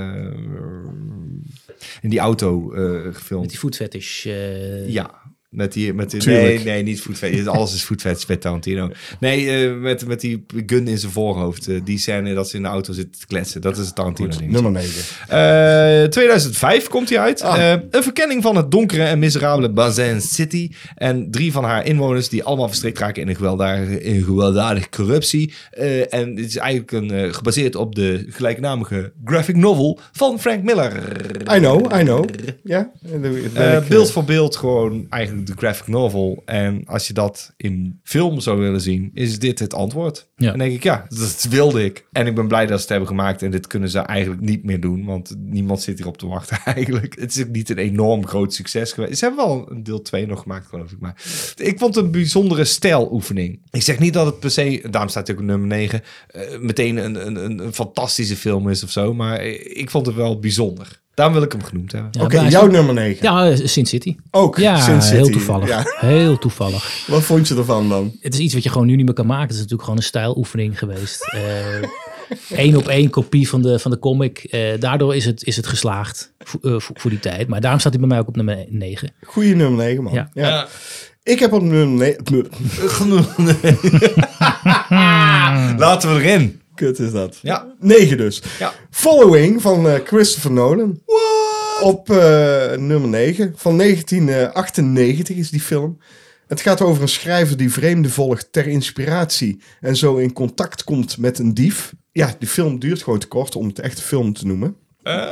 in die auto eh, gefilmd. Met die food fetish. eh, Ja, met die... Met die Tuurlijk. nee, nee, niet food fetish. Alles is food fetish bij Tarantino. Nee, eh, met, met die gun in zijn voorhoofd. eh, die scène dat ze in de auto zitten te kletsen. Dat is het Tarantino ding. Nummer 9. Eh, 2005 komt hij uit. Eh, een verkenning van het donkere en miserabele Bazin City. En drie van haar inwoners die allemaal verstrikt raken in een gewelddadige, in een gewelddadige corruptie. Eh, en dit is eigenlijk een, eh, gebaseerd op de gelijknamige graphic novel van Frank Miller. I know, I know. Ja, dat weet Eh, ik. beeld voor beeld gewoon eigenlijk de graphic novel. En als je dat in film zou willen zien, is dit het antwoord. Ja. Dan denk ik, ja, dat wilde ik. En ik ben blij dat ze het hebben gemaakt. En dit kunnen ze eigenlijk niet meer doen, want niemand zit hierop te wachten eigenlijk. Het is ook niet een enorm groot succes geweest. Ze hebben wel een deel 2 nog gemaakt, geloof ik. Maar ik vond het een bijzondere stijloefening. Ik zeg niet dat het per se, daarom staat ook nummer 9, eh, meteen een, een, een, een fantastische film is of zo. Maar ik vond het wel bijzonder. Daarom wil ik hem genoemd hebben. ja, Oké, maar- jouw nummer 9. Ja, eh, Sin City. Ook Ja, Sin City. heel toevallig. Ja. Heel toevallig. Wat vond je ervan dan? Het is iets wat je gewoon nu niet meer kan maken. Het is natuurlijk gewoon een stijloefening geweest. Eén op één kopie van de, van de comic. Eh, daardoor is het, is het geslaagd vo- eh, vo- voor die tijd. Maar daarom staat hij bij mij ook op nummer 9. Goeie nummer 9, man. Ja. Ik heb op nummer 9... Laten we erin. Kut is dat. Ja. 9 dus. Ja. Following van eh, Christopher Nolan. Op eh, nummer 9. Van 1998 is die film. Het gaat over een schrijver die vreemden volgt ter inspiratie en zo in contact komt met een dief. Ja, die film duurt gewoon te kort om het echt film te noemen. Eh,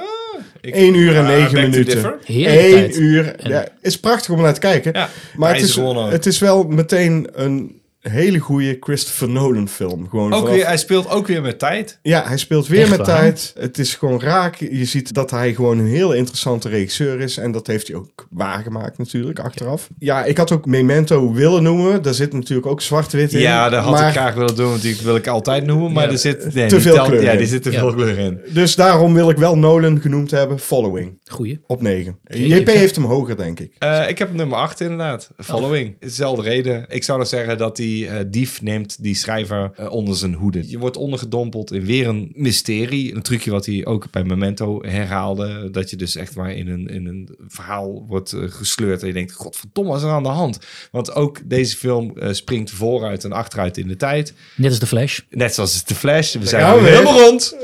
1 uur en 9 minuten. Heerlijke tijd. 1 uur. Ja, is prachtig om naar te kijken. Ja, Maar hij het is is, gewoon ook. het is wel meteen een hele goede Christopher Nolan film. Gewoon Ook vanaf- weer, hij speelt ook weer met tijd. ja, hij speelt weer Echt met waar? tijd. Het is gewoon raak. Je ziet dat hij gewoon een heel interessante regisseur is. En dat heeft hij ook waargemaakt natuurlijk, achteraf. Ja, ik had ook Memento willen noemen. Daar zit natuurlijk ook zwart-wit in. Ja, dat had Maar- ik graag willen doen, want die wil ik altijd noemen. Maar Ja. er zit nee, Te die veel telt- kleur Ja, in. die zit te Ja. veel kleur in. Dus daarom wil ik wel Nolan genoemd hebben. Following, Goeie. op 9. Jeetje. JP heeft hem hoger, denk ik. Eh, ik heb nummer 8 inderdaad. Following. Hetzelfde reden. Ik zou dan zeggen dat die eh, dief neemt die schrijver eh, onder zijn hoede. Je wordt ondergedompeld in weer een mysterie. Een trucje wat hij ook bij Memento herhaalde. Dat je dus echt maar in een, in een verhaal wordt eh, gesleurd. En je denkt, godverdomme, wat is er aan de hand? Want ook deze film eh, springt vooruit en achteruit in de tijd. Net als de Flash. Net zoals The Flash. We zijn gaan we weer weer. helemaal rond.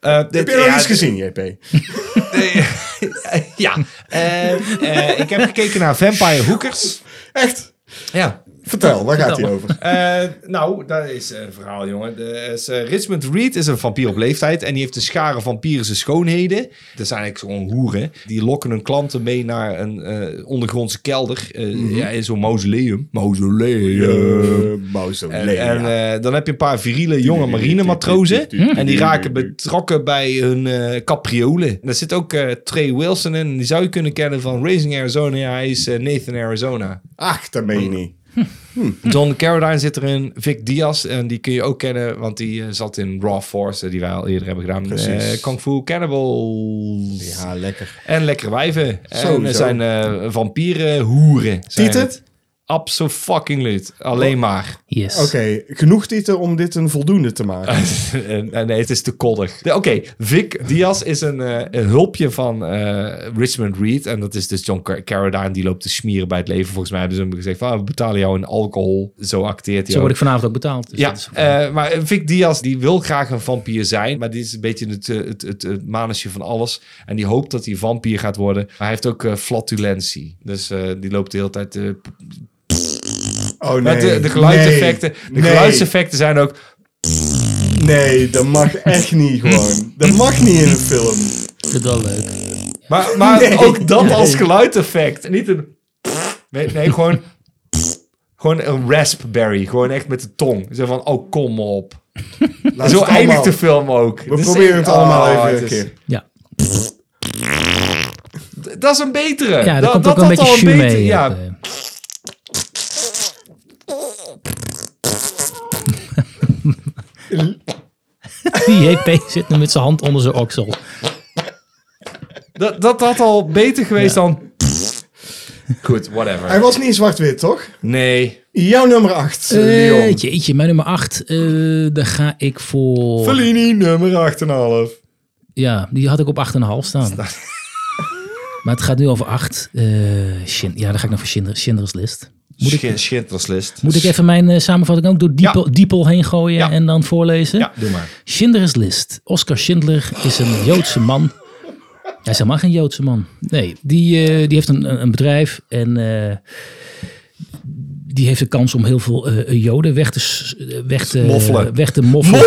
Eh, dit- Heb je nog ja, iets gezien, JP? Ehm, ja. Eh, eh, ik heb gekeken naar Vampire Hookers. Echt? Ja. Vertel, waar gaat Vertel. hij over? Eh, nou, dat is een verhaal, jongen. De, is, eh, Richmond Reed is een vampier op leeftijd en die heeft een schare vampirische schoonheden. Dat zijn eigenlijk gewoon hoeren. Die lokken hun klanten mee naar een eh, ondergrondse kelder. eh, Mhm. ja, in zo'n mausoleum. Mausoleum. Eh, mausoleum. En, en, eh, dan heb je een paar viriele jonge marinematrozen. En die raken betrokken bij hun eh capriolen. En daar zit ook eh, Trey Wilson in. Die zou je kunnen kennen van Raising Arizona. Hij is eh, Nathan Arizona. Ach, dat meen je niet. John Carradine zit erin. Vic Diaz. En die kun je ook kennen, want die eh, zat in Raw Force. eh, die wij al eerder hebben gedaan. Precies. Eh Kung Fu Cannibals. Ja, lekker. En Lekkere Wijven. En Sowieso. er zijn eh, vampieren, hoeren. zijn Tieten? het. Absoluut. Alleen maar. Yes. Oké, genoeg titel om dit een voldoende te maken. En- en nee, het is te koddig. Nee, Oké, Vic Diaz is een, eh, een hulpje van eh, Richmond Reed. En dat is dus John Car- Carradine. Die loopt te smieren bij het leven. Volgens mij hebben ze hem gezegd van... ah, we betalen jou in alcohol. Zo acteert hij Zo word ook. ik vanavond ook betaald. Dus Ja, dat is- eh, maar Vic Diaz die wil graag een vampier zijn. Maar die is een beetje het, eh, het, het, het manusje van alles. En die hoopt dat hij vampier gaat worden. Maar hij heeft ook eh, flatulentie. Dus eh, die loopt de hele tijd... eh, p- Oh nee. met de, de geluidseffecten, Nee. de Nee. geluidseffecten zijn ook... Nee, dat mag echt niet gewoon. Dat mag niet in een film. Ik vind het wel leuk. Maar, maar Nee. ook dat als geluideffect. Niet een... Nee, nee, gewoon... Gewoon een raspberry. Gewoon echt met de tong. Zo van, oh, kom op. Laat Zo het allemaal. eindigt de film ook. Oh, We proberen het allemaal even een keer. Ja. Dat is een betere. Ja, daar Eh, Dat- komt dat ook een had beetje al jus beter- mee. Ja, eh. Die JP zit nu met zijn hand onder zijn oksel. dat, dat had al beter geweest dan... Goed, Hij whatever. was niet in zwart-wit, toch? Nee. Jouw nummer 8, Eh, Leon. jeetje, mijn nummer 8. daar ga ik voor. Fellini, nummer 8,5. Ja, die had ik op 8,5 staan. maar het gaat nu over 8. ja, dan ga ik nog voor Schindler, Schindler's List. Moet ik, Schitterslist. moet ik even mijn eh, samenvatting ook door Diepel, Diepel heen gooien Dus- Ja. en dan voorlezen? Ja, doe maar. Schindler's List. Oscar Schindler is een Joodse man. Hij is helemaal geen Joodse man. Nee, die, eh, die heeft een, een- een bedrijf en eh, die heeft de kans om heel veel eh, Joden weg te, s- weg te Moffelen. Weg te moffelen.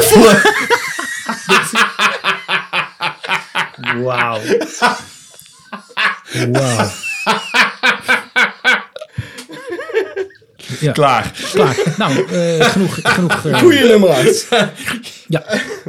Wauw. Wauw. Ja, Klaar. klaar. Nou, eh, genoeg. genoeg eh, Goeie nummer 8. Ja.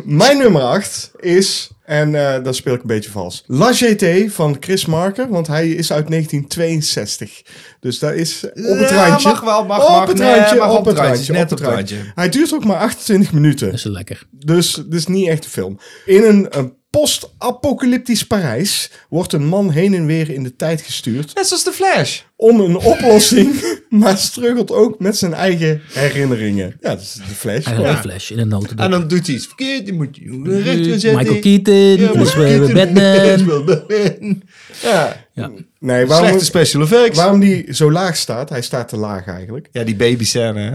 Mijn nummer 8 is, en eh, dat speel ik een beetje vals, La GT van Chris Marker, want hij is uit 1962. Dus dat is op het Ja, randje. mag wel, mag, op mag. het Nee, randje, mag op het randje, net op het randje. Hij duurt ook maar 28 minuten, Dat is wel lekker. dus dit is niet echt een film. In een, een post-apocalyptisch Parijs wordt een man heen en weer in de tijd gestuurd Net zoals de Flash. om een oplossing, maar struggelt ook met zijn eigen herinneringen. Ja, dat is de flash. Hij had een flash in een notendop. En dan doet hij iets verkeerd. Dan moet je hem recht gaan zetten. Michael Keaton, eh, Ja, Elizabeth Michael Keaton. Batman. Batman. Ja. Nee, waarom, special effects. waarom die zo laag staat? Hij staat te laag eigenlijk. Ja, die baby scène. hè.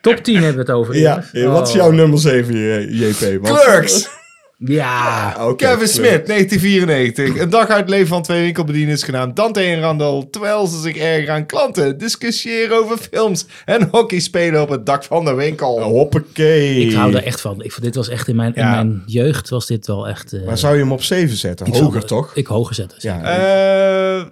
Top 10 hebben we het over. Ja, jongens. eh, wat is Oh. jouw nummer 7, eh, JP? Want- Clerks. Ja. Ah, oké, Kevin Clerks. Smith, 1994. Een dag uit het leven van twee winkelbedieners genaamd Dante en Randall. Terwijl ze zich erg aan klanten discussiëren over films en hockey spelen op het dak van de winkel. Eh, Oh. Hoppakee. Ik hou daar echt van. Ik, vond- dit was echt in mijn, Ja. in mijn jeugd was dit wel echt... eh, Maar zou je hem op 7 zetten? ik zou- Hoger toch? Ik hoger zetten. Ja. Eh, eh,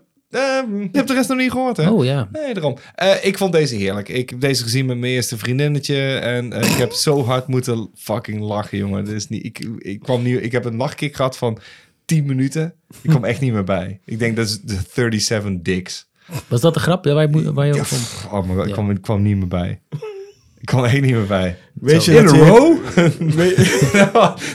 je hebt de rest nog niet gehoord, hè? Oh ja. Nee, daarom. Eh, ik vond deze heerlijk. Ik heb deze gezien met mijn eerste vriendinnetje. En eh, ik heb zo hard moeten fucking lachen, jongen. Dit is niet, ik, ik, kwam nu, ik heb een lachkick gehad van 10 minuten. Ik kwam echt niet meer bij. Ik denk dat is de 37 dicks. Was dat de grap waar je, moet- waar je over- Pff, Oh my god, ik, kwam, ik kwam niet meer bij. Ik kwam echt niet meer bij. Weet je, In dat a je- row? We-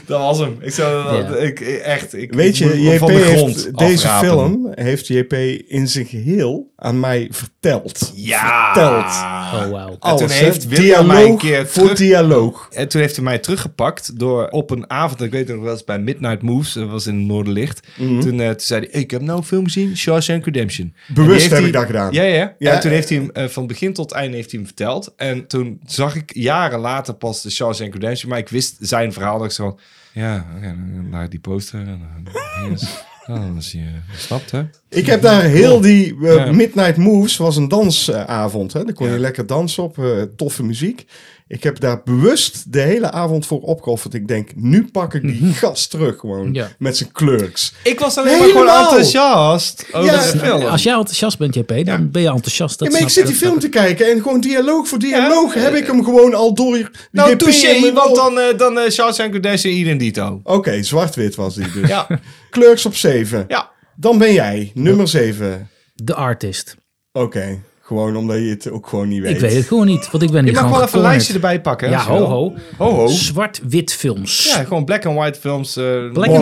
dat was hem. Ik zou, Ja. ik, echt, ik, Weet je, ik moet hem JP van de grond heeft deze afrapen. film heeft JP in zijn geheel aan mij verteld. Ja. verteld. Oh wauw. En toen Alles, hè? heeft Willem mij een dialoog keer voor terug- dialoog. En toen heeft hij mij teruggepakt door op een avond, ik weet nog wel eens bij Midnight Moves, dat was in het Noorderlicht. Mhm. Toen, eh, toen zei hij, ik heb nou een film gezien, Shawshank Redemption. En die Bewust heeft heb hij- ik dat gedaan. Ja, ja. Ja. En toen heeft hij hem eh, van begin tot einde heeft hij hem verteld. En toen zag ik jaren later pas de Shawshank Redemption, maar ik wist zijn verhaal. Dat ik zo van, ja, oké, dan laat ik die poster. en dan- yes. Oh, dat is je snapt, hè? Ik heb daar heel die eh, Ja. Midnight Moves, was een dansavond. Hè? Daar kon je Ja. lekker dansen op, eh, toffe muziek. Ik heb daar bewust de hele avond voor opgeofferd. Ik denk, nu pak ik die gast terug gewoon Ja. met zijn clerks. Ik was alleen maar Helemaal. gewoon enthousiast over Ja. de film. Als jij enthousiast bent, JP, dan ben je enthousiast. Dat Ja, maar ik snap- zit die dat- film te kijken en gewoon dialoog voor dialoog heb ik hem gewoon al door. die nou, JP in touché, mijn want hoofd. dan, eh dan eh Shawshank Redemption Identito. Oké, zwart-wit was die dus. Ja, Clerks op 7. ja. Dan ben jij nummer 7. De artist. Oké, gewoon omdat je het ook gewoon niet weet. Ik weet het gewoon niet, want ik ben hier Je mag gewoon wel even een gecornerd. lijstje erbij pakken. Ja, als je wil. ho ho. Ho, ho. Zwart-wit films. Ja, gewoon black and white films. eh, Black and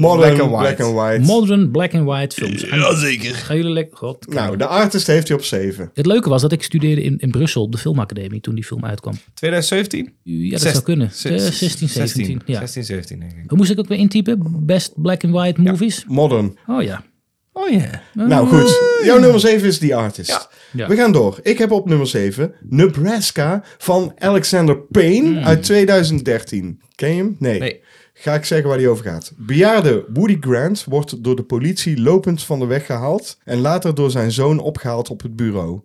white? black and white. Modern black and white films. Jazeker. Gaan jullie lekker... God, Nou, de artist heeft hij op 7. Het leuke was dat ik studeerde in, in Brussel op de filmacademie toen die film uitkwam. 2017? Ja, dat Zes- zou kunnen. zes- Eh, 16, 17. Ja. 16, 17 denk ik. Hoe moest ik ook weer intypen? Best black and white movies? Modern. Oh ja. Oh ja. Nou goed, jouw nummer 7 is die artist. Ja. We gaan door. Ik heb op nummer 7 Nebraska van Alexander Payne Hmm. uit 2013. Ken je hem? Nee. Nee. Ga ik zeggen waar die over gaat. Bejaarde Woody Grant wordt door de politie lopend van de weg gehaald en later door zijn zoon opgehaald op het bureau.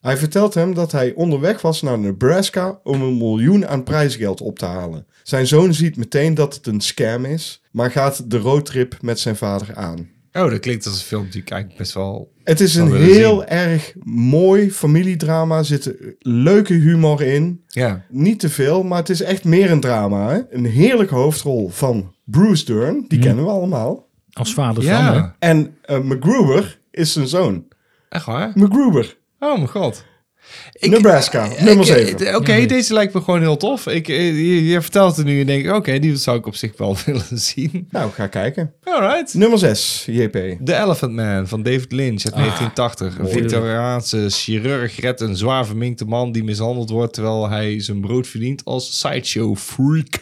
Hij vertelt hem dat hij onderweg was naar Nebraska om een miljoen aan prijsgeld op te halen. Zijn zoon ziet meteen dat het een scam is, maar gaat de roadtrip met zijn vader aan. Oh, dat klinkt als een film die ik eigenlijk best wel... Het is Zou een willen heel erg mooi familiedrama. Er zit leuke humor in. Ja. Niet te veel, maar het is echt meer een drama. Hè? Een heerlijke hoofdrol van Bruce Dern. Mhm. Die kennen we allemaal. Als vader van, hè? Ja. En eh, McGruber is zijn zoon. Echt waar? McGruber, Oh mijn god. Nebraska, eh, nummer ik, eh, 7. Oké, deze lijkt me gewoon heel tof. Ik, eh, je, je vertelt het nu en denk ik, oké, die zou ik op zich wel willen zien. Nou, ga kijken. Alright. Nummer 6, JP. The Elephant Man van David Lynch Ah, uit 1980. Een Victoriaanse chirurg redt een zwaar verminkte man die mishandeld wordt terwijl hij zijn brood verdient als sideshow freak.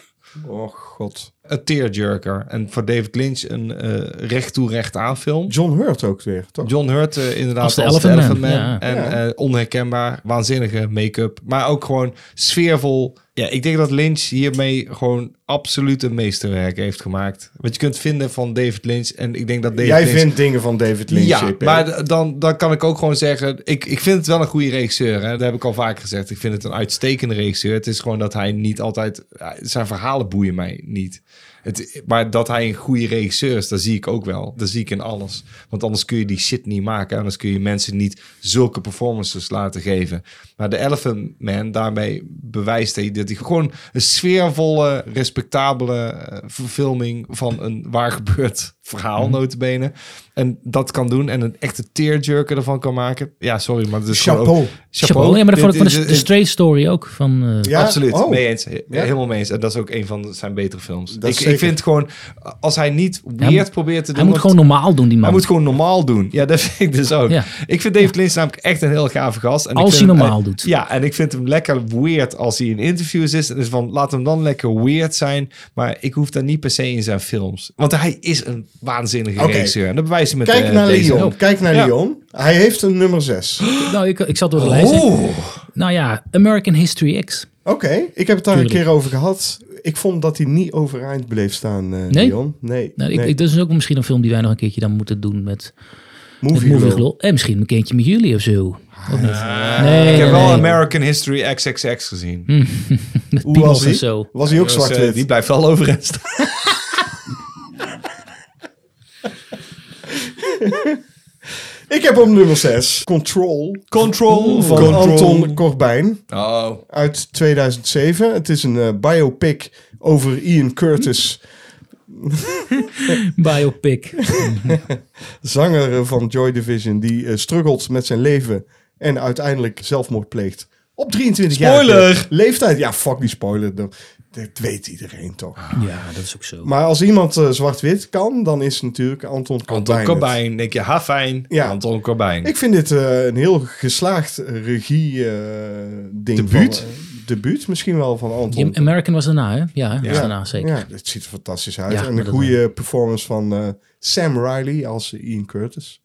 Oh god. Een tearjerker. En voor David Lynch een eh recht toe recht aan film. John Hurt ook weer, toch? John Hurt eh, inderdaad Als de als de Elephant Elephant Man. Man, ja. En Ja. eh, onherkenbaar, waanzinnige make-up. Maar ook gewoon sfeervol. Ja, ik denk dat Lynch hiermee gewoon absoluut een meesterwerk heeft gemaakt. Wat je kunt vinden van David Lynch. En ik denk dat David Jij Lynch... vindt dingen van David Lynch, Ja, JP. maar d- dan, dan kan ik ook gewoon zeggen... Ik, ik vind het wel een goede regisseur. Hè? Dat heb ik al vaak gezegd. Ik vind het een uitstekende regisseur. Het is gewoon dat hij niet altijd... Zijn verhalen boeien mij niet. Het, maar dat hij een goede regisseur is, dat zie ik ook wel. Dat zie ik in alles. Want anders kun je die shit niet maken. Anders kun je mensen niet zulke performances laten geven. Maar de Elephant Man, daarmee bewijst hij dat hij gewoon een sfeervolle, respectabele eh, verfilming van een waar gebeurd verhaal, notabene. En dat kan doen en een echte tearjerker ervan kan maken. Ja, sorry, maar dat is gewoon Chapeau. ook- Chapeau. Oh, Ja, maar dat vond ik van Dit- de, dit- de straight story ook. Van, eh, Ja? Absoluut, Oh. mee eens. He- Ja. Helemaal mee eens. En dat is ook een van zijn betere films. Dat Ik, zeker. ik vind gewoon, als hij niet weird moet- probeert te doen... Hij moet want- gewoon normaal doen, die man. hij moet gewoon normaal doen. Ja, dat vind ik dus ook. Ja. Ik vind David Lynch namelijk echt een heel gave gast. En Als ik vind hij hem- normaal doet. Ja, en ik vind hem lekker weird als hij in interviews is. Dus van, laat hem dan lekker weird zijn. Maar ik hoef daar niet per se in zijn films. Want hij is een waanzinnige Oké. regisseur. En dat bewijst hij met Kijk eh, naar deze Leon. film. Kijk naar Ja. Leon. Hij heeft een nummer 6. Nou, ik, ik zat door de lijst. heen. Oh. Nou ja, American History X. Oké, ik heb het daar een Tuurlijk. keer over gehad. Ik vond dat hij niet overeind bleef staan, eh Nee? Leon. Nee, Nou, ik, nee. ik- dat is ook misschien een film die wij nog een keertje dan moeten doen met, met movie Movie Lul. Glow. En misschien een keertje met jullie of zo. Ook niet. nee, Ah. Ik heb nee, wel nee. American History XXX gezien. Hmm. Hoe Piemels was en hij? zo. Was hij ook Dus, eh, zwart-wit? die blijft wel overeind staan. Ik heb op nummer 6 Control Control van Anton Corbijn Oh, uit 2007. Het is een eh, biopic over Ian Curtis, Biopic. zanger eh, van Joy Division, die eh, struggelt met zijn leven en uiteindelijk zelfmoord pleegt. Op 23 jaar. Spoiler! Leeftijd. Ja, fuck die spoiler. Dat- Dat weet iedereen toch. Ja, dat is ook zo. Maar als iemand eh, zwart-wit kan, dan is natuurlijk Anton Corbijn. Anton het. Corbijn. Denk je, ha fijn. Ja. Anton Corbijn. Ik vind dit eh, een heel geslaagd eh, regie-ding. Debuut? eh, debuut misschien wel van Anton. Jim American was daarna, hè? Ja, was daarna zeker. Ja, het ziet er fantastisch uit. Ja, en maar een dat- goede performance van eh, Sam Riley als Ian eh, Curtis.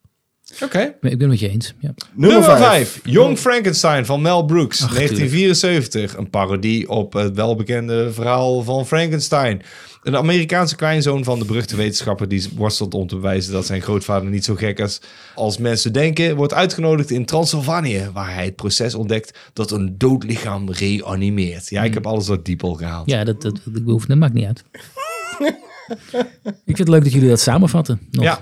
Oké. Ik ben ik ben het met je eens. Ja. Nummer Nummer 5. 5. Jong Frankenstein van Mel Brooks, 1974. Een parodie op het welbekende verhaal van Frankenstein. Een Amerikaanse kleinzoon van de beruchte wetenschapper... die worstelt om te bewijzen dat zijn grootvader niet zo gek is als mensen denken... wordt uitgenodigd in Transylvanië... waar hij het proces ontdekt dat een dood lichaam reanimeert. Ja, ik heb alles door diep al gehaald. Ja, dat, dat, dat, hoeft- dat maakt niet uit. ik vind het leuk dat jullie dat samenvatten. Nog. Ja.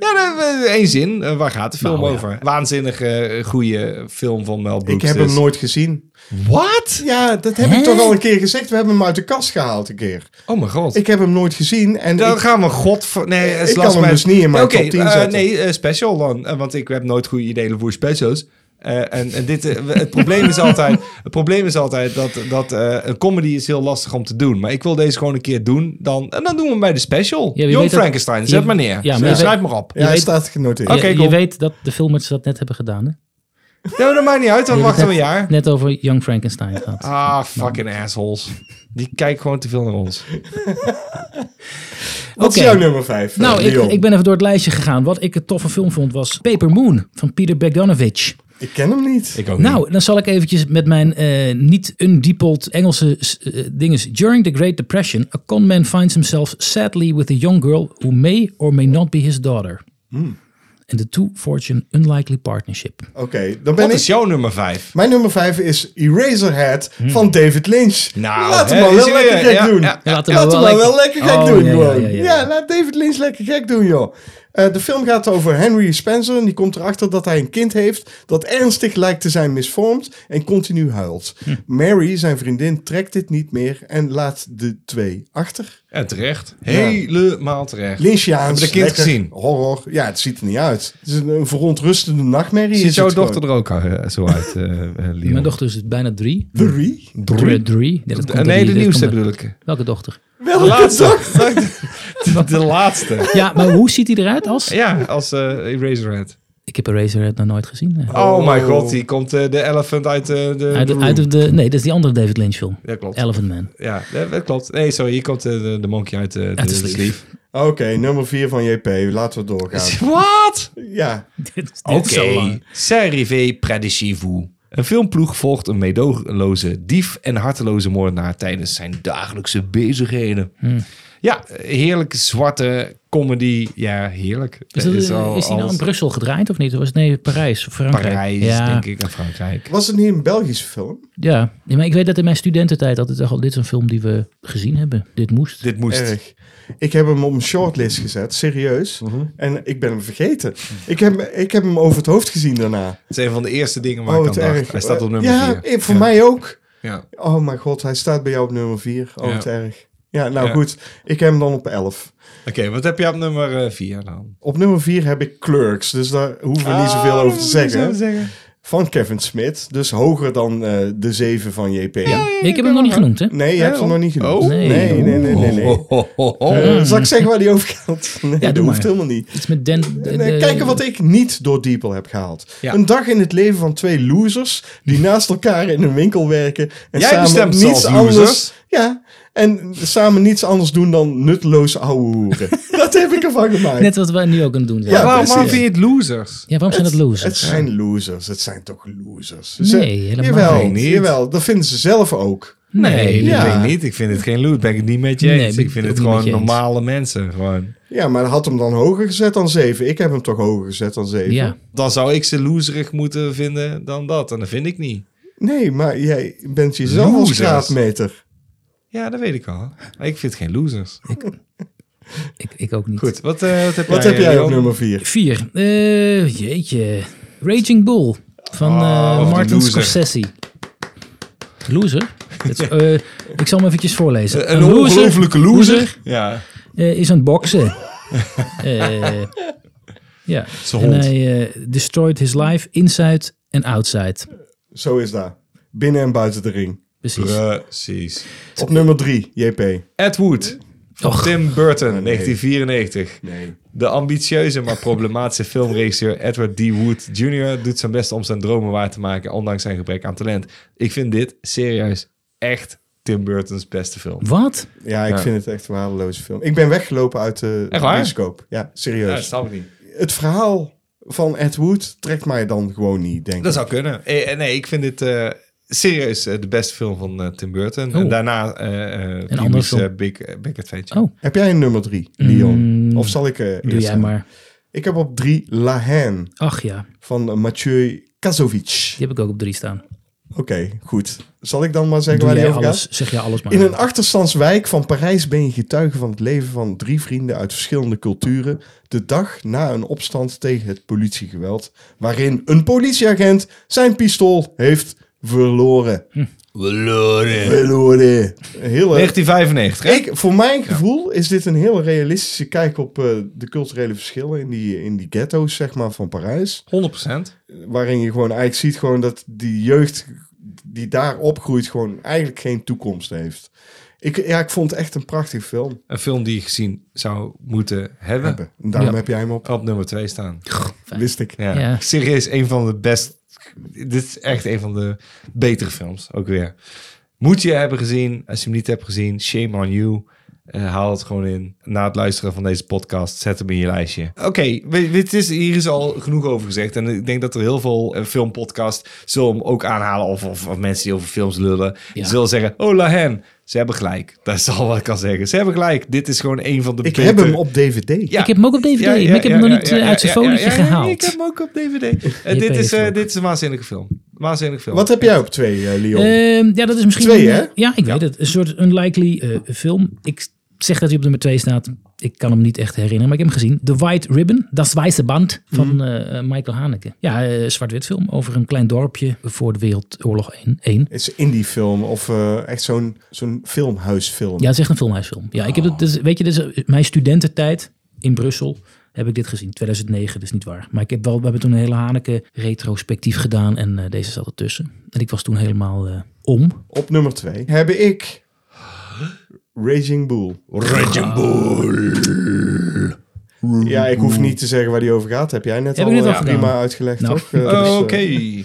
Ja, dat- eh, één zin. Eh, Waar gaat de film Nou, ja. over? Waanzinnige, goede film van Mel Brooks. dus. Ik heb hem nooit gezien. Wat? Ja, dat heb Hè? ik toch al een keer gezegd. We hebben hem uit de kast gehaald een keer. Oh mijn god. Ik heb hem nooit gezien. En Dan ik- gaan we god... voor- Nee, Ik is kan last hem man. dus niet in mijn Oké, top 10 eh, zetten. nee, eh, special dan. Eh, want ik heb nooit goede ideeën voor specials. Eh, en, en dit, eh, het, probleem is altijd, het probleem is altijd dat, dat eh, een comedy is heel lastig om te doen. Maar ik wil deze gewoon een keer doen. Dan, en dan doen we hem bij de special. Ja, wie Jong weet dat- Frankenstein, je- zet maar neer. ja, Ja, maar je Schrijf weet- maar op. ja, hij weet- Oh, staat genoteerd. Oké, je, je cool. weet dat de filmers dat net hebben gedaan, hè? Nee, dat maakt niet uit. Dan Je wachten we een hebt jaar. Net over Young Frankenstein gehad. Ah, fucking assholes. Die kijken gewoon te veel naar ons. Wat is Oké. jouw nummer eh, 5? Nou, ik, ik ben even door het lijstje gegaan. Wat ik een toffe film vond was Paper Moon van Peter Bogdanovich. ik ken hem niet. Ik ook Nou, dan zal ik eventjes met mijn eh, niet undiepeld Engelse eh dinges. During the Great Depression, a con man finds himself sadly with a young girl who may or may not be his daughter. Hmm. And the two forge an unlikely partnership. Oké, dan ben Wat ik. is jouw nummer 5? Mijn nummer 5 is Eraserhead van David Lynch. Hmm. Nou, laat hem hè, maar is wel hij lekker weer. gek Ja, doen. ja, ja. Laat hem Laat hem wel maar wel lekker- lekker gek Oh, doen, ja, ja, gewoon. ja, Ja, ja, ja. laat David Lynch lekker gek doen, joh. Eh, de film gaat over Henry Spencer. En die komt erachter dat hij een kind heeft dat ernstig lijkt te zijn misvormd en continu huilt. Hm. Mary, zijn vriendin, trekt dit niet meer en laat de twee achter. En terecht. Helemaal terecht. Lynchiaans. Hebben de kind lekker gezien? Horror. Ja, het ziet er niet uit. Het is een, een verontrustende nachtmerrie. Ziet is jouw het dochter gewoon. er ook eh, zo uit, eh eh, Leon? Mijn dochter is dus bijna drie. Drie? Drie? drie. Nee, dat komt Eh, door Nee, die- de dat nieuwste komt door- bedoel ik. Welke dochter? De laatste. De, de laatste. Ja, maar hoe ziet hij eruit als? Ja, als eh Eraserhead. Ik heb Eraserhead nog nooit gezien. nee. Oh, my god, die komt eh, de elephant uit eh, de... Uit, de de- uit de, nee, dat is die andere David Lynch film. Ja, klopt. Elephant Man. Ja, eh, dat klopt. Nee, sorry, hier komt eh, de, de monkey uit eh, de, Uit de de sleeve. sleeve. Oké, nummer 4 van JP. Laten we doorgaan. Wat? Ja. Dit is- dit is zo Oké. lang. Serrivé Predicivou. Een filmploeg volgt een meedogenloze dief en harteloze moordenaar tijdens zijn dagelijkse bezigheden. Hmm. Ja, heerlijke zwarte comedy. Ja, heerlijk. Is, dat, is, al- die nou als in Brussel gedraaid of niet? Of is het nee, Parijs of Frankrijk? Parijs, ja. denk ik, en Frankrijk. Was het niet een Belgische film? Ja, Nee, maar ik weet dat in mijn studententijd altijd dacht al, dit is een film die we gezien hebben. Dit moest. Dit moest. Erg. Ik heb hem op mijn shortlist gezet, serieus. Mhm. En ik ben hem vergeten. Ik heb, ik heb hem over het hoofd gezien daarna. Het is een van de eerste dingen waar oh, ik aan het dacht. erg. Hij staat op nummer ja, 4. ik- voor mij ook. Ja. Oh mijn god, hij staat bij jou op nummer 4. Oh, Ja. het erg. Ja, nou Ja. goed. Ik heb hem dan op 11. Oké, wat heb je op nummer 4 dan? Op nummer 4 heb ik Clerks, dus daar hoeven we niet Ah, zoveel over te zeggen. Van Kevin Smith, dus hoger dan eh, de 7 van JP. ik heb hem nog niet genoemd, hè? Nee, je hebt hem nog niet genoemd. Oh. Nee. Nee, nee, nee, nee. nee. Oh, oh, oh, oh. Eh, zal ik zeggen waar die over gaat? Nee, Mm. doe dat hoeft maar. helemaal niet. Iets met Dan... En, eh, kijken wat ik niet door Diepel heb gehaald. Ja. Een dag in het leven van twee losers die naast elkaar in een winkel werken en Jij samen bestemt ze niets als anders. losers. Ja, en samen niets anders doen dan nutteloze ouwe hoeren. dat heb ik ervan gemaakt. Net wat wij nu ook aan het doen zijn. Ja, Ja, Waarom, waarom precies. vind je het losers? waarom zijn dat Het losers? zijn losers, het zijn toch losers. Nee, helemaal jawel, niet. Jawel, dat vinden ze zelf ook. Nee, dat Ja. vind ik niet. Ik vind het geen loot. Ben ik het niet met je Nee, eens. ben ik ik vind ook het niet met gewoon je eens. normale mensen. Gewoon. Ja, maar had hem dan hoger gezet dan 7. Ik heb hem toch hoger gezet dan 7. Ja. Dan zou ik ze loserig moeten vinden dan dat. En dat vind ik niet. Nee, maar jij bent jezelf als Losers. graadmeter. Ja, dat weet ik al. Maar ik vind geen losers. Ik, ik ook niet. Goed, wat, eh, wat heb Wat jij, heb jij Leon? op nummer 4? Vier. Eh, jeetje. Raging Bull van Oh, eh, die Martin loser. Scorsese. Loser? Het is, eh, ik zal hem eventjes Eh, voorlezen. Een ongelofelijke loser. Ja, eh, is aan het boksen. Eh, ja. Zijn En hond. hij eh, destroyed his life inside en outside. Zo is dat. Binnen en buiten de ring. Precies. precies. Op nummer 3, JP. Ed Wood. Van Och. Tim Oh, Burton, 1994. Nee. De ambitieuze, maar problematische filmregisseur Edward D. Wood Jr. doet zijn best om zijn dromen waar te maken, ondanks zijn gebrek aan talent. Ik vind dit serieus echt Tim Burton's beste film. Wat? Ja, ik Ja. vind het echt een waardeloze film. Ik ben weggelopen uit de Echt waar? bioscoop. Ja, Ja, serieus. dat snap ik niet. het verhaal van Ed Wood trekt mij dan gewoon niet, denk Dat ik. zou kunnen. Eh, eh, nee, ik vind dit eh, serieus eh, de beste film van eh, Tim Burton. En Oh. daarna eh eh andere Pee-wee's, film. eh, Big, eh, Big Adventure. Oh, Heb jij een nummer drie, Leon? Mm, of zal ik eh eerst doe jij gaan? maar. Ik heb op drie La Haine Ach ja, van eh, Mathieu Kazovic. die heb ik ook op drie staan. Oké, goed. Zal ik dan maar zeggen Doe waar die jij over gaat? alles, zeg jij alles maar. In een achterstandswijk van Parijs ben je getuige van het leven van drie vrienden uit verschillende culturen. De dag na een opstand tegen het politiegeweld, waarin een politieagent zijn pistool heeft verloren. Verloren. Een Hele... 1995, hè? Ik, voor mijn gevoel is dit een heel realistische kijk op eh, de culturele verschillen in die, in die ghetto's zeg maar, van Parijs. 100%. Waarin je gewoon eigenlijk ziet gewoon dat die jeugd die daar opgroeit gewoon eigenlijk geen toekomst heeft. Ik, ja, ik vond het echt een prachtig film. Een film die je gezien zou moeten hebben. hebben. En daarom Ja. heb jij hem op. Op nummer 2 staan. Wist ik. Ja. Ja. Serieus, een van de best... Dit is echt een van de betere films, ook weer. Moet je hebben gezien. Als je hem niet hebt gezien, shame on you. Eh, haal het gewoon in. Na het luisteren van deze podcast, zet hem in je lijstje. Oké, we- dit is, hier is al genoeg over gezegd. En ik denk dat er heel veel eh, filmpodcasts zullen hem ook aanhalen. Of, of, of mensen die over films lullen. Ja. Zullen zeggen, oh la hen. Ze hebben gelijk. Dat is al wat ik kan zeggen. Ze hebben gelijk. Dit is gewoon een van de Ik betere- heb hem op DVD. Ja. Ik heb hem ook op DVD, Ja, ja, maar ik heb hem ja, nog ja, niet ja, eh, uit ja, zijn ja, folietje ja, ja, gehaald. Ik heb hem ook op DVD. Eh, Je dit, weet is, eh, het ook. dit is een waanzinnige film. Waanzinnige film. Wat heb jij op twee, eh, Leon? Ehm, ja, dat is misschien... Twee, hè? Ja, ik weet het. Een soort unlikely eh, film. Ik zeg dat hij op nummer twee staat. Ik kan hem niet echt herinneren, maar ik heb hem gezien. The White Ribbon, Das Weiße Band van Mhm. eh, Michael Haneke. Ja, eh, zwart-wit film over een klein dorpje voor de Wereldoorlog 1. 1. Is een indie film of eh, echt zo'n zo'n filmhuisfilm? Ja, het is echt een filmhuisfilm. Ja, ik heb Ah. het, dus, weet je, dus eh, mijn studententijd in Brussel heb ik dit gezien. 2009, dus niet waar. Maar ik heb wel, we hebben toen een hele Haneke retrospectief gedaan en eh, deze zat ertussen. En ik was toen helemaal eh, om. Op nummer twee heb ik Raging Bull. Raging Bull. Ja, ik hoef niet te zeggen waar die over gaat. Heb jij net Heb al, ik net eh, al prima gedaan. uitgelegd, Nou. toch? Eh, dus, Oh, Oké. eh,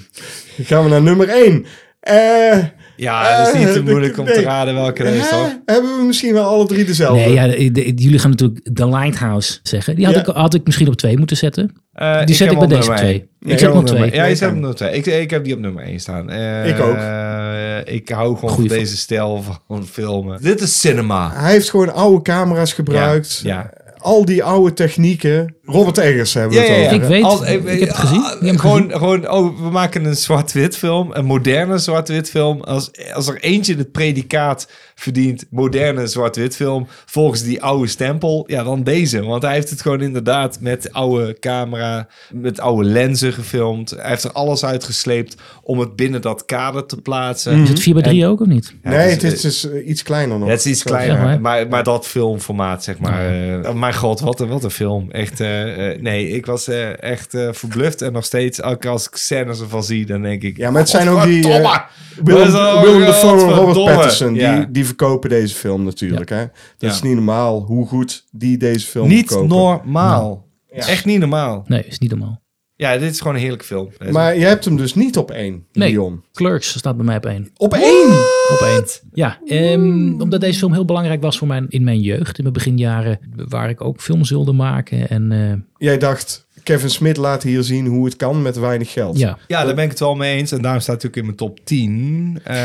gaan we naar nummer één. Eh, Ah, Ja, dat is niet te Eh, moeilijk om te nee. raden welke dat is, hè? hoor. hebben we misschien wel alle drie dezelfde? Nee, ja, de- de- jullie gaan natuurlijk The Lighthouse zeggen. Die had, Ja. ik, had ik misschien op twee moeten zetten. Eh, Die zet heb ik bij hem deze op twee. nummer ik zet heb hem op hem twee. nummer- Ja, je Ik zet hem ook. op twee. Ik, ik heb die op nummer 1 staan. Eh, Ik ook. eh, ik hou gewoon Goeie van deze stijl van filmen. Dit is cinema. Hij heeft gewoon oude camera's gebruikt. Ja, Al die oude technieken. Robert Eggers hebben we Ja, het ja, ja. over. Ik weet, Als- eh, ik heb het gezien. Ik heb hem gewoon, gewoon, oh, we maken een zwart-wit film, een moderne zwart-wit film. Als, als er eentje het predicaat verdient, moderne zwart-wit film, volgens die oude stempel, ja, dan deze. Want hij heeft het gewoon inderdaad met oude camera, met oude lenzen gefilmd. Hij heeft er alles uitgesleept om het binnen dat kader te plaatsen. Is het 4 bij 3 ook of niet? Ja, Mhm. nee, het het is- is dus eh, iets kleiner nog. Ja, het is iets Zo. kleiner, Ja, maar- maar, maar, dat filmformaat, zeg maar. eh, oh mijn god, wat een, wat een film. Echt, eh, eh, nee, ik was eh, echt eh, verbluft. En nog steeds, elke als ik scènes ervan zie, dan denk ik... Ja, maar het zijn ook die... eh, Godverdomme! Willem, Dat is al- Willem Dafoe en Robert Godverdomme. Pattinson, Ja. die, die verkopen deze film natuurlijk. Hè? Dat Ja. is niet normaal hoe goed die deze film Niet verkopen. normaal. Echt niet normaal. Nee, is niet normaal. Ja, dit is gewoon een heerlijke film. Maar je hebt hem dus niet op één, Nee, Leon. Clerks staat bij mij op één. Op één! Op één. Ja, ehm, omdat deze film heel belangrijk was voor mijn, in mijn jeugd. In mijn beginjaren, waar ik ook films wilde maken. En eh, Jij dacht, Kevin Smith laat hier zien hoe het kan met weinig geld. ja, Ja, daar ben ik het wel mee eens. En daarom staat hij ook in mijn top 10. Eh,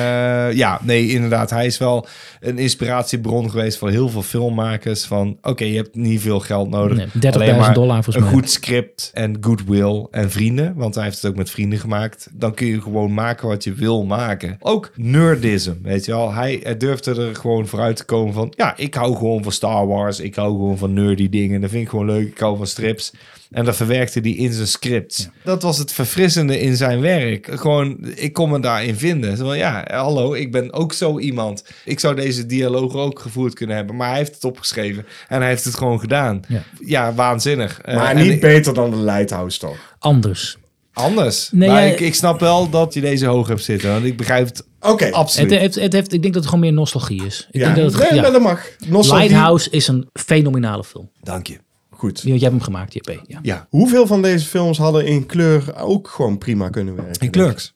ja, nee, inderdaad. Hij is wel een inspiratiebron geweest voor heel veel filmmakers. Van, oké, je hebt niet veel geld nodig. Nee, 30.000 Alleen maar dollar volgens Een mij. goed script en goodwill en vrienden. Want hij heeft het ook met vrienden gemaakt. Dan kun je gewoon maken wat je wil maken. Ook nerdism, weet je wel. Hij hij durfde er gewoon vooruit te komen van... Ja, ik hou gewoon van Star Wars. Ik hou gewoon van nerdy dingen. Dat vind ik gewoon leuk. Ik hou van strips. En dat verwerkte hij in zijn scripts. Dat was het verfrissende in zijn werk. Gewoon, ik kon me daarin vinden. Zo van, ja, hallo, ik ben ook zo iemand. Ik zou deze dialoog ook gevoerd kunnen hebben. Maar hij heeft het opgeschreven en hij heeft het gewoon gedaan. Ja. Ja, waanzinnig. Maar Eh, en niet ik- beter dan de Lighthouse toch? anders. anders. Nee, maar jij- ik, ik snap wel dat je deze hoog hebt zitten. Want ik begrijp het Oké. Het, absoluut. heeft, het heeft, ik denk dat het gewoon meer nostalgie is. Ik Ja. denk dat het, nee, ja. maar dat mag. Nostalgie. Lighthouse is een fenomenale film. Dank je. Goed. Jij hebt hem gemaakt, JP. Ja. Ja. Hoeveel van deze films hadden in kleur ook gewoon prima kunnen werken? En Clerks.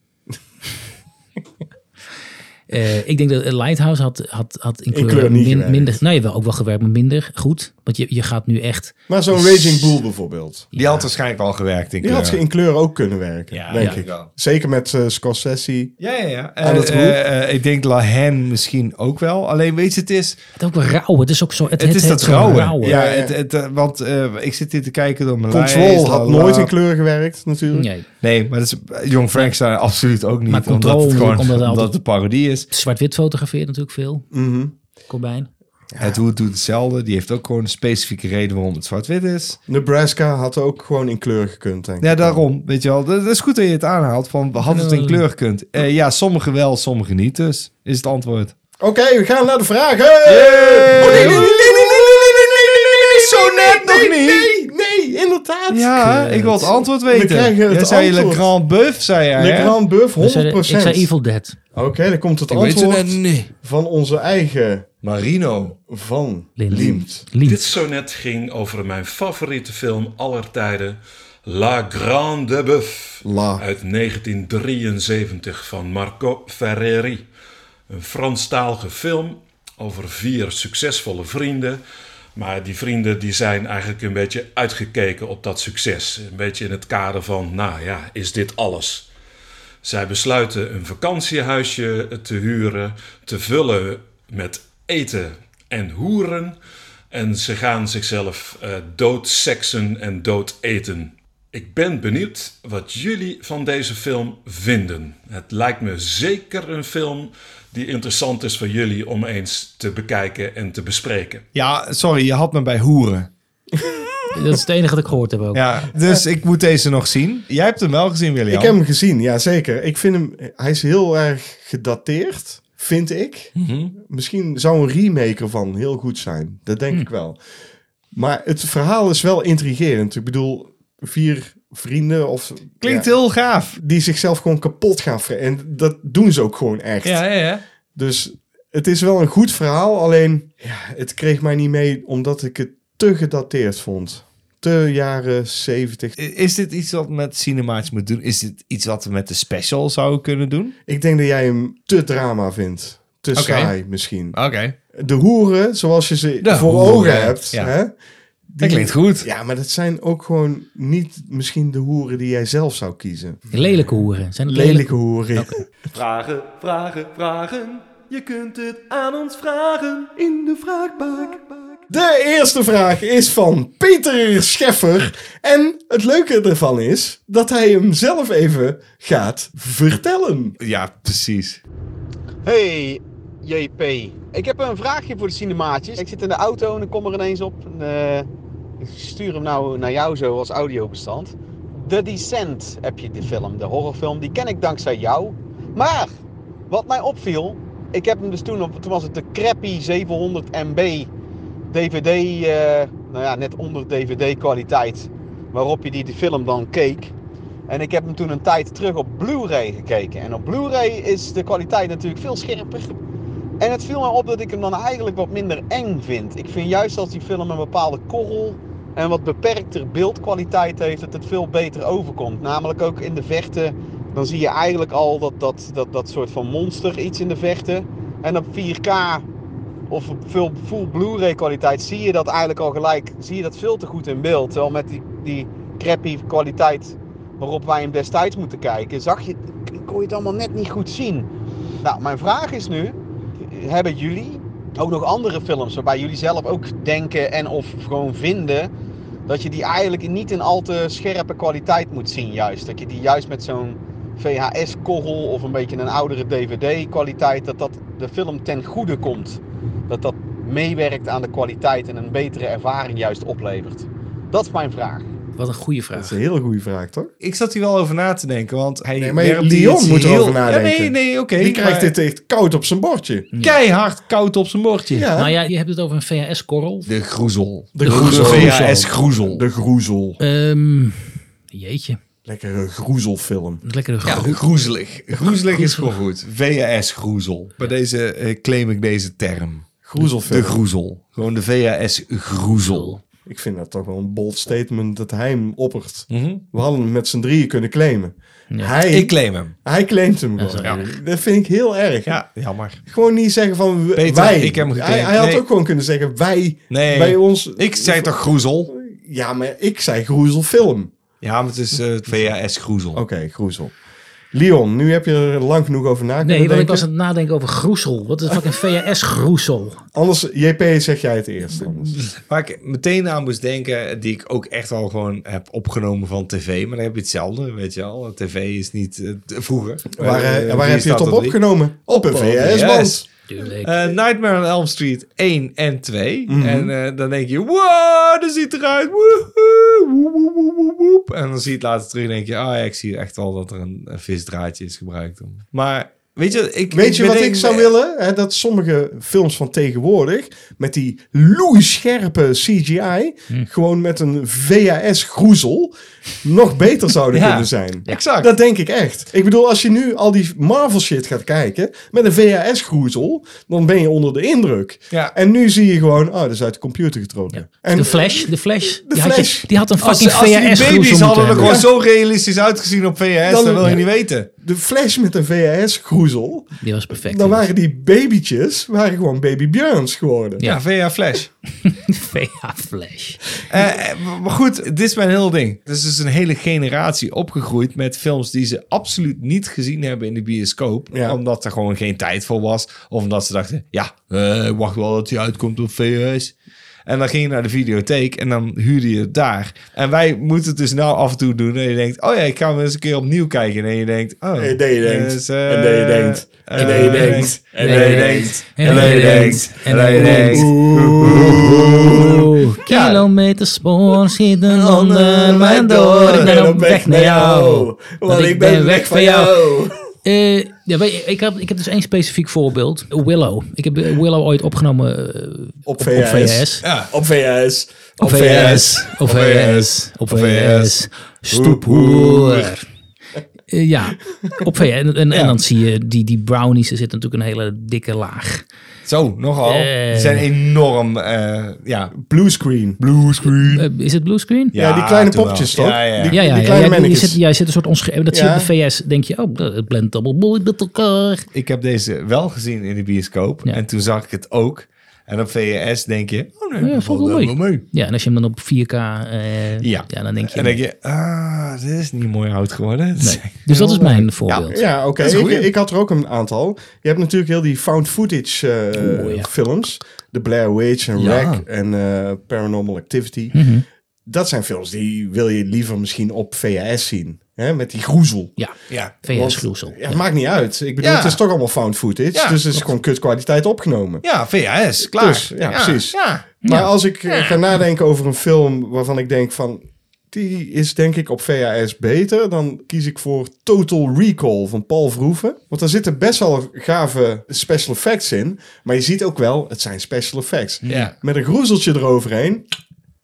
Eh, ik denk dat eh, Lighthouse had, had, had in kleur, kleur niet gewerkt. minder... Nou, je wel ook wel gewerkt, maar minder goed. Want je, je gaat nu echt... Maar zo'n Raging Bull bijvoorbeeld. Die had waarschijnlijk al gewerkt in Die had kleur. ze in kleur ook kunnen werken, Ja, denk ja. ik. Ja. Zeker met eh, Scorsese. Ja, ja, ja. Aan het Eh, roer. eh, eh, ik denk Lahem misschien ook wel. Alleen weet je, het is, Het ook wel rauw. Het is ook zo... Het, het is het- dat zo'n rauwe. rauwe. Ja, Ja, ja. Het, het, eh, want eh, ik zit hier te kijken door mijn lijst, Control had la, la. nooit in kleur gewerkt natuurlijk. Nee. Nee, maar dat is, Jong Frankenstein absoluut ook niet. Maar Control omdat het gewoon natuurlijk, omdat omdat het, het altijd- een parodie is. Zwart-wit fotografeert natuurlijk veel. Mhm. Corbijn. Het Hoed doet hetzelfde. Die heeft ook gewoon een specifieke reden waarom het zwart-wit is. Nebraska had ook gewoon in kleur gekund, denk ik. Ja, daarom. Weet je wel, dat dat is goed dat je het aanhaalt. Van, we hadden het in kleur gekund. Eh, ja, sommige wel, sommige niet. Dus is het antwoord. Oké, we gaan naar de vragen. Oh, nee, nee, nee, nee, nee, nee, nee, nee, nee, nee, nee, Zo net nee, nog nee, niet. Nee, nee, inderdaad. Ja, ik wil het antwoord weten. krijgen het Jij zei Le antwoord. Grand Buff, zei jij. Le hè? Grand Buff, 100%. We zeiden- Ik zei Evil Dead. Oké, dan komt het Ik weet het antwoord net niet. van onze eigen Marino. Van Lien. Liemt. Lief. Dit sonnet ging over mijn favoriete film aller tijden, La Grande Bœuf. Eh, La. Uit 1973 van Marco Ferreri. Een Franstalige film over vier succesvolle vrienden. Maar die vrienden die zijn eigenlijk een beetje uitgekeken op dat succes. Een beetje in het kader van, nou ja, is dit alles? Zij besluiten een vakantiehuisje te huren, te vullen met eten en hoeren. En ze gaan zichzelf eh doodseksen en doodeten. Ik ben benieuwd wat jullie van deze film vinden. Het lijkt me zeker een film die interessant is voor jullie om eens te bekijken en te bespreken. Ja, sorry, je had me bij hoeren. Dat is het enige dat ik gehoord heb ook. Ja, dus ik moet deze nog zien. Jij hebt hem wel gezien, William. Ik heb hem gezien, ja zeker. Ik vind hem, hij is heel erg gedateerd, vind ik. Mhm. Misschien zou een remake ervan heel goed zijn. Dat Mhm. denk ik wel. Maar het verhaal is wel intrigerend. Ik bedoel, vier vrienden of... Klinkt ja, heel gaaf. Die zichzelf gewoon kapot gaan fre- En dat doen ze ook gewoon echt. ja, ja. Dus het is wel een goed verhaal, alleen ja, het kreeg mij niet mee omdat ik het te gedateerd vond. Te jaren 70. Is dit iets wat we met cinema's moet doen? Is dit iets wat we met de special zouden kunnen doen? Ik denk dat jij hem te drama vindt. Te Oké. saai misschien. Oké. De hoeren, zoals je ze De voor hoeren, ogen hebt. ja. Hè? Dat klinkt goed. Ja, maar dat zijn ook gewoon niet misschien de hoeren die jij zelf zou kiezen. Lelijke hoeren. Zijn het Lelijke hoeren. Vragen, vragen, vragen. Je kunt het aan ons vragen in de vraagbak. De eerste vraag is van Peter Scheffer. En het leuke ervan is dat hij hem zelf even gaat vertellen. Ja, precies. Hey JP, ik heb een vraagje voor de cinemaatjes. Ik zit in de auto en ik kom er ineens op. En, eh, ik stuur hem nou naar jou zo als audiobestand. The Descent heb je de film, de horrorfilm. Die ken ik dankzij jou. Maar wat mij opviel, ik heb hem dus toen op, toen was het de crappy 700 MB DVD, eh, nou ja, net onder DVD kwaliteit, waarop je die de film dan keek. En ik heb hem toen een tijd terug op Blu-ray gekeken. En op Blu-ray is de kwaliteit natuurlijk veel scherper. En het viel mij op dat ik hem dan eigenlijk wat minder eng vind. Ik vind juist als die film een bepaalde korrel en wat beperkter beeldkwaliteit heeft, dat het veel beter overkomt. Namelijk ook in de vechten, dan zie je eigenlijk al dat, dat, dat, dat soort van monster iets in de vechten. En op 4K of op veel full Blu-ray kwaliteit zie je dat eigenlijk al gelijk, zie je dat veel te goed in beeld. Terwijl met die, die crappy kwaliteit waarop wij hem destijds moeten kijken, zag je, kon je het allemaal net niet goed zien. Nou, mijn vraag is nu, hebben jullie ook nog andere films waarbij jullie zelf ook denken en of gewoon vinden dat je die eigenlijk niet in al te scherpe kwaliteit moet zien juist? Dat je die juist met zo'n VHS-korrel of een beetje een oudere DVD-kwaliteit, dat dat de film ten goede komt. Dat dat meewerkt aan de kwaliteit en een betere ervaring juist oplevert. Dat is mijn vraag. Wat een goede Dat is vraag. een hele goede vraag, toch? Ik zat hier wel over na te denken, want hij Nee, maar werpt hier Dion iets moet heel- erover nadenken. Ja, nee, nee, oké. Die krijgt maar dit echt koud op zijn bordje. keihard koud op zijn bordje. Ja, Nou ja, je hebt het over een VHS-korrel. De groezel. De groezel. VHS groezel. de groezel. Ehm, jeetje. Lekkere groezelfilm. Lekkere Ja, groep. groezelig. Groezelig is gewoon goed. VHS groezel. Bij deze eh, claim ik deze term. Groezelfilm. De groezel. Gewoon de VHS groezel. Ik vind dat toch wel een bold statement dat hij hem oppert. Mhm. We hadden hem met z'n drieën kunnen claimen. Hij, Ik claim hem. hij claimt hem Dat gewoon. is wel erg. Dat vind ik heel erg. Ja, jammer. Gewoon niet zeggen van w- Peter, wij. ik heb hem geclaimd. Hij, hij had Nee. ook gewoon kunnen zeggen wij. Nee. Bij ons. Ik zei toch groezel? Ja, maar ik zei groezelfilm. Ja, maar het is eh, VHS groezel. Oké, groezel. Leon, nu heb je er lang genoeg over na kunnen Nee, want ik denken. was aan het nadenken over groesel. Wat is fucking VHS-groesel? Anders, JP, zeg jij het eerst. anders. Waar ik meteen aan moest denken, die ik ook echt al gewoon heb opgenomen van tv. Maar dan heb je hetzelfde, weet je wel. TV is niet eh, t- vroeger. Waar, eh, Eh, waar die heb je het staat op er drie. opgenomen? Op een Op VHS-band. Tuurlijk. Eh, Nightmare on Elm Street 1 en 2. Mhm. En eh, dan denk je, wow, dat ziet eruit. Woehoe, woep, woep, woep, woep, woep. En dan zie je het later terug en denk je, ah ja, ik zie echt wel dat er een, een visdraadje is gebruikt. Om. Maar weet je, ik, eh, Weet je wat bedenk- ik zou willen? Hè, dat sommige films van tegenwoordig met die loeischerpe CGI Hm. gewoon met een VHS-groezel nog beter zouden Ja, kunnen zijn. exact. Dat denk ik echt. Ik bedoel, als je nu al die Marvel shit gaat kijken met een VHS-groezel, dan ben je onder de indruk. Ja. En nu zie je gewoon, oh, dat is uit de computer getrokken. En de Flash, de Flash. die, Had Flash. je, die had een Als, fucking als die baby's VHS-groesel hadden moeten er hebben. gewoon zo realistisch uitgezien op VHS, Dan- dan, wil je Ja. niet weten. de Flash met een VHS-groezel, Die was perfect. dan waren die babytjes waren gewoon baby Björns geworden. Ja. Ja, VH Flash. VH-Flash. Eh, eh, maar goed, dit is mijn heel ding. Er is dus een hele generatie opgegroeid met films die ze absoluut niet gezien hebben in de bioscoop. Ja. Omdat er gewoon geen tijd voor was. Of omdat ze dachten, ja, eh, ik wacht wel dat hij uitkomt op VHS. En dan ging je naar de videotheek en dan huurde je het daar. En wij moeten het dus nou af en toe doen. En je denkt, oh ja, ik ga hem eens een keer opnieuw kijken. En je denkt, oh. En dat je denkt, dus, eh, en dat je denkt, eh, en dat je denkt, en dat je denkt, en dat je denkt, en dat je denkt. Oeh, kilometers spoor zitten onder mijn door. Oh, Ik ben op weg naar jou. Want ik ben weg van jou. Eh, ja, weet je, ik, heb, ik heb dus één specifiek voorbeeld. Willow. Ik heb eh, Willow ooit opgenomen eh, Op op VHS. VHS. Ja. Op VHS. Op VS. Op VS. Op VS. Stoephoer. Eh, ja, op VS. En, en, en dan zie je die, die brownies. Er zit natuurlijk een hele dikke laag. Zo, nogal. Eh. Die zijn enorm, eh, ja. Bluescreen. Bluescreen. Eh, is het bluescreen? Hm. Ja, die kleine popjes, popjes toch? Ja, ja. Die- Ja, ja, ja, kleine ja, je, mannetjes. zit, ja, je zit een soort onschreven. Dat Ja. zie je op de VS. Denk je, oh, het blendt allemaal mooi met elkaar. Ik heb deze wel gezien in de bioscoop. Ja. En toen zag ik het ook. En op VHS denk je, oh nee, dat valt valt wel wel mee. mee. Ja, en als je hem dan op 4K. eh, ja. Ja. dan denk je. En denk je, ah, dit is niet mooi oud geworden. nee. Dus dat is mijn voorbeeld. Ja, oké. Dat is een Ik, goeie. ik had er ook een aantal. Je hebt natuurlijk heel die found footage eh, Oeh, ja. films. De Blair Witch en Ja. Wreck en eh, Paranormal Activity. Mhm. Dat zijn films die wil je liever misschien op VHS zien. Hè? Met die groezel. Ja, Ja. VS groezel. Ja, het maakt niet uit. Ik bedoel, Ja. het is toch allemaal found footage. Ja. Dus het is gewoon kutkwaliteit opgenomen. Ja, VHS, klaar. Dus, ja, precies. Ja. Maar als ik eh, ga nadenken over een film waarvan ik denk van... Die is denk ik op VHS beter. Dan kies ik voor Total Recall van Paul Verhoeven. Want daar zitten best wel gave special effects in. Maar je ziet ook wel, het zijn special effects. Ja. Met een groezeltje eroverheen.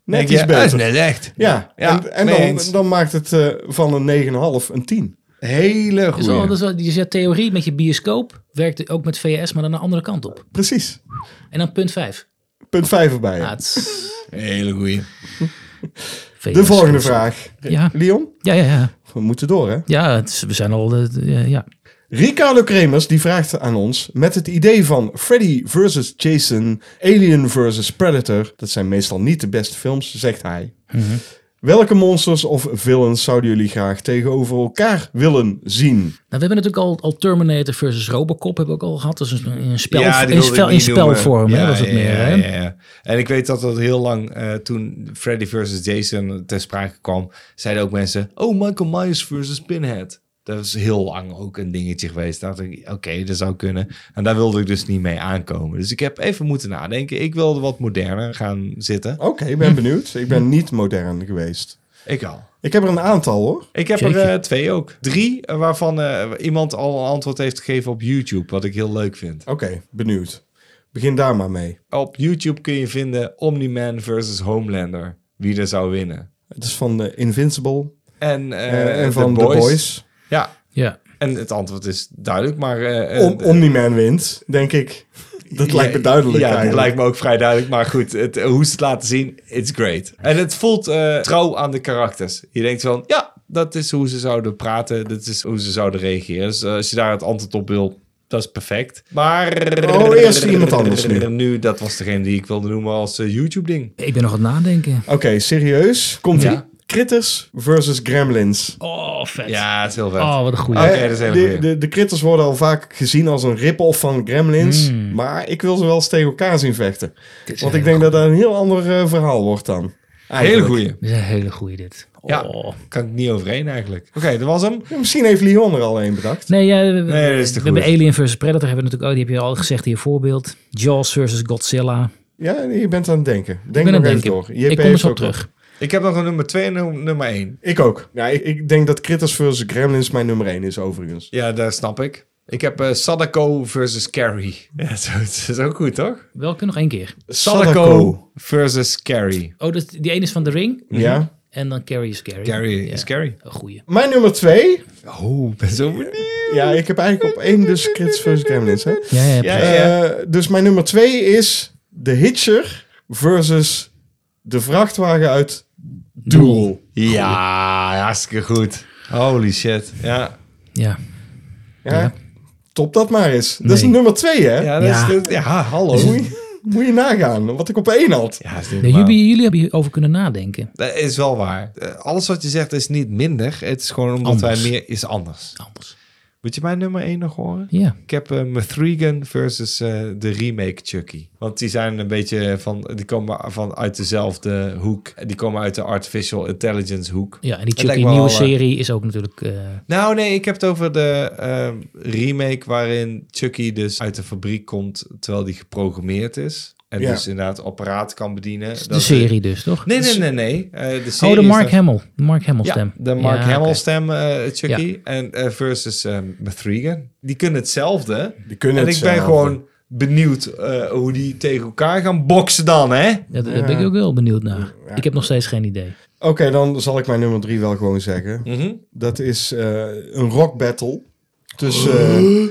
Net Denk iets je, ah, dat is beter. net echt. Ja, Ja, en, en mee dan, eens. dan maakt het eh, van een 9,5 een 10. Hele Dus, al, goede. dus al- dus je theorie met je bioscoop werkt ook met VS, maar dan de andere kant op. Precies. En dan punt 5. Punt 5 erbij. Ah, Ja, het is- Hele goede. VS De volgende groezel. vraag. Ja. Leon, Ja, ja, ja. we moeten door hè? ja het is- we zijn al. eh, eh, ja. Ricardo Kremers die vraagt aan ons met het idee van Freddy versus Jason, Alien versus Predator. Dat zijn meestal niet de beste films, zegt hij. Mhm. Welke monsters of villains zouden jullie graag tegenover elkaar willen zien? Nou, we hebben natuurlijk al, al Terminator versus Robocop hebben we ook al gehad. Dus een, een spel, Ja, die in, wilde ik spel, in niet noemen. spelvorm hè, Ja, was het ja, meer. ja, hè? ja, ja. En ik weet dat dat heel lang eh, toen Freddy versus Jason ter sprake kwam, zeiden ook mensen: Oh, Michael Myers versus Pinhead. Dat is heel lang ook een dingetje geweest. Dat ik, oké, dat zou kunnen. En daar wilde ik dus niet mee aankomen. Dus ik heb even moeten nadenken. Ik wilde wat moderner gaan zitten. Oké, ik ben benieuwd. Ik Mhm. ben niet modern geweest. Ik al. Ik heb er een aantal hoor. Ik heb Jeetje. er eh, twee ook. Drie eh, waarvan eh, iemand al een antwoord heeft gegeven op YouTube. Wat ik heel leuk vind. Oké, benieuwd. Begin daar maar mee. Op YouTube kun je vinden Omni-Man versus Homelander. Wie er zou winnen. Het is van eh, Invincible En, eh, eh, en The van The Boys. Boys. Ja, Ja. en het antwoord is duidelijk, maar... eh, eh, Om, Omni-Man wint, denk ik. Dat lijkt me duidelijk Ja, dat eigenlijk. lijkt me ook vrij duidelijk. Maar goed, het, eh, hoe ze het laten zien, it's great. En het voelt eh, trouw aan de karakters. Je denkt van, ja, dat is hoe ze zouden praten. Dat is hoe ze zouden reageren. Dus eh, als je daar het antwoord op wil, dat is perfect. Maar... Oh, eerst iemand anders nu. dat was degene die ik wilde noemen als eh, YouTube-ding. Ik ben nog aan het nadenken. Oké, serieus? Komt ie. Ja. Critters versus Gremlins. Oh, vet. Ja, het is heel vet. Oh, wat een goeie. Oké, Eh, dat is een de, goeie. de, de Critters worden al vaak gezien als een rip-off van Gremlins. Hmm. Maar ik wil ze wel eens tegen elkaar zien vechten. Want ik denk dat dat een heel ander eh, verhaal wordt dan. Hele Eigenlijk. goeie. Dit is een hele goeie dit. Oh. Ja. Kan ik niet overheen eigenlijk. Oké, dat was hem. Ja, misschien heeft Leon er al een bedacht. Nee, ja, we, Nee, dat is te we hebben goed. Alien versus Predator. Hebben we natuurlijk, oh, die heb je al gezegd hier voorbeeld. Jaws versus Godzilla. Ja, je bent aan het denken. Ik Denk ben nog aan even het door. denken. JP Ik kom heeft eens op ook terug. Ik heb nog een nummer 2 en een nummer 1. Ik ook. Ja, ik, ik denk dat Critters versus Gremlins mijn nummer 1 is overigens. Ja, dat snap ik. Ik heb eh, Sadako versus Carrie. Ja, zo- dat is ook goed, toch? Welke nog één keer? Sadako versus Carrie. Oh, dat, die ene is van The Ring. Mhm. Ja. En dan Carrie is Carrie. Carrie Ja. is Carrie. Een goeie. Mijn nummer 2. Oh, ik ben zo benieuwd. Ja, ik heb eigenlijk op één dus Critters versus Gremlins. Hè? Ja, ja, Ja, precies. ja. Eh, dus mijn nummer 2 is The Hitcher versus de vrachtwagen uit Doel. ja, hartstikke goed. Holy shit. Ja, ja. Ja. Ja. Top dat maar is. Dat is Nee. nummer 2, hè? ja, dat Ja. Is, dat- ja hallo. Moet, je, moet je nagaan wat ik op één had. Ja, is niet Nee, normaal. jullie, jullie hebben hierover kunnen nadenken. Dat is wel waar. Eh, Alles wat je zegt is niet minder. Het is gewoon omdat Anders. wij meer is anders. Anders. Moet je mijn nummer 1 nog horen? Ja. Ik heb eh Mithrigan versus eh, de remake Chucky. Want die zijn een beetje van... Die komen van uit dezelfde hoek. Die komen uit de artificial intelligence hoek. Ja, en die Het lijkt Chucky me nieuwe wel, eh, serie is ook natuurlijk... eh, Nou nee, ik heb het over de ehm, remake waarin Chucky dus uit de fabriek komt... terwijl die geprogrammeerd is. En Ja. dus inderdaad apparaat kan bedienen. de serie dus, toch? Nee, nee, nee, nee. Eh, de serie Oh, de is Mark dan- Hamill. De Mark Hamill stem. Ja, de Mark Ja, Hamill oké. stem eh, Chucky en, eh, versus eh Mithrigan. Die kunnen hetzelfde. Die kunnen en het ik ben zelf. gewoon benieuwd eh, hoe die tegen elkaar gaan boksen dan, hè? Ja, daar ben ik ook heel benieuwd naar. Ik heb nog steeds geen idee. Oké, dan zal ik mijn nummer 3 wel gewoon zeggen. Mhm. Dat is eh, een rock battle tussen eh,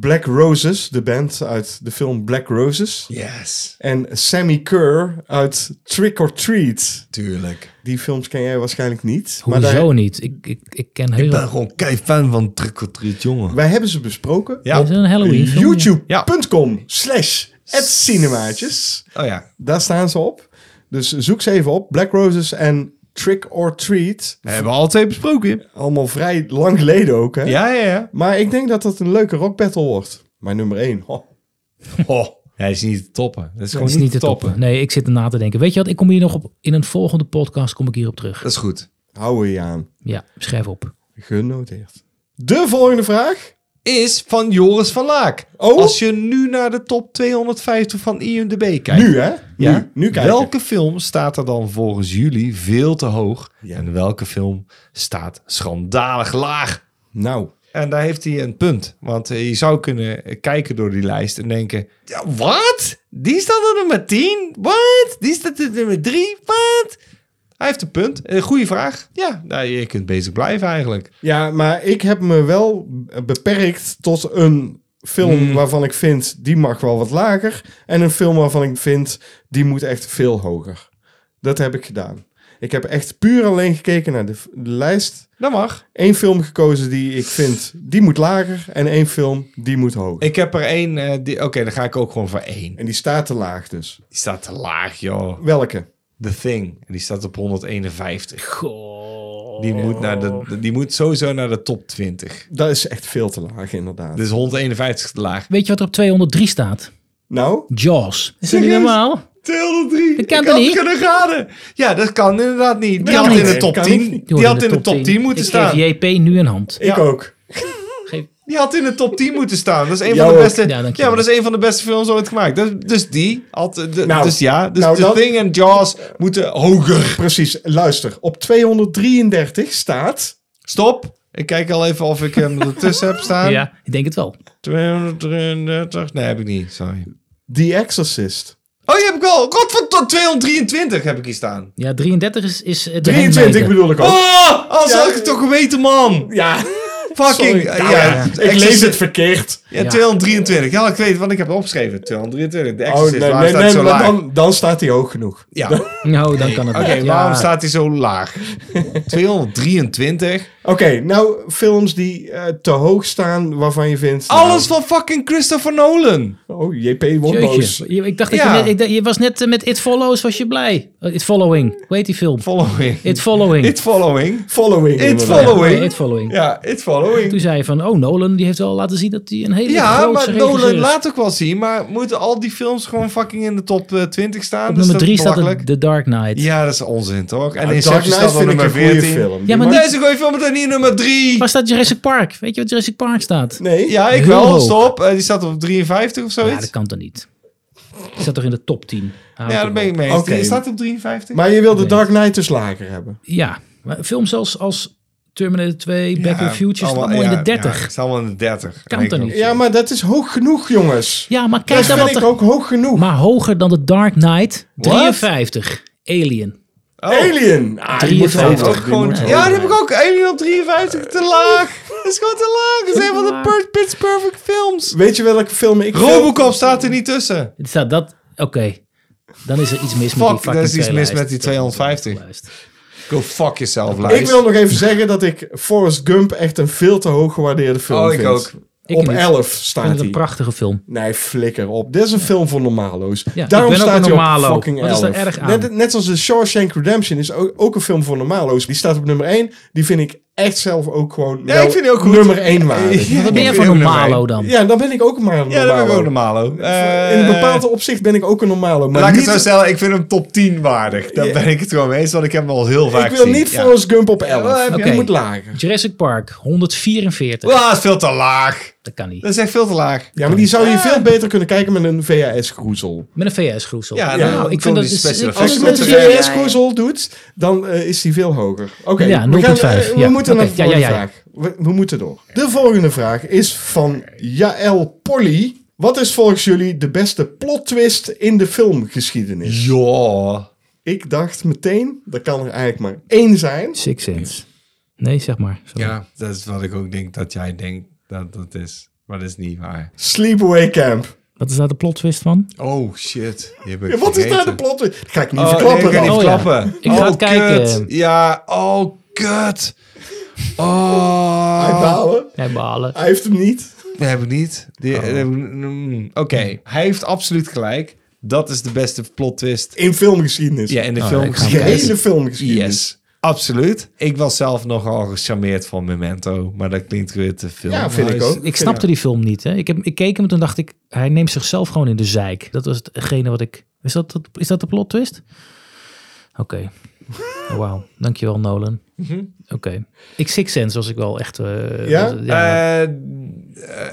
Black Roses, de band uit de film Black Roses, Yes, en Sammy Kerr uit Trick or Treat. tuurlijk. Die films ken jij waarschijnlijk niet. Hoezo daar- niet? Ik, ik, ik ken Ik heel... ben gewoon kei fan van Trick or Treat, jongen. wij hebben ze besproken. Ja. Is het een Halloween film? YouTube.com slash het cinemaatjes. Oh ja, Daar staan ze op. Dus zoek ze even op. Black Roses en Trick or Treat. we hebben al twee besproken. Allemaal vrij lang geleden ook, hè? Ja, ja, ja. Maar ik denk dat dat een leuke rock battle wordt. Mijn nummer 1. Oh. Hij is niet te toppen. Dat is gewoon Het is niet, niet te toppen. toppen. Nee, ik zit erna te denken. Weet je wat? Ik kom hier nog op. In een volgende podcast kom ik hierop terug. Dat is goed. Hou je aan. Ja, schrijf op. Genoteerd. De volgende vraag. Is van Joris van Laak. Oh. Als je nu naar de top 250 van IMDb kijkt. Nu, hè? Nu, nu kijken. Welke film staat er dan volgens jullie veel te hoog? En welke film staat schandalig laag? Nou. En daar heeft hij een punt. Want eh, je zou kunnen eh, kijken door die lijst en denken... Ja, wat? Die staat er nummer 10? Wat? Die staat er nummer 3? Wat? Hij heeft een punt. Een goede vraag. Ja, nou, je kunt bezig blijven eigenlijk. Ja, maar ik heb me wel beperkt tot een film waarvan ik vind die mag wel wat lager. En een film waarvan ik vind die moet echt veel hoger. Dat heb ik gedaan. Ik heb echt puur alleen gekeken naar de, v- de lijst. Dat mag. Eén film gekozen die ik vind die moet lager. En één film die moet hoger. Ik heb er één... eh, die- Oké, dan ga ik ook gewoon voor één. En die staat te laag dus. Die staat te laag, joh. Welke? The Thing. En die staat op 151. Goh. Die, moet naar de, die moet sowieso naar de top 20. Dat is echt veel te laag inderdaad. Dus 151 te laag. Weet je wat er op 203 staat? Nou, Jaws. Is Zeg dat niet eens. normaal? 203. Dat kan ik toch had niet? kunnen raden. Ja, dat kan inderdaad niet. Die kan had in niet. de top Kan 10. niet. Die Die hoort had in de top 10 moeten ik staan. Geef JP nu een hand. ik ook. Die had in de top 10 moeten staan. Dat is een Jou van de ook. beste. Ja, Ja, dankjewel. maar dat is een van de beste films ooit gemaakt. Dus, dus die had. de- Nou, dus ja, dus nou, The dat- Thing en Jaws moeten hoger. Precies, luister. Op 233 staat... Stop. Ik kijk al even of ik hem ertussen heb staan. Ja, ik denk het wel. 233. Nee, heb ik niet. Sorry. The Exorcist. Oh, die heb ik wel. Godverdomme, 223 heb ik hier staan. Ja, 33 is... is eh, de 23 Handmaiden. bedoel ik ook. Oh, als Ja. had ik het toch geweten, man. Ja. Fucking. Sorry. ja, Nou ja, ik lees Exorcist- het verkeerd. Ja, 223. Ja, ik weet, want ik heb het opgeschreven. 223. De Oh, Exorcist, nee, waarom nee, staat nee, hij zo maar laag? dan, dan staat hij hoog genoeg. Ja, oké, Nou, dan kan het wel. Ja. waarom staat hij zo laag? 223. Oké, nou, films die eh, te hoog staan waarvan je vindt... nou, Alles van fucking Christopher Nolan. Oh, JP wordt boos. Jeetje. Je- Ik dacht dat Ja. je, net- ik dacht- je was net eh, met It Follows, was je blij. Eh, It Following. Hoe heet die film? Following. It Following. It following. Following. It inderdaad. following. Ja, It Following. Ja, it Toen following. zei je van, oh, Nolan die heeft wel laten zien dat hij een hele Ja, grootse maar regisseur Nolan is. laat ook wel zien. Maar moeten al die films gewoon fucking in de top eh, 20 staan? Op Dus nummer dat is 3 staat belachelijk. het The Dark Knight. Ja, dat is onzin, toch? En Ja, Dark Inception Knight staat op vind ik nummer een goede 14. film. Ja, maar Deze is een goeie film, maar dan niet nummer 3. Waar staat Jurassic Park? Weet je wat Jurassic Park staat? Nee, Ja, ik Heel wel. hoog. Stop. Eh, die staat op 53 of Ja, zoiets. dat kan toch niet? Die staat toch in de top 10? Hou Ja, toch daar ben op. ik mee eens. Oké. Die staat op 53. maar je wil de Dark Knight dus lager hebben. Ja, maar films als, als Terminator 2, Back to the Future staan allemaal in de 30. Het is allemaal in de 30. Kan Nee, toch klopt. niet? Ja, maar dat is hoog genoeg, jongens. Ja, maar kijk Dat dan vind wat ik er... ook hoog genoeg. Maar hoger dan The Dark Knight, What? 53. Alien. Oh. Alien. Ah, die moet 53. hoger, Ook die gewoon, moet hoger. ja, die heb ik ook. Alien op 53. Te laag. Dat is gewoon te laag. Dat is een van de per- Pitch Perfect films. Weet je welke film ik... veel- Robocop staat er niet tussen. Het Staat dat... Oké. Dan is er iets mis met Fuck, die fucking er is iets mis lijst. met die 250. Lijst. Go fuck yourself, Ik wil nog even zeggen dat ik Forrest Gump echt een veel te hoog gewaardeerde film Oh, ik vind. ook. Ik op niet. 11 Ik vind staat het een hij. prachtige film. Nee, flikker op. Dit is een film voor normalo's. Ja, Daarom ik ben ook staat een hij normalo. op fucking Wat is 11. daar erg aan? Net, net zoals de Shawshank Redemption is ook, ook een film voor normalo's. Die staat op nummer 1. Die vind ik echt zelf ook gewoon Ja, wel ik vind die ook goed. nummer 1 waardig. Ja. Ja. Wat ben jij Ik vind van een hem erbij. malo dan? dan ben ik ook maar een Ja, normalo. dat ben ik ook normalo. Eh, In een bepaald opzicht ben ik ook een normalo. Maar Laat ik niet, het zo stellen, ik vind hem top 10 waardig. Daar Ja. ben ik het gewoon mee eens, want ik heb hem al heel vaak ik wil niet gezien. Forrest Gump op 11. wel, heb je- Die Oké. moet lager. Jurassic Park, 144. Ja. Ah, dat is veel te laag. Dat kan niet. Dat is echt veel te laag. Ja, maar die zou je Ah. veel beter kunnen kijken met een VHS-groezel. Met een VS-groesel. Ja, nou, nou, dan ik vind doen dat... die Is, special ik- Als effects je ik- het met de ik- ik- VHS-koezel doet, dan eh, is die veel hoger. Oké, Ja, we, gaan, 0,5, eh, we ja. moeten naar de Oké, ja, ja, volgende ja. vraag. We, we moeten door. De volgende vraag is van Jaël Polly. Wat is volgens jullie de beste plot twist in de filmgeschiedenis? Ja. Ik dacht meteen, dat kan er eigenlijk maar één zijn. Six Sense. Nee, zeg maar. Sorry. Ja, dat is wat ik ook denk dat jij denkt dat dat is. Maar dat is niet waar. Sleepaway Camp. Wat is daar de plot twist van? Oh, shit. Die heb ik Ja, wat is daar de vergeten. plot twist? Dat ga ik niet Oh, nee, verklappen ik ga dan. niet Oh, ja. verklappen. Ik ga Oh, het kijken. kut. Ja, oh, kut. Oh. Hij balen. Ja, balen. Hij heeft hem niet. Dat heb ik niet. Die- dat heb ik- mm, Oké, hij heeft absoluut gelijk. Dat is de beste plot twist. In filmgeschiedenis. Ja, in de Oh, film. ik ga hem De kijken. hele filmgeschiedenis. Yes, absoluut. Ik was zelf nogal gecharmeerd van Memento, maar dat klinkt weer te veel. Ja, vind ik ook. Ik snapte die film niet. Hè. Ik, heb, ik keek hem en toen dacht ik, hij neemt zichzelf gewoon in de zeik. Dat was hetgene wat ik... Is dat, dat- is dat de plot twist? Oké. Oh, Wauw. Dankjewel, Nolan. Oké. Ik Six Sense was ik wel echt... eh, Mhm. Ja? was- Eh, eh,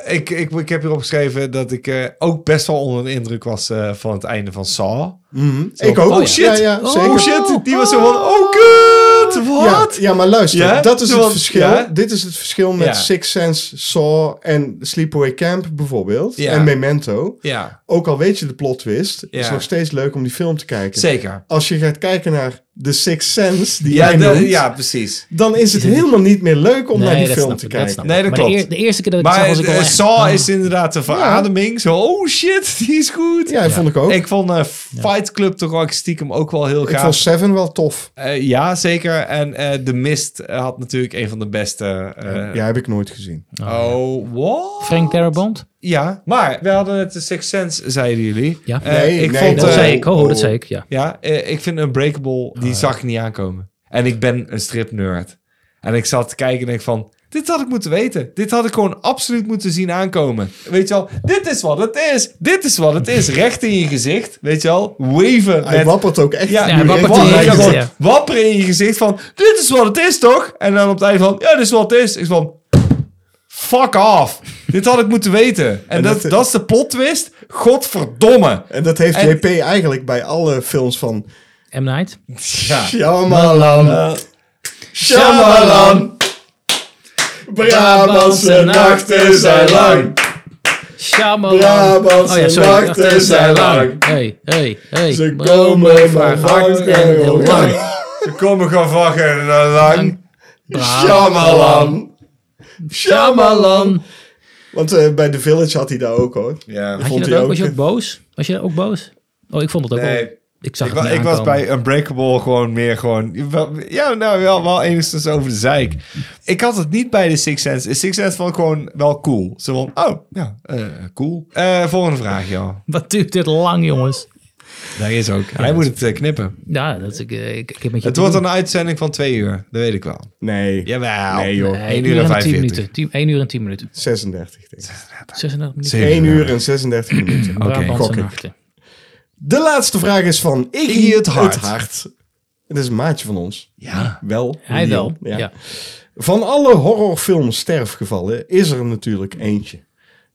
ik, ik, ik heb hier opgeschreven dat ik eh, ook best wel onder de indruk was eh, van het einde van Saw. Mhm. Ik ook. Oh, shit. Ja, ja, Oh, zeker. shit, die was zo van, oh kut, Ja, wat? ja, maar luister, Ja? dat is het Want- verschil. ja? Dit is het verschil met Ja. Six Sense, Saw en Sleepaway Camp bijvoorbeeld. Ja. En Memento. Ja, Ook al weet je de plot twist, is Ja. nog steeds leuk om die film te kijken. zeker. Als je gaat kijken naar The Six Sense, die Ja, jij de- noemt, ja, precies. dan is het helemaal niet meer leuk om Nee, naar die dat film snap te ik, kijken. snap Nee, ik. dat maar klopt. De, eer- de eerste keer dat ik het Maar zag was ik al eh, echt... Saw ah. is inderdaad een verademing. Zo, oh shit, die is goed. ja, dat vond ik ook. Ik, Ik vond eh, Fight Club toch ook stiekem ook wel heel gaaf. vond Seven wel tof. Eh, ja, zeker. En eh The Mist eh, had natuurlijk een van de beste. eh, ja, heb ik nooit gezien. Oh, what? Frank Darabont? Ja, maar we hadden het de Sixth Sense, zeiden jullie. Ja. Eh, Nee, ik nee, vond, Dat eh, zei ik. Oh, oh. dat zei ik, ja. Ja, eh, ik vind Unbreakable, die zag ik niet aankomen. En ik ben een stripnerd. En ik zat te kijken en denk van... Dit had ik moeten weten. Dit had ik gewoon absoluut moeten zien aankomen. Weet je wel, dit is wat het is. Dit is wat het is. Recht in je gezicht. Weet je wel, waven Hij met wappert ook echt. Ja, ja, je hij wappert wappert- in je ja, gezicht, gewoon wapperen in je gezicht van... Dit is wat het is, toch? En dan op het einde van... Ja, dit is wat het is. Ik van... Fuck off. Dit had ik moeten weten. En dat, dat- dat is de plot twist. Godverdomme. En dat heeft En- JP eigenlijk bij alle films van M. Night? Ja. Shyamalan. Shyamalan. Brabantse nachten zijn lang. Shyamalan. Brabantse Oh, sorry. nachten zijn lang. Hey, hey, hey. Ze komen van Frank Frank en en heel lang. lang. Ze komen gewoon vakken en lang. Brabantse- Shyamalan. Shyamalan. Want eh, bij The Village had hij daar ook hoor. Ja. Dat Had je vond dat hij ook? ook. Was je ook boos? Was je ook boos? Oh, ik vond het ook Nee. wel... Ik zag Ik, het wa- niet ik was aankomen. bij Unbreakable gewoon meer gewoon... wel- Ja, nou wel, wel enigszins over de zeik. Ik had het niet bij de Six Sense. De Six Sense vond ik gewoon wel cool. Ze vond, oh, ja, eh, cool. Eh, volgende vraag, joh. Wat duurt dit lang, jongens? Dat is ook. Hij moet het eh, knippen. Ja, dat, is- ik, eh, ik, ik heb met je Het wordt een uitzending van twee uur. Dat weet ik wel. Nee, Jawel. Nee, joh. Nee, 1 uur en 10 45. minuten. 1 uur en 10 minuten. 36 denk ik. 36 minuten. Zeven 1 uur en 36 minuten. Brabantse gok ik. nachten. De laatste vraag is van Iggy, Iggy het het Hart. Hart. Dat is een maatje van ons. Ja. Wel. Hij wel. Leon, Ja. Van alle horrorfilms sterfgevallen is er natuurlijk eentje.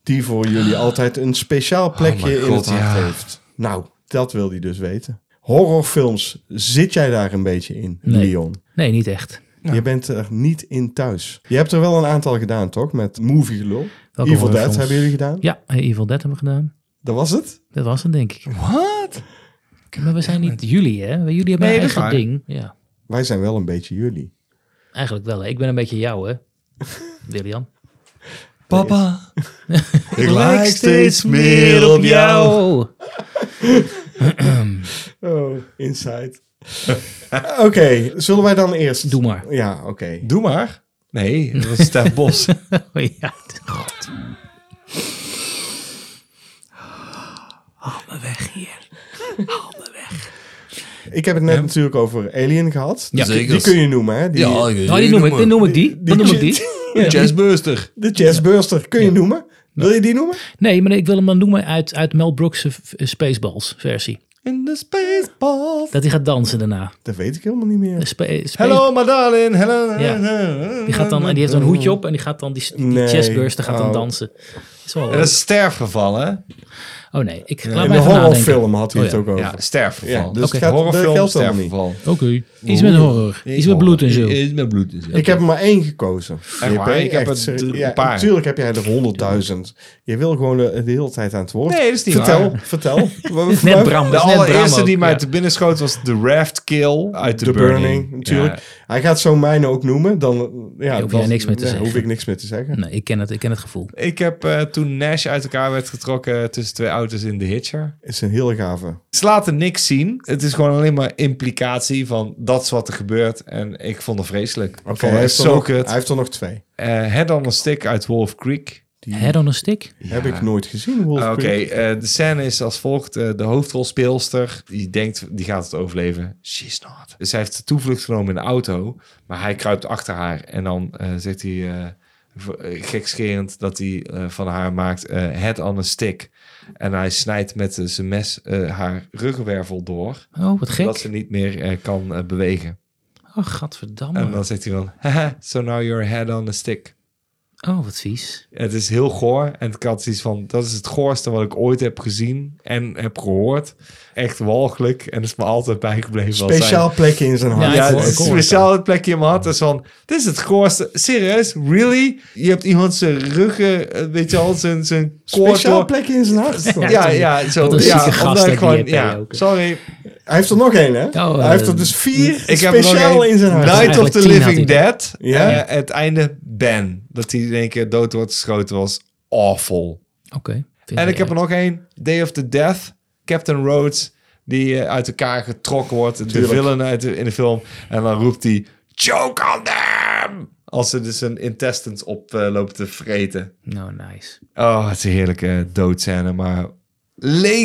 Die voor jullie altijd een speciaal plekje my in God, het hart ja. heeft. Nou, dat wil hij dus weten. Horrorfilms, zit jij daar een beetje in, Nee. Leon? Nee, niet echt. Je bent er niet in thuis. Je hebt er wel een aantal gedaan, toch? Met Movie Gelul. Welke Evil Dead horrorfilms? hebben jullie gedaan. Ja, eh, Evil Dead hebben we gedaan. Dat was het? Dat was het, denk ik. Wat? Maar we zijn niet jullie, hè? Jullie hebben Nee, een dat is eigen waar. ding. Ja, Wij zijn wel een beetje jullie. eigenlijk wel. Hè? Ik ben een beetje jou, hè? William. Papa. Ik lijk steeds meer op jou. Oh, Oh, inside. oké, zullen wij dan eerst... doe maar. Ja, oké. Doe maar. Nee, dat is Stef Bos. Oh, ja, god. Haal me weg hier. Ik heb het net natuurlijk over Alien gehad. Ja, Dus die- die zekers. kun je noemen, hè? Die, Oh, die noem ik, die noem ik die. Dan noem ik die. Jazzbeuster. De Jazzburster kun je noemen. Wil je die noemen? Nee, maar ik wil hem dan noemen uit, uit Mel Brooks' eh, Spaceballs versie. In the spaceballs. Dat hij gaat dansen daarna. Dat weet ik helemaal niet meer. Spa- Space- Hello, my darling. Hello. Ja. Die, gaat dan, en die heeft zo'n hoedje op en die gaat dan die, die Nee. chestburster gaat dan Oh. dansen. Dat is wel Dat is sterfgeval, hè? Oh nee, ik laat In mij de even nadenken. horrorfilm had hij Oh, het ja. ook over. Ja, sterfgeval. Ja, dus Oké. het gaat, dat Horrorfilm, geldt helemaal niet. sterfgeval. Oké, iets met horror. Iets met bloed en zo. Iets met bloed en zo. Ik heb er maar één gekozen. waar? JP, Ik heb er serieus. d- een Ja, paar. Natuurlijk heb jij er honderdduizend. Je wil gewoon de, de hele tijd aan het woord. Nee, dat is niet vertel, waar. Vertel, vertel. Net Bram. De dat is net Bram allereerste ook, die mij ja. te binnen schoot was The Raft Kill uit The, De Burning, Burning. natuurlijk. Ja. Hij gaat zo mijne ook noemen. Dan ja, Dan hoef dan- jij niks meer te dan zeggen. hoef ik niks meer te zeggen. Nee, ik ken het, ik ken het gevoel. Ik heb eh, toen Nash uit elkaar werd getrokken tussen twee auto's in The Hitcher. is een hele gave. Het laat er niks zien. Het is gewoon alleen maar implicatie van dat is wat er gebeurt. En ik vond het vreselijk. Ik Oké, vond hij, het heeft er nog- zo hij kut. heeft er nog twee. Eh Head on a Stick uit Wolf Creek. Head on a stick? Heb ik nooit gezien. Wolf Ah, Oké, Creek. eh, de scène is als volgt. Eh, de hoofdrolspeelster, die denkt, die gaat het overleven. She's not. Dus zij heeft de toevlucht genomen in de auto, maar hij kruipt achter haar. En dan eh, zegt hij, eh, v- eh, gekscherend, dat hij eh, van haar maakt eh head on a stick. En hij snijdt met eh, zijn mes eh, haar ruggenwervel door, Oh, wat zodat gek. ze niet meer eh, kan eh, bewegen. Oh, gadverdamme. En dan zegt hij van, haha, so now you're head on a stick. Oh, wat vies. Het is heel goor. En ik had zoiets van, dat is het goorste wat ik ooit heb gezien en heb gehoord. Echt walgelijk. En dat is me altijd bijgebleven. als Speciaal plekje in zijn hart. zijn- Ja, Ja, ik hoor- het is ik hoor het speciaal het plekje in mijn hart. is van, dit is het goorste. Serieus? Really? Je hebt iemand zijn ruggen, eh, weet je al, zijn, zijn koord Speciaal door- plekje in zijn hart. Ja, ja, zo. Wat een ja, zieke gast omdat ik heb je, gewoon- JP ja, ook. sorry. Hij heeft er nog één, hè? Oh, hij heeft er eh, dus vier Ik heb nog speciaal een in zijn hart. Night of Eigenlijk the tien had Living hij Dead. Ja. Eh, het einde Ben. Dat hij in één keer dood wordt geschoten was awful. Oké. vind En je ik heb er erg. nog één. Day of the Death. Captain Rhodes. Die eh, uit elkaar getrokken wordt. De Tuurlijk. villain uit de- in de film. En dan roept hij... Choke on them! Als ze dus hun intestines op eh, lopen te vreten. Nou, nice. Oh, het is een heerlijke doodscène. Maar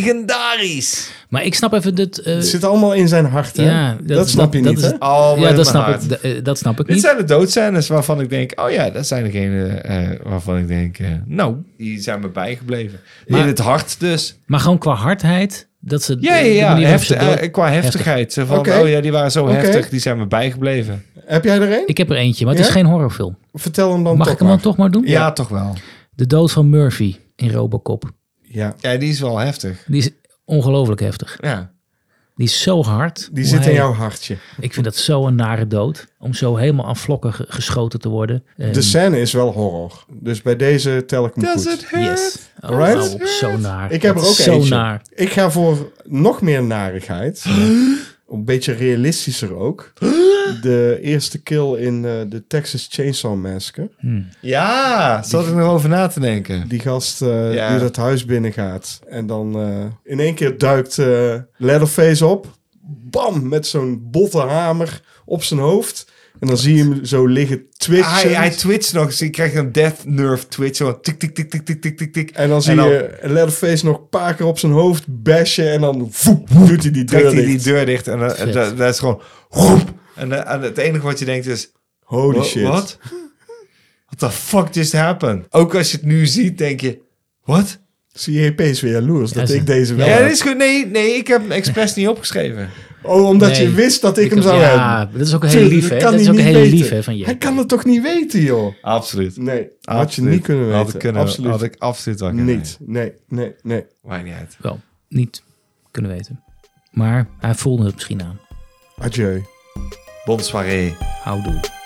legendarisch. Maar ik snap even dat... eh, Het zit allemaal in zijn hart, hè? Ja, dat, dat- snap je dat- niet, dat hè? is- Oh, ja, dat snap, ik, d- eh, dat snap ik Dit niet. zijn de doodscènes waarvan ik denk... Oh ja, dat zijn degene eh, waarvan ik denk... eh, nou, die zijn me bijgebleven. Maar- in het hart dus. Maar gewoon qua hardheid, dat ze... Ja, de ja, ja. manier waarop ze Hefti- dood- eh, qua heftigheid. Zo Van, Oké. Oh ja, die waren zo Oké. heftig. Die zijn me bijgebleven. Heb jij er één? Ik heb er eentje, maar het Ja? is geen horrorfilm. Vertel hem dan Mag toch ik hem maar. dan toch maar doen? toch wel. De dood van Murphy in Robocop. Ja, Ja, die is wel heftig. Die is ongelooflijk heftig. Ja. Die is zo hard. die Hoe zit in hij- jouw hartje. Ik vind dat zo een nare dood. Om zo helemaal aan vlokken ge- geschoten te worden. En- De scène is wel horror. Dus bij deze tel ik hem goed. Yes. Oh, Alright. hou op, zo naar. Ik heb er Dat ook is zo eentje. naar. Ik ga voor nog meer narigheid. Een beetje realistischer ook. De eerste kill in eh, de Texas Chainsaw Massacre. Ja, Ah, zat ik nog over na te denken. Die gast eh, Ja. die dat huis binnengaat. En dan eh, in één keer duikt eh Leatherface op. Bam! Met zo'n botte hamer op zijn hoofd. En dan zie je hem zo liggen twitchen. Hij, hij twitcht nog eens. Je krijgt een death nerve twitch. Zo tik, tik, tik, tik, tik, tik, tik, tik. En dan zie dan je Leatherface nog een paar keer op zijn hoofd bashen. En dan voep, doet hij die deur trekt hij die dicht. deur dicht. En dan- en Vet. dat dat is gewoon... Hoep, en, dan- en het enige wat je denkt is... Holy "Wa- shit. Wat? What the fuck just happened? Ook als je het nu ziet, denk je... Wat? CJP is weer jaloers dat Ja, ik ze- deze wel Ja, heb. dat is goed. Nee, nee, ik heb hem expres niet opgeschreven. Oh, omdat Nee. je wist dat ik hem zou ja, hebben. dat is ook een hele Tuurlijk, lieve. dat hè? kan Dat is hij ook een niet hele weten. lieve van je. Hij kan het toch niet weten, joh? Absoluut. Nee, had je Absoluut. niet kunnen weten. Had ik, kunnen, Absoluut had ik absoluut wel kunnen niet. weten. Nee, nee, nee. Maakt niet uit. Wel, niet kunnen weten. Maar hij voelde het misschien aan. Adieu. Bonne soirée. Houdoe.